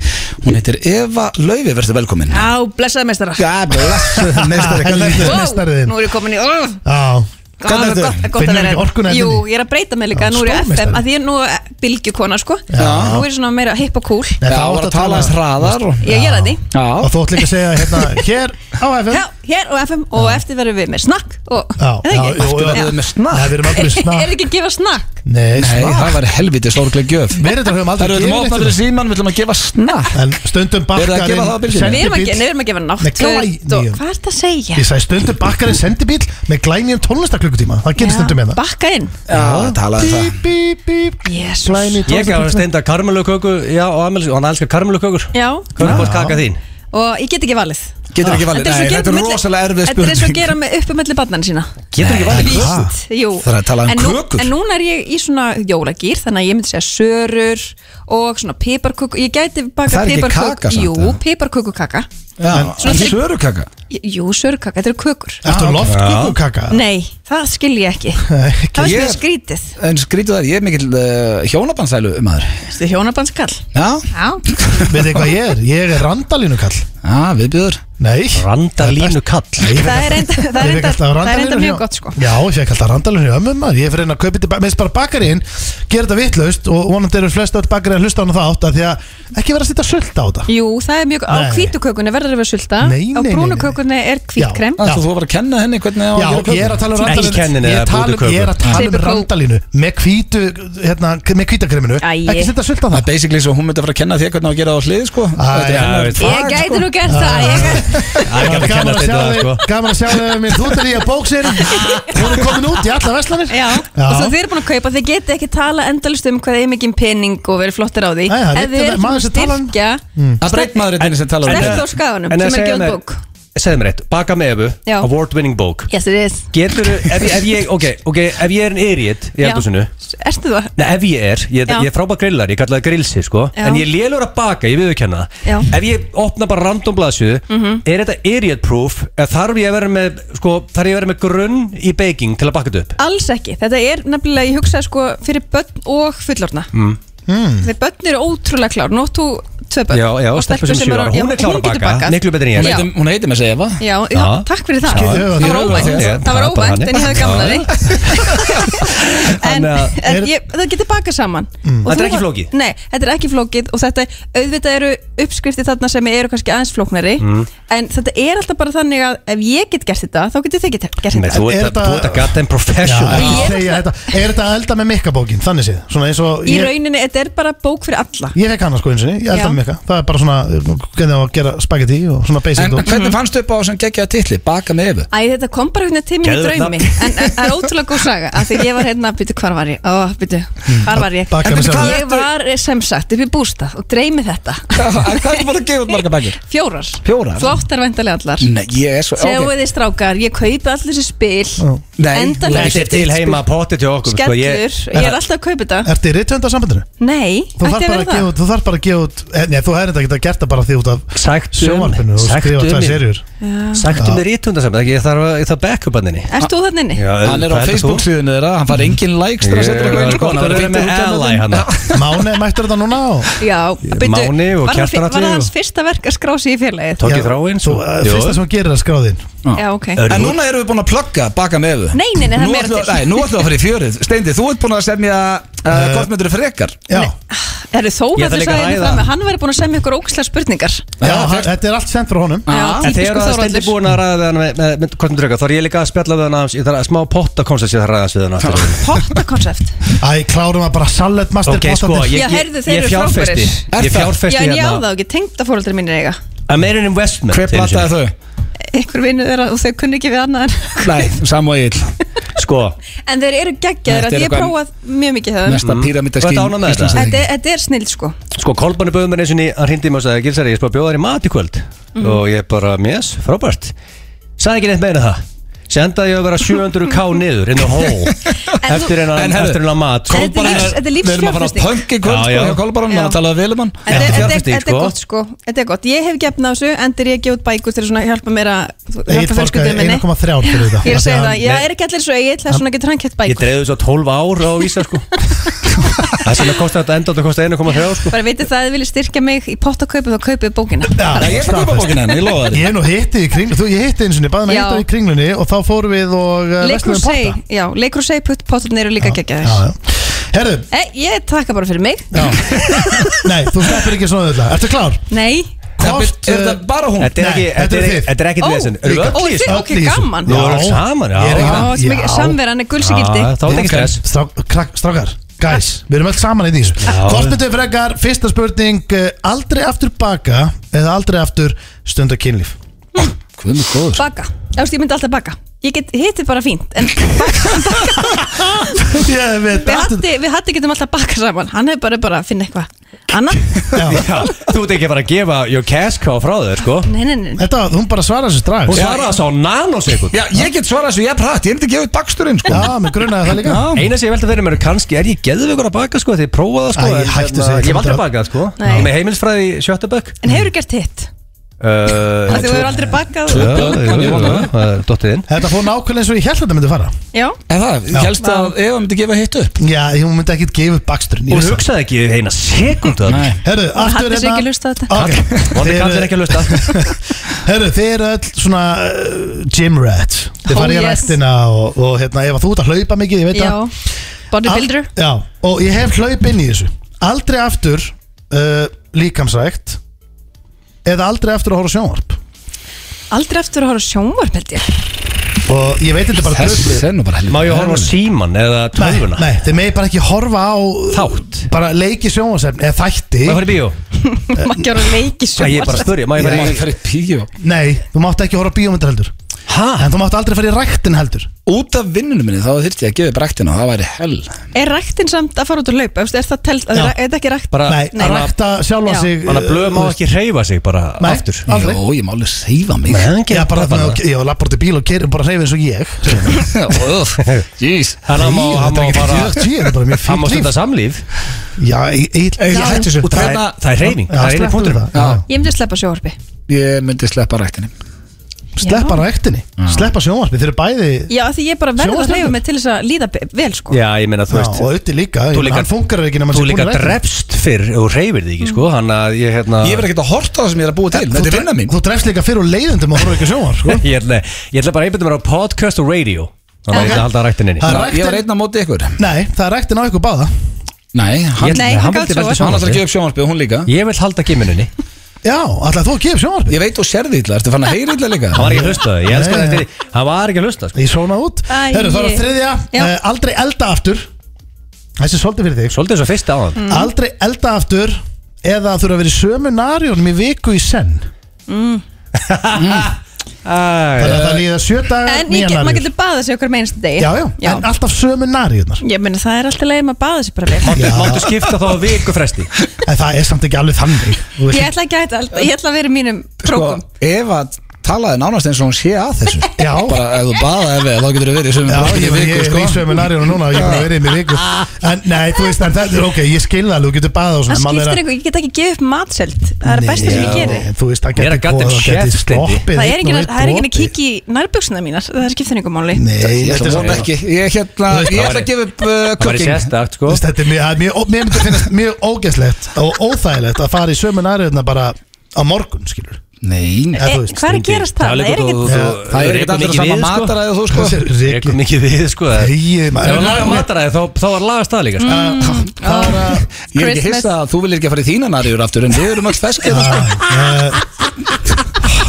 A: hún heitir Eva Lauvi, verður velkomin
E: Á, blessaði meistara
A: Já, blessuð meistari,
C: Helviti.
A: hvernig ertu?
E: Vó,
C: meistariðin.
E: Nú er ég komin í oh,
C: Já.
A: Hvernig ertu?
E: gott, gott
C: Finnur
E: að vera hérna.
C: ekki orkuna í
E: Jú,
C: henni?
E: ég er að breyta mig líka,
C: Já,
E: nú er ég
C: stórmeistari.
E: FM Að því ég er nú bylgjukona, sko Nú er ég svona meira hipp og cool
C: Nei,
A: Já,
C: það
A: það
C: átt
A: voru að tala eins hraðar og...
E: Ég gera því
C: Og
A: Já,
C: þú ætlum ekki að segja hérna Hér á FM
E: Já, hér og FM og eftir verðum við með snakk og,
C: Já,
E: er það
C: já,
E: ekki?
C: jú,
A: þú
C: jú.
A: verður með snakk
C: Nei, við erum aldrei með
E: Er
C: snakk
E: ekki að gefa snakk?
C: Nei,
A: Nei,
C: snakk
A: það var helviti sorgleg gjöf
C: Við erum þetta höfum
A: Það
C: aldrei
A: eru
C: gefið
A: þetta mótna
C: neitt
A: fyrir síman, við ætlum að gefa snakk
C: En stundum
A: Eruð þið að gefa það á
C: bakkarinn
A: bylgjunni?
E: Við erum að, ge- nei, við erum að gefa
C: Nei,
E: nátt
C: glæ-
E: og
C: nýjum.
E: hvað er það að segja?
C: Ég sagði stundum bakkarinn sendibíl Með glænýjum tónlistarklukkutíma Það gerist stundum hérna. með það
E: Bakka inn
A: Já, það talaði um það
C: Bíp, bíp, bíp
E: Jesús.
C: Glænýjum
B: Ég gaf
C: tónlistarklukkutíma
B: Steinda karmeluköku Já, og Amelis, og hann elskar karmelukökur
E: Já,
B: Körbótt kaka þín
E: og ég get ekki valið
A: Getur ekki valið,
E: Þetta
A: nei,
E: er svo að gera
A: þetta
E: upp á
A: er
E: milli-
A: rosalega erfið
E: Þetta er svo að
A: spurning
E: gera með upp um öllu barnan sína
B: Getur ekki valið
E: Víst, jú
A: Það er að tala um
E: En nú-
A: kökur.
E: En núna er ég í svona jólagýr Þannig að ég myndi segja sörur Og svona piparköku Ég gæti baka
A: Það er ekki kaka samt,
E: Jú,
A: eða?
E: piparkökukaka
A: Já, en
E: Svona-
A: sörukaka
E: Jú, sörukaka, þetta eru kökur
C: Ertu loftkukkukaka?
E: Nei, það skil ég ekki Það var
A: Ég-
E: svona skrítið
A: En skrítið það, ég er mikill uh, hjónabandsælu maður
E: Þetta er hjónabandskall
A: Já,
E: Já,
C: Veit þið hvað ég er? Ég er randalínukall
A: já viðbjöður
C: Nei
B: Randalínu kall
E: það er enda,
C: Ég
E: það er
C: fekk
E: enda,
C: alltaf
E: það er enda
C: randalínu
E: mjög
C: hjá-
E: gott sko
C: Já, ég fekk alltaf randalinu hjá ömmum maður Ég fyrir að kaupa þetta, meðist bara bakarinn Gera þetta vitlaust og vonandi eru flest öll bakarinn að hlusta á hana það átt af Því að ekki vera að setja sult á þetta
E: Jú, það er mjög, á
C: Nei.
E: hvítukökunni verður að vera sulta
C: Nei, nei,
E: Á
C: nei, nei, nei.
E: brúnukökunni er hvítkrem
A: Þú þú var að kenna henni hvernig á
C: Já,
A: að gera
C: ég er að tala um
B: Ekki kennin eða
C: randalínu Ég er að tala um-
B: bútuköku.
C: ég er að tala um
E: Sigur Kú.
C: randalínu Með hvítu, hérna, með hvítakreminu
E: Æi.
C: Ekki setja sult á
A: Það er
C: það
A: basically svo hún myndi að fara að kenna þér hvernig á að gera á hlið sko Þetta er
C: já,
A: hennar
B: veit.
A: fag,
E: Ég
A: sko.
E: gæti nú gert það ég gæti-
B: Það er ekki að
C: Gaman
B: kenna
C: að
B: Steinda
C: sjá
B: það,
C: þig,
B: sko
C: gaman að sjá þig minn Þú ert í að bóksir Þú erum komin út í alla veslanir
E: Já,
C: Já.
E: og svo þið eru búin að kaupa þið geti ekki tala endalist um hvað þið er mikið pening og verið flottir á því
C: Nei, það er
E: en þið
C: rétt,
E: eru
C: maður
E: búin að
C: sem tala um-
E: styrkja
A: Það er einn maður einnig sem talar um
E: Sterkt
A: Mm. þetta
E: á skaganum
B: En
E: sem
B: að
E: er
B: segja
E: gefin
B: mér-
E: bók
B: Segðu mér eitt, baka með efu
E: Já.
B: Award winning bók
E: Yes it is
B: Getur, ef, ég- ef ég, ok, ok, ef ég er en erið í eldhúsinu
E: Ertu það?
B: Nei, ef ég er, ég,
E: Já.
B: ég er frábæð grillar, ég kalla það grillsi, sko
E: Já.
B: En ég er lélur að baka, ég viðurkenna
E: Já. Mhm.
B: það Ef ég opna bara random blaðsjöðu Er þetta idiot proof? Eða þarf ég að vera með, sko, þarf ég að vera með grunn í baking til að baka þetta upp?
E: Alls ekki, þetta er nefnilega, ég hugsaði sko fyrir börn og fullorna mm. Þegar börn eru ótrúlega klár, nótt þú tvö börn
B: Já, já,
E: Og
B: stelpa sem sjö
E: eru-
B: ára,
E: já,
B: hún er klár að
E: getur
B: baka,
E: bakað.
B: miklu betur en ég
A: Hún
E: Já.
A: heitir- Hún heitir með segja hvað
E: Já, já,
B: Já.
E: takk fyrir það
B: Skildi
C: auðvitað.
E: Það var óvænt,
B: Ég-
E: það var
B: það er bara
E: óvænt en ég hefði gaman að
B: þannig.
E: því En,
B: Þannig að- Mm.
E: en ég, það getur bakað saman Og
B: Þetta er
E: þú
B: ekki
E: var-
B: flókið?
E: Nei, þetta er ekki flókið og þetta, auðvitað eru uppskriftir þarna sem eru kannski aðeins flóknari
B: Mm.
E: En þetta er alltaf bara þannig að ef ég get gert þetta, þá getur þið get gert
B: Nei,
E: þetta
B: þú
C: Er
B: ert
C: þetta-
B: að- þú ert að gata en
C: Já,
B: professional
C: ekki
E: Ég-
C: segja þetta. Er þetta að elda með mikkabókin, þannig séð Svona eins og
E: Í
C: ég-
E: rauninni, þetta er bara bók fyrir alla
C: Ég fekk hana sko eins og ég elda
E: Já.
C: með mikka Það er bara svona, eh, hvernig á að gera spagetti og svona basic
A: En
C: og
A: hvernig fannstu upp á sem geggjaða titli, baka með efu
E: Æ, þetta kom bara hvernig til mín í
B: Geðveikt
E: draumi
B: nafn.
E: En en það er ótrúlega góð saga Af því ég var hérna, byrju, hvar var ég? Ó, byrju, hvar var ég?
C: Bakar
A: En
C: með bækur
A: Hvað
C: sjálf
A: er-
E: Ég var eh, sem sagt upp í bústað og dreymi þetta
A: Hvað er það búin að gefa út marga bækur?
E: Fjórar,
A: Fjórar?
E: flottar væntalega allar
A: Nei, ég er svo
E: Sjáu
A: ok.
E: þið strákar, ég kaupi allir þessi spil
A: Nei,
E: Endalaust.
B: Þetta er til heima potið til okkur sko,
E: Skellur,
B: ég-
E: ég er alltaf að kaupa þetta
C: Ertu í rithönda sambandinu?
E: Nei,
C: Þú þarf
E: ætti að
C: bara að
E: vera
C: gefa
E: það
C: út, þú þarf bara að gefa út eh, Nei, þú hefði þetta ekki að gert það bara því út af
B: Sæktu um
C: sjónvarpinu og
B: Sæktu
C: skrifa
B: um
C: tvær
B: mig.
C: serjur
B: Sæktu um með rítundasamband Ég þarf að, ég þarf backup hann inni
E: Erst þú þannig inni?
A: Hann er á Facebook síðunni þeirra, hann far engin likes þegar hann setur eitthvað inn, sko.
B: Hann er
A: Hann
B: með ally hann
C: Máni, mættur þetta núna á
E: Já, byrju,
B: Máni og
E: var það fi-
B: Kjartan
E: Var
B: allir
E: það
B: og-
E: hans fyrsta verk að skrá sig í félagið?
B: Tók ég þráinn
C: Þú,
A: sko.
B: svo
C: eh, Fyrsta sem hún gerir er að skráðin
E: Já, ok
A: En núna erum við búin að plugga baka með öfu
E: Nei, nei, nei, það er meira til.
A: Nei, nú ætlum við að fara í fjörið Steindi, þú ert búin að semja uh, Hvort myndir þú frekar?
C: Já,
E: Það eru þó
B: Ég
E: að
B: ætla
E: þið
B: líka að
E: sagði henni
B: ræða.
E: fram að hann væri búin að semja ykkur ókslega spurningar
C: já
A: Já,
C: hann- þetta er allt sent frá honum
E: Já,
B: En þegar
E: Ah, típisku
B: það stendi
E: Þorvaldurs
B: búin að ræða við hann með, með, með kvartum drauga þá er ég líka að spjalla við hann aðeins ég þarf að smá potta koncept ég þarf að ræða aðeins við hann aftur
E: Pottakonsept
C: Æ, klárum að bara sallet master
B: Ok, sko,
C: pottatins.
B: ég,
E: Já, heyrðu,
B: ég,
E: þeir
B: ég
E: eru
B: fjárfesti
E: frábærir.
A: Er
B: Ég
A: það?
E: Já,
B: fjárfesti
E: en ég á
B: hérna
E: það ekki, tengda fóreldri mínir eiga
B: American Investment
A: Hver
B: einu sinni.
A: plattaði þau?
E: Ykkur vinnu þeirra og þau kunni ekki við annað en
A: Nei, Sam og Egil
B: Sko,
E: En þeir eru
A: Þetta
E: geggjaðir að
A: er
E: ég hef
A: eitthvað-
E: prófað mjög mikið það
A: Mesta
B: Þú ert
A: píramítaskín
B: ánægð með þetta?
E: Þetta er- þetta er snill sko
B: sko, Kolbani bauð mér eins og ný hann hrindi mér og sagði, Gilsari, ég spá að bjóða þér í mat í kvöld
E: Mhm.
B: og ég bara, yes, frábært sagði ekki neitt meina það sendaði ég að vera 700k niður in the hole
E: En þú-
B: eftir hennan-
A: En herðu,
B: eftir hennan mat sko.
E: En þetta er lífs- þetta er
A: Við erum að fara á
E: lífsfjárfesting.
A: punk í kvöld
B: Já,
A: sko
B: já.
A: hjá Kolbaran
E: Já.
A: og talaði við um hann
E: En
B: Já.
E: þetta- þetta-
B: Fjárfesting,
E: Þetta er
B: sko.
E: gott sko Þetta er gott, ég hef gefn á þessu Endur ég gefið út bækur til að svona hjálpa mér að
C: Egil borgaði
E: Hjálpa fjölskyldum minni
C: 1,3 fyrir þetta
E: Ég er
C: Af
E: að segja
C: því
E: það,
C: hann-
E: já, er ekki allir svo eigið Það er svona getur hann kett
B: ég
E: bækur
B: dreifði svo 12 ár á vísa sko það sem að kosta þetta enda þetta kosta 1,3 sko
E: Bara veitir það að þið viljið styrkja mig í pottakaupu Þá kaupið bókina
C: Já,
A: Nei, ég er að
C: staðfest.
A: kaupa bókina henni, ég lofa þér
C: Ég hef nú hitti í kringlunni, þú, ég hitti eins og niður, bæði mig
E: Já.
C: hitta í kringlunni og þá fórum við og uh,
E: Leikur
C: vestum við
E: seg,
C: potta.
E: já, leikur seg Pottarnir eru líka geggjaðir
C: Já, já. Herðu,
E: Eh, Ég taka bara fyrir mig
C: já. nei, þú sleppir ekki svona öðvitað. Ertu klár?
E: Nei,
A: Er
C: Hvort,
A: þetta
C: uh,
A: bara hún?
B: þetta er
C: Nei,
B: ekki
C: þetta
B: þetta
C: eru
B: er ekki-
C: þið.
B: þetta er ekki
E: Ó,
B: þessin eru öll
E: líka. Ó,
B: í
E: þið-
B: þessu
E: ok, gaman.
B: Nú erum við saman, já.
C: Ég er
E: Ó,
C: ekki-
E: þetta er mikið samveran er gulsigildi
B: Já, þá er þetta ekki stress
C: Strák- krak- Strákar, guys, við erum öll saman í þessu
B: Já.
C: Hvort myndu frekar, fyrsta spurning uh, Aldrei aftur baka eða aldrei aftur stunda kynlíf
A: Guð minn góður.
E: Baka, Þú veist, ég myndi alltaf baka Ég get hittið bara fínt En baka, baka
C: Ég veit
E: Við
C: aftur-
E: hatti, við hatti getum alltaf baka saman Hann hefur bara, bara að finna eitthvað Anna?
C: Já.
B: Já, þú ert ekki að fara að gefa your cash cow frá þér sko
E: Nei, nei, nei
C: Þetta, var- hún bara svarar þessu strax
B: Hún svaraði þessu á nanosekund
A: Já, ég get svarað þessu, ég er prætt, ég er ekki gefið baksturinn sko
C: Já, mér grunaði það líka
B: Eina sem ég velta fyrir mér er kannski Er ég geðveikur að baka sko Þegar ég prófaði það sko
C: Æ,
B: en
C: hættu
B: hérna,
C: að segja
B: Ég hef
C: þetta.
B: aldrei bakað sko
E: Nei.
B: Ég er Með heimilsfræði í sjötta bekk
E: En hefur gert hitt?
B: Uh,
E: Af því Þú hefur aldrei bakað
B: Já, jú, jú, jú, það er Dottið inn
C: Þetta fór nákvæmlega eins og ég held að þetta myndi fara
E: Já
A: En það, helst að Eva myndi gefa hitt upp
C: Já, hún myndi ekkit gefa upp baksturinn ég
B: Hún
C: vissi það.
B: hugsaði ekki eina sekundu
A: Nei.
C: Herru, aftur hérna.
E: Hatti sig ekki hlusta á þetta
B: Vondi kallir ekki að lusta
C: Herru, þið eru öll svona uh, gym rats Þið
E: Oh,
C: farið í
E: yes.
C: rættina og, og hérna, ef að þú ert að hlaupa mikið, ég veit
E: Já
C: að
E: Bodybuilder
C: Já, og ég hef hlaup inn í þessu Aldrei aftur uh, líkamsrækt Eða aldrei aftur að horfa á sjónvarp
E: Aldrei aftur að horfa á sjónvarp held ég
C: Og ég veit þetta er bara
A: Þessi
C: drullið.
A: er nú bara helviti
B: Má ég horfa á síman eða
C: Nei,
B: tölvuna
C: nei, þið megi bara ekki horfa á
B: Þátt.
C: Bara leiki sjónvarsefni eða
B: Má
C: þætti
B: ég fara í bíó
C: Eh,
E: Má ekki horfa á leiki
B: Æ, Ég er bara að
E: sjónvarp
B: spurja Má ég fara
A: Maður
B: í
A: fer í píu
C: Nei, þú mátt ekki horfa á bíómyndir heldur
B: Hæ?
C: En þú mátt aldrei fara í ræktin heldur
A: Út af vinnunum minni, þá þyrfti ég að gefa upp ræktina Það væri hell
E: Er ræktin samt að fara út og laupa? Er það telt,
C: Já.
E: er það ekki rækt?
B: Bara
C: Nei,
E: Nei.
C: að rækta sjálfa
E: Já.
C: sig eh,
B: Þannig að blöð má ekki hreyfa sig bara
C: Nei,
B: aftur
C: aldrei
A: Jó, ég má alveg seifa mig
B: Nei, hann
C: Já,
B: gerir
C: bara
B: bara
C: þannig
B: það
C: að ég var labbort í bíl og kerir bara reyfið eins og ég
A: Úff, Jís
B: Þannig að má- hann má
C: Þetta er ekki
B: bara
C: fjögt, ég er bara mjög
B: Hann má
C: fínt líf
B: stunda samlíf
C: Já, ég, ég,
A: Egil, hættu þessu.
B: Það er,
A: Hérna-
B: það er reyning, það er einu punktur
C: punktur
E: Ég myndi að sleppa sjónvarpi
A: Ég myndi sleppa ræktinni
C: Sleppa ræktinni, sleppa sjónvarpi Þeir eru bæði
E: Já, af því ég bara verður að
C: Sjónvarpsstjörnur?
E: reyfa mig til þess að líða be- vel sko
B: Já, ég meina, þú
C: Já,
B: veist
C: og auðvitað líka,
B: Þú líka-
C: hann funkar ekki nema
B: Þú
C: sé
B: líka
C: búin að Mm. rækta.
B: drefst fyrr og reyfir þig ekki, sko Þannig að ég, hérna
A: Ég verð ekki að horta það sem ég er að búa til
C: Eh, Þú
A: Þetta er
C: dre-
A: vinna mín
C: Þú drefst líka fyrir og leiðundum að horfa ekki á sjónvarp sko.
B: Ég ætla, ég ætla bara að einbæta mér á podcast og radio Þannig að ég ætla að halda rættin inni
C: Það er
A: Ná, Ég var
C: ræktin-
A: einn á móti ykkur
C: Nei, það er ræktin á ykkur báða
A: Nei, hann
E: Nei,
B: hann
E: hann
B: vildi
E: gat
B: velta
E: svo.
A: Hann ætlar að
B: sjónvarpið.
A: gefa upp sjónvarpið og hún líka
B: Ég vil halda gimmininni
C: Já, alltaf þú að gefa sjónvarpi
A: Ég veit þú sérði illa, ertu fann að heyri illa líka
B: Hann var ekki að hlusta það, ég elska
C: Nei,
B: þetta í- Hann var ekki að hlusta, sko
C: Ég svona út
E: Æ,
C: Herru, það var
E: ég-
C: þriðja,
E: Já.
C: eh, aldrei elda aftur Þessi er svolítið fyrir þig
B: Svolítið svo fyrst á
E: Mm.
B: hann
E: Mhm.
C: Aldrei elda aftur Eða þurfa að vera í sömu narjónum í viku í senn Þannig að
B: Æ,
A: Eh.
C: það líða sjö dagar,
E: En ég
C: nýja
E: get, maður
C: narjur
E: getur baðað sér okkur með einstu degi
C: Já, já, en alltaf sömu narjurnar
E: Ég meina það er alltaf leið maður baða sér bara vel
C: Já.
B: Máttu skipta þá á vikufresti
C: En það er samt ekki alveg þannig Þú veist- Sko,
E: Ég ætla ekki að gæta, allt- ég ætla að vera í mínum krókum
A: Sko, Eva talaði nánast eins og hún sé að þessu
C: Já.
A: Bara ef þú baðaði vel, þá getur þið verið í sömu
C: Já,
A: blokkinni
C: ég,
A: í
C: ég, ég,
A: viku,
C: ég
A: sko.
C: lýsum með narjuna núna og ég er búin að vera í mig viku En nei, þú veist, en þetta er ok, ég skil það alveg, þú getur baðað og
E: Það
C: svona maður er
E: skiptir
C: að-
E: einhver, ég get ekki gefið upp matselt Það er að besta sem ég
C: Já,
E: geri
C: en Þú veist, það
B: Ég er að
C: getur
B: gadda
C: það
B: um
C: getur
B: chef,
C: sloppið
E: Það er
C: einn og
E: ekki
C: einn
E: það er enginn að
C: dropi.
E: kíkja í nærbjöksuna mínar Það skiptir einhver máli
C: Nei,
A: Ég
C: þetta
A: ætla
C: er
A: að vona
C: svona
A: ekki Ég, hérna, ég ætla að gefa upp uh,
B: Það var í
A: kukking
B: sérstakt
C: Þú
B: sko
C: veist, Þetta er mjög, mjög, ó- mér myndi finnast mjög ógeðslegt og óþægilegt að fara í sömu nærjöðna bara á morgun, skilur
A: Nei, nei.
C: Eða,
E: Eh,
C: þú veist,
E: Hvað er að gerast það? Það er ekkert
A: það er ekkert allir að sama mataræði og þú sko
C: Þessi
B: Rekum
C: regli
B: ekki við sko það-
C: Þegið,
B: Ef
C: maður Ah,
B: að laga mataræði þá- þá var lagast það líka
E: Mm.
B: sko.
C: Það er að
A: Ég er ekki
E: Christmas.
A: hissa að þú vilir ekki að fara í þína narjur aftur En við erum öll feskir
C: Já, eh,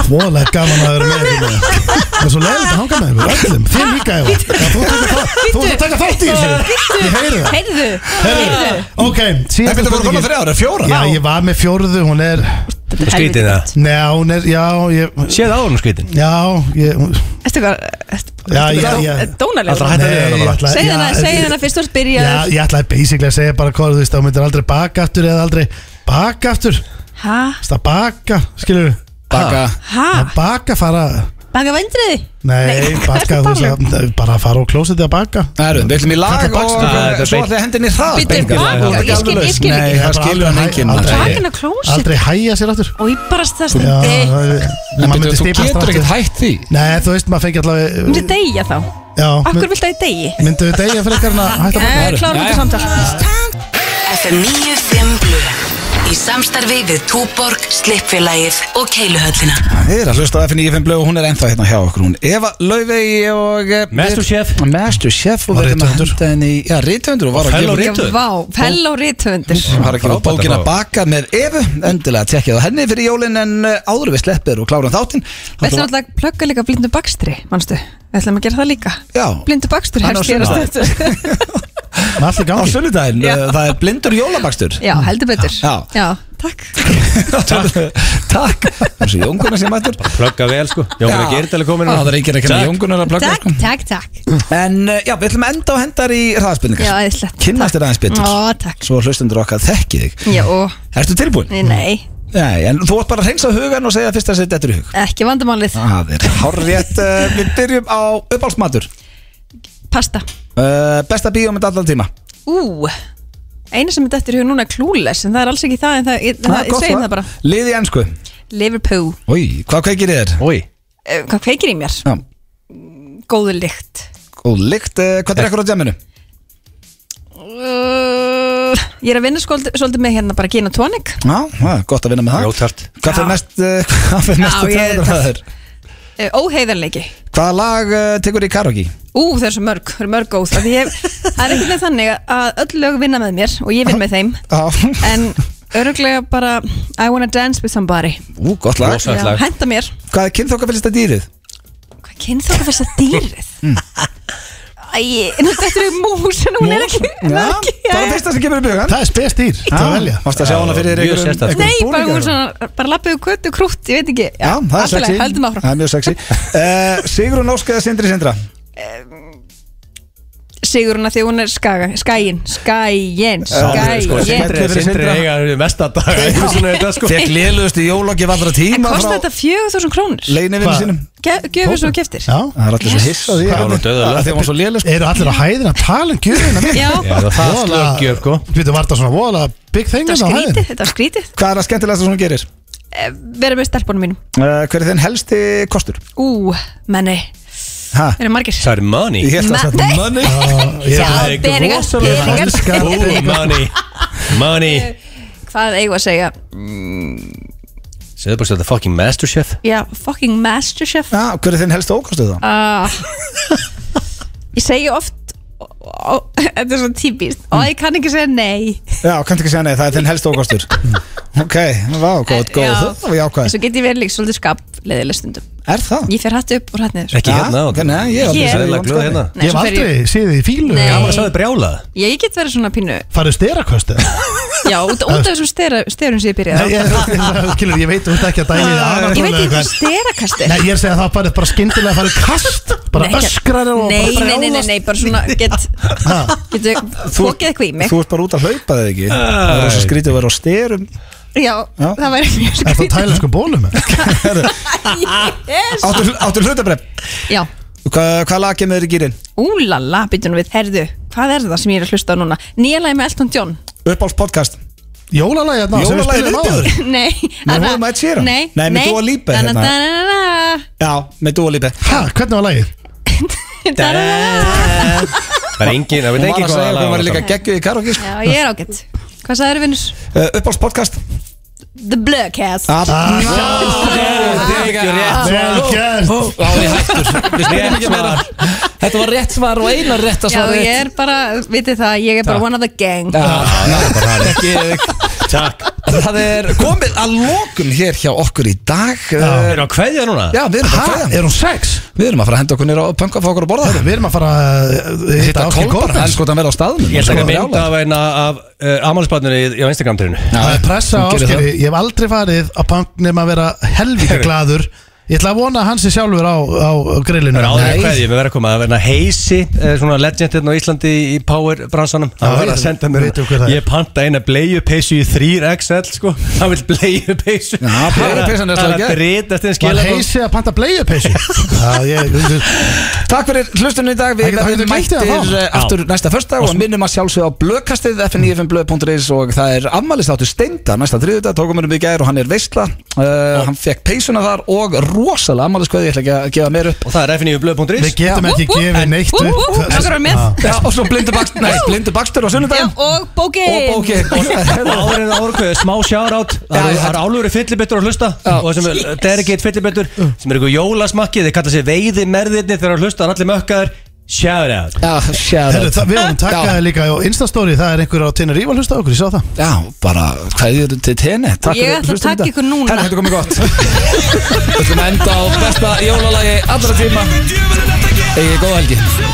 C: Voðalega gaman að vera með ykkur maður. Það er svo leiðilegt að hanga með ykkur öllum Þið líka, Eva Já, Þú ert að taka þátt- þú ert að taka þátt í þessu Ég heyri það
E: Heyrðu, heyrðu
C: Ok,
A: Það
C: síðan
A: getur voru konar þrjára, fjóra
C: Já, ég var með fjórðu, hún er
E: Þetta er
B: Skrítið
E: helviti
B: það.
E: gott.
C: Nei, hún er, já, ég
B: Séð á hún skrítin
C: Já, ég
E: Veistu hvað, ertu-
C: Já,
E: ertu
C: já,
E: bara-
C: já.
E: eh, dónaleg
B: Alltaf hætta við
C: Nei,
B: hana
C: ég
B: bara
C: ætla-
E: Segð
C: já, eh,
E: hana, segð hana fyrst þú ert
C: Já,
E: byrjað
C: ég ætlaði basically að segja bara hvað þú veist, þá myndir aldrei baka aftur eða aldrei baka aftur,
E: Hæ,
C: það baka, skilur við
A: Baka
E: hæ,
C: baka fara,
E: baka vendriði
C: Ah. nei, baka þú veist, að- bara fara á klósiti að baka
A: Það erum, við ætlum í lag
C: Þetta
A: og
C: bakst-
A: svo
B: Nei, þetta er
A: ætlum
B: beint.
A: við að hendinni það
E: Bíddu, baka? Ég skil- ég skil
A: Nei,
E: ekki.
A: það
C: bara
A: skilur hann
C: aldrei-
A: enginn
C: aldrei-
A: maður.
E: Bakan á klósiti
C: aldrei hæja sér aftur
E: Og ég bara stast
C: Já,
E: Myndi
C: það er-
A: En
C: maður
A: bíddu,
C: myndi
A: Þú
C: stipast
A: getur ekkert
C: aftur
A: hætt því
C: nei, þú veist, maður fengi allavega
E: degja þá
C: já,
E: Akkur viltu að ég degi?
C: myndu við degja fyrir eitthvað að hætta að
E: Eh, Klárum þetta samtal
G: FM 95 Blu Í samstarfi við Túborg, Slippfélagið og Keiluhöllina
A: Þið er að hlusta á FNÍFN Blöð og hún er ennþá hérna hjá okkur hún Eva Laufey og eh,
B: Masterchef.
A: við- Masterchef og
C: Og
A: við erum að
C: rithöfundur.
A: henda henni í- Já, rithöndur og var að
B: fellow
A: gefa
B: rithöfundur.
E: Vá, fell og rítöfundir
A: Hún har ekki
B: Frábært
A: bókin að
B: að fá.
A: baka með Evu Endilega tekja það henni fyrir jólin En eh, áður en við sleppir og klárum þáttinn
E: Við ætlum alltaf að plugga líka blindu bakstri, mannstu Við ætlum að gera það líka
A: Já.
E: Blindu bakstri
A: Hann á
E: hefst hér að stöttu
C: maður allir
A: Á
C: gangi
A: sunnudaginn,
E: Já.
A: eh, það er blindur jólabakstur
E: Já, heldur betur
A: Já.
E: takk
A: Takk Þessi Jóngunar sem mættur
B: Plugga vel sko Jóngur ekki erðalega komin
A: Já, Það er ekki að kenna
B: hérna.
A: Jóngunar að plugga
E: Takk,
A: sko.
E: takk, takk
A: En eh, já, við ætlum að enda á hendar í hraðspinningar
E: Já, eðlislegt.
A: Kynnast þér aðeins betur
E: Ó, takk
A: Svo hlustundur okkar þekki þig
E: Já, ó,
A: Ertu tilbúin?
E: nei, nei,
A: Nei, en þú ert bara að reynsa hugan og segja fyrst að setja þetta í hug
E: ekki vandamálið
A: Það er horrétt uh, Við byrjum á uppáhaldsmatur
E: Pasta
A: uh, Besta bíómynd allan tíma
E: Ú, eina sem er dettur í hug núna er klúles En það er alls ekki það, en það, ég, það, ég segjum það bara
A: Lið í ennsku
E: Liverpool,
A: Új, hvað kveikir í þér?
B: Ói
E: uh, hvað kveikir í mér?
A: Já,
E: Góðu lykt
A: góð lykt uh, Hvað er ekkur á djaminu?
E: uh, Ég er að vinna svolítið, svolítið með hérna bara gin og tonic
A: Já, það er gott að vinna með það
B: Rótart
A: Hvað fyrir
E: Já.
A: mest uh, Hvað fyrir
E: Já,
A: mest að
E: ég-
A: tæða það er?
E: uh, Óheiðarleiki
A: Hvaða lag uh, tekur í karaoke?
E: Ú, það er svo mörg, það er mörg góð Af því ég, Það er ekkert með þannig að öll lög vinna með mér og ég vinn með þeim
A: Já,
E: En öruglega bara I wanna dance with somebody
A: ú, gott lag
B: Rosa. Það er lag.
E: Henda mér
A: Hvað er kynþokka fylgsta dýrið?
E: Hvað kynnt þá hvað fyrst að dýrið?
A: Mm.
E: Æ, en þetta er mús en hún er ekki, hún er ekki
A: bara fyrsta sem kemur upp í hugan
C: það er spes dýr, það
A: Já,
C: velja
A: Varstu að sjá hana fyrir um-
B: Mjög
A: einhverjum-
B: sérstakt.
A: einhverjum
E: Nei, bara
A: búningi
E: hún
A: eða?
E: svona, bara lappið kvöt og krútt, ég veit ekki
A: Já, það er
E: allt í lagi,
A: sexy
E: Höldum áfram
A: Það er mjög sexy uh, Sigrun Ósk eða Sindri Sindra
E: Siguruna því hún er skaga, skæin, skæin,
B: Sko,
E: skæin
A: Sindri-
B: Sindri Sindri eiga mesta dag Eitthvað svona er þetta sko
A: Fekk liðlust í jólokki vallra
E: En
A: tíma
E: kosti þetta 4.000 krónir?
A: Leinivinni
C: Hvað?
A: sínum
E: Gjöfur svo keftir?
C: já,
A: Það er allir svo hiss á því
B: Það var nú dauðalega.
A: Þegar hún svo liðlust
C: eru allir á hæðina að tala um gjöfina mér
E: Já,
B: Já, það er
C: Voðalega-
B: slöggjöf sko
C: Við veitum, var það svona voðalega big thing
E: þetta
C: hérna
E: var
C: á hæðinni?
E: skrítið, þetta var skrítið
A: Hvað er að skemmtilegast sem hún gerir?
E: Eh, Vera með stelpunum mínum
A: Uh, hver er þinn helsti kostur?
E: Ú, menni,
A: Ha?
E: eru margir
B: Það er money
A: Ég held að
E: Ma-
A: setja
E: Nei.
A: manni
C: Ég-
E: Já,
B: Það er ekki
E: peningar,
B: rosalega
E: peningar.
C: Elskar
B: Ó, Money Money
E: Hvað eigum við að segja?
B: Segðu bara að þetta er fucking masterchef
E: Já, fucking masterchef
A: Já, hver er þinn helsti ókostu þá?
E: Ah. Ég segi oft ó- ó- Þetta er svo típist
C: Mm.
E: Og ég kann ekki segja nei
A: Já, kannski ekki segja nei, það er þinn helsti ókostur Ok, vá, góð, góð
E: Já.
A: Það var
E: En
A: jákvæð
E: Svo get ég verið líka svolítið skap Leðileg stundum
A: er það?
E: Ég fer hatt upp og hatt niður
B: Ekki
A: Ja,
B: hérna
A: ok, nei, ég er aldrei
B: aldrei
A: séð
B: Sæðilega
A: Jóhann
B: glöð
A: Skarri.
B: hérna
E: Nei,
C: Ég hef
E: svo fer
C: aldrei séð þið í fílu
E: Nei.
B: Gaman að sagði brjálað
E: Ég, ég get verið svona pínu
C: Farðu steraköstu
E: Já, út, út af þessum stera- sterum sem ég
C: Nei,
E: byrjaði á.
C: ég, skilur, ég veit þú ert ekki að dæmi
E: Ég veit ekki hvað sterakast er
C: Nei, ég er að segja að það bara, bara skyndilega að fara í kast Bara
E: Nei,
C: öskrar og
E: nei,
C: bara
E: nei, nei, nei, nei, bara svona get, Getur fókið eitthvað í mig
A: Þú ert bara út að hlaupa þig ekki Það er svo skrítið að vera á styrum
E: Já,
A: Já.
E: það væri mjög
C: Er það
E: skrítið
C: tæla sko bólum?
E: Yes.
A: Áttu, áttu hlutabref
E: Já,
A: Hva, Hvað lag kemur þér í gýrin?
E: úlala, byttunum við, herðu Hvað er það sem ég er að hlusta á núna? Nýja lagi með Elton John
A: Uppáls podcast
C: Jólalagi hérna sem við
A: Jólalagið
C: spilum á
A: viðbjóður
E: Nei,
A: Með
E: þarna-
A: honum Ed Sheeran?
E: Nei,
A: Nei, með Dua Lipa,
E: Dana,
A: hérna.
E: dana, dana,
A: Já, með dúalípi
C: Hæ, hvernig var lagið?
E: dana, dana.
B: Það er engin, það veit
A: Eh. Hún var að
B: ekki hvað
A: segja að
B: lag
A: hún var
B: var
A: líka
B: það.
A: geggjuð í karaoke
E: Já, ég er ágætt Hvað sagðið vinnus?
A: Uppáls podcast
E: The Blur Cast
A: Ah,
B: Ekki rétt
C: Vel gert
A: Þá er ég hættur Við spilum ekki meira Þetta var rétt svar og eina rétt að
E: Já,
A: svara
E: ég er bara, vitið það, ég er bara one of the gang
A: Takk Það er komið að lokum hér hjá okkur í dag
B: Það
A: Eh,
B: er á kveðja núna
A: Já, við erum að
C: Hæ,
A: fæða
C: er hún sex?
A: Við erum að fara að henda okkur nýra og pönka að fá okkur að borða
C: Við erum að fara að uh, hitta Ásgeir
A: Það er
C: Gordons
A: sko að vera á staðnum
B: Ég ætla ekki að
A: Sko,
B: mynda af eina af Amálisbarnir á Instagram-trinu
C: Það er pressa á
A: Hún gerir
C: Ásgeiri Ég hef aldrei farið á punk nema að vera helvíka glaður Ég ætla að vona að hann sé sjálfur á, á grillinu
B: Það er áður
C: Nei.
B: en kveðjum, við verðum að koma að verða heisi eh, svona legend hérna á Íslandi í power bransanum
C: Já,
B: það verður að
C: við-
B: senda mér
C: vitum hver það er.
B: ég panta eina bleiupeysu í 3XL sko, hann vil bleiupeysu
A: Já, bleiupeysan er alltaf
B: það
A: ekki.
B: er að breyta þetta
C: Var
B: skilja
C: heisi að panta bleiupeysu? Já, ég,
A: Takk fyrir hlustunum í dag Við
C: Það getur-
A: verðum
C: það getur
A: mættir
C: gert það þá.
A: eh, aftur næsta första og minnum að sjálfsögja á blökkastið fn95blöð.is og það er afmælistáttu steinda næsta þriðudag, tókum við um í gær og hann er veistla uh, hann fekk peysuna þar og rosalega afmæliskveði, ég ætla ekki að gefa meir upp
B: og það er fnifblöð.is
C: við getum ekki gefið neitt
E: Ú, ú,
C: upp
E: okkar var með
C: Já.
A: Já, og svo blindu bakstur, nei, blindu bakstur á
E: Já,
A: sunnudaginn
E: og bókin
A: og bóki
B: áriðin árkveðu, smá sjárátt það
A: Já,
B: eru-
A: já.
B: það eru álúri fyllibittur að hlusta
A: Já.
B: og sem er derigate fyllibittur sem er eitthvað jólasmakki, þeir kalla sér veiði merðirni þegar að hlusta, það er allir mökkaður sjárátt
A: Já,
C: Herru,
A: sjáðu
C: það, við höfum
A: Já.
C: takkað líka á Instastory Það er einhver á Tenerife að hlusta á okkur, ég sá það
A: Já, bara, hvað er til tenni? Takk
E: Ég
A: fyrir
E: ætla að
A: hlustunum í
E: taka
A: dag.
E: ykkur núna.
A: Herra, þetta er komið gott Við ætlum að enda á besta jólalagi allra tíma Egið góða helgi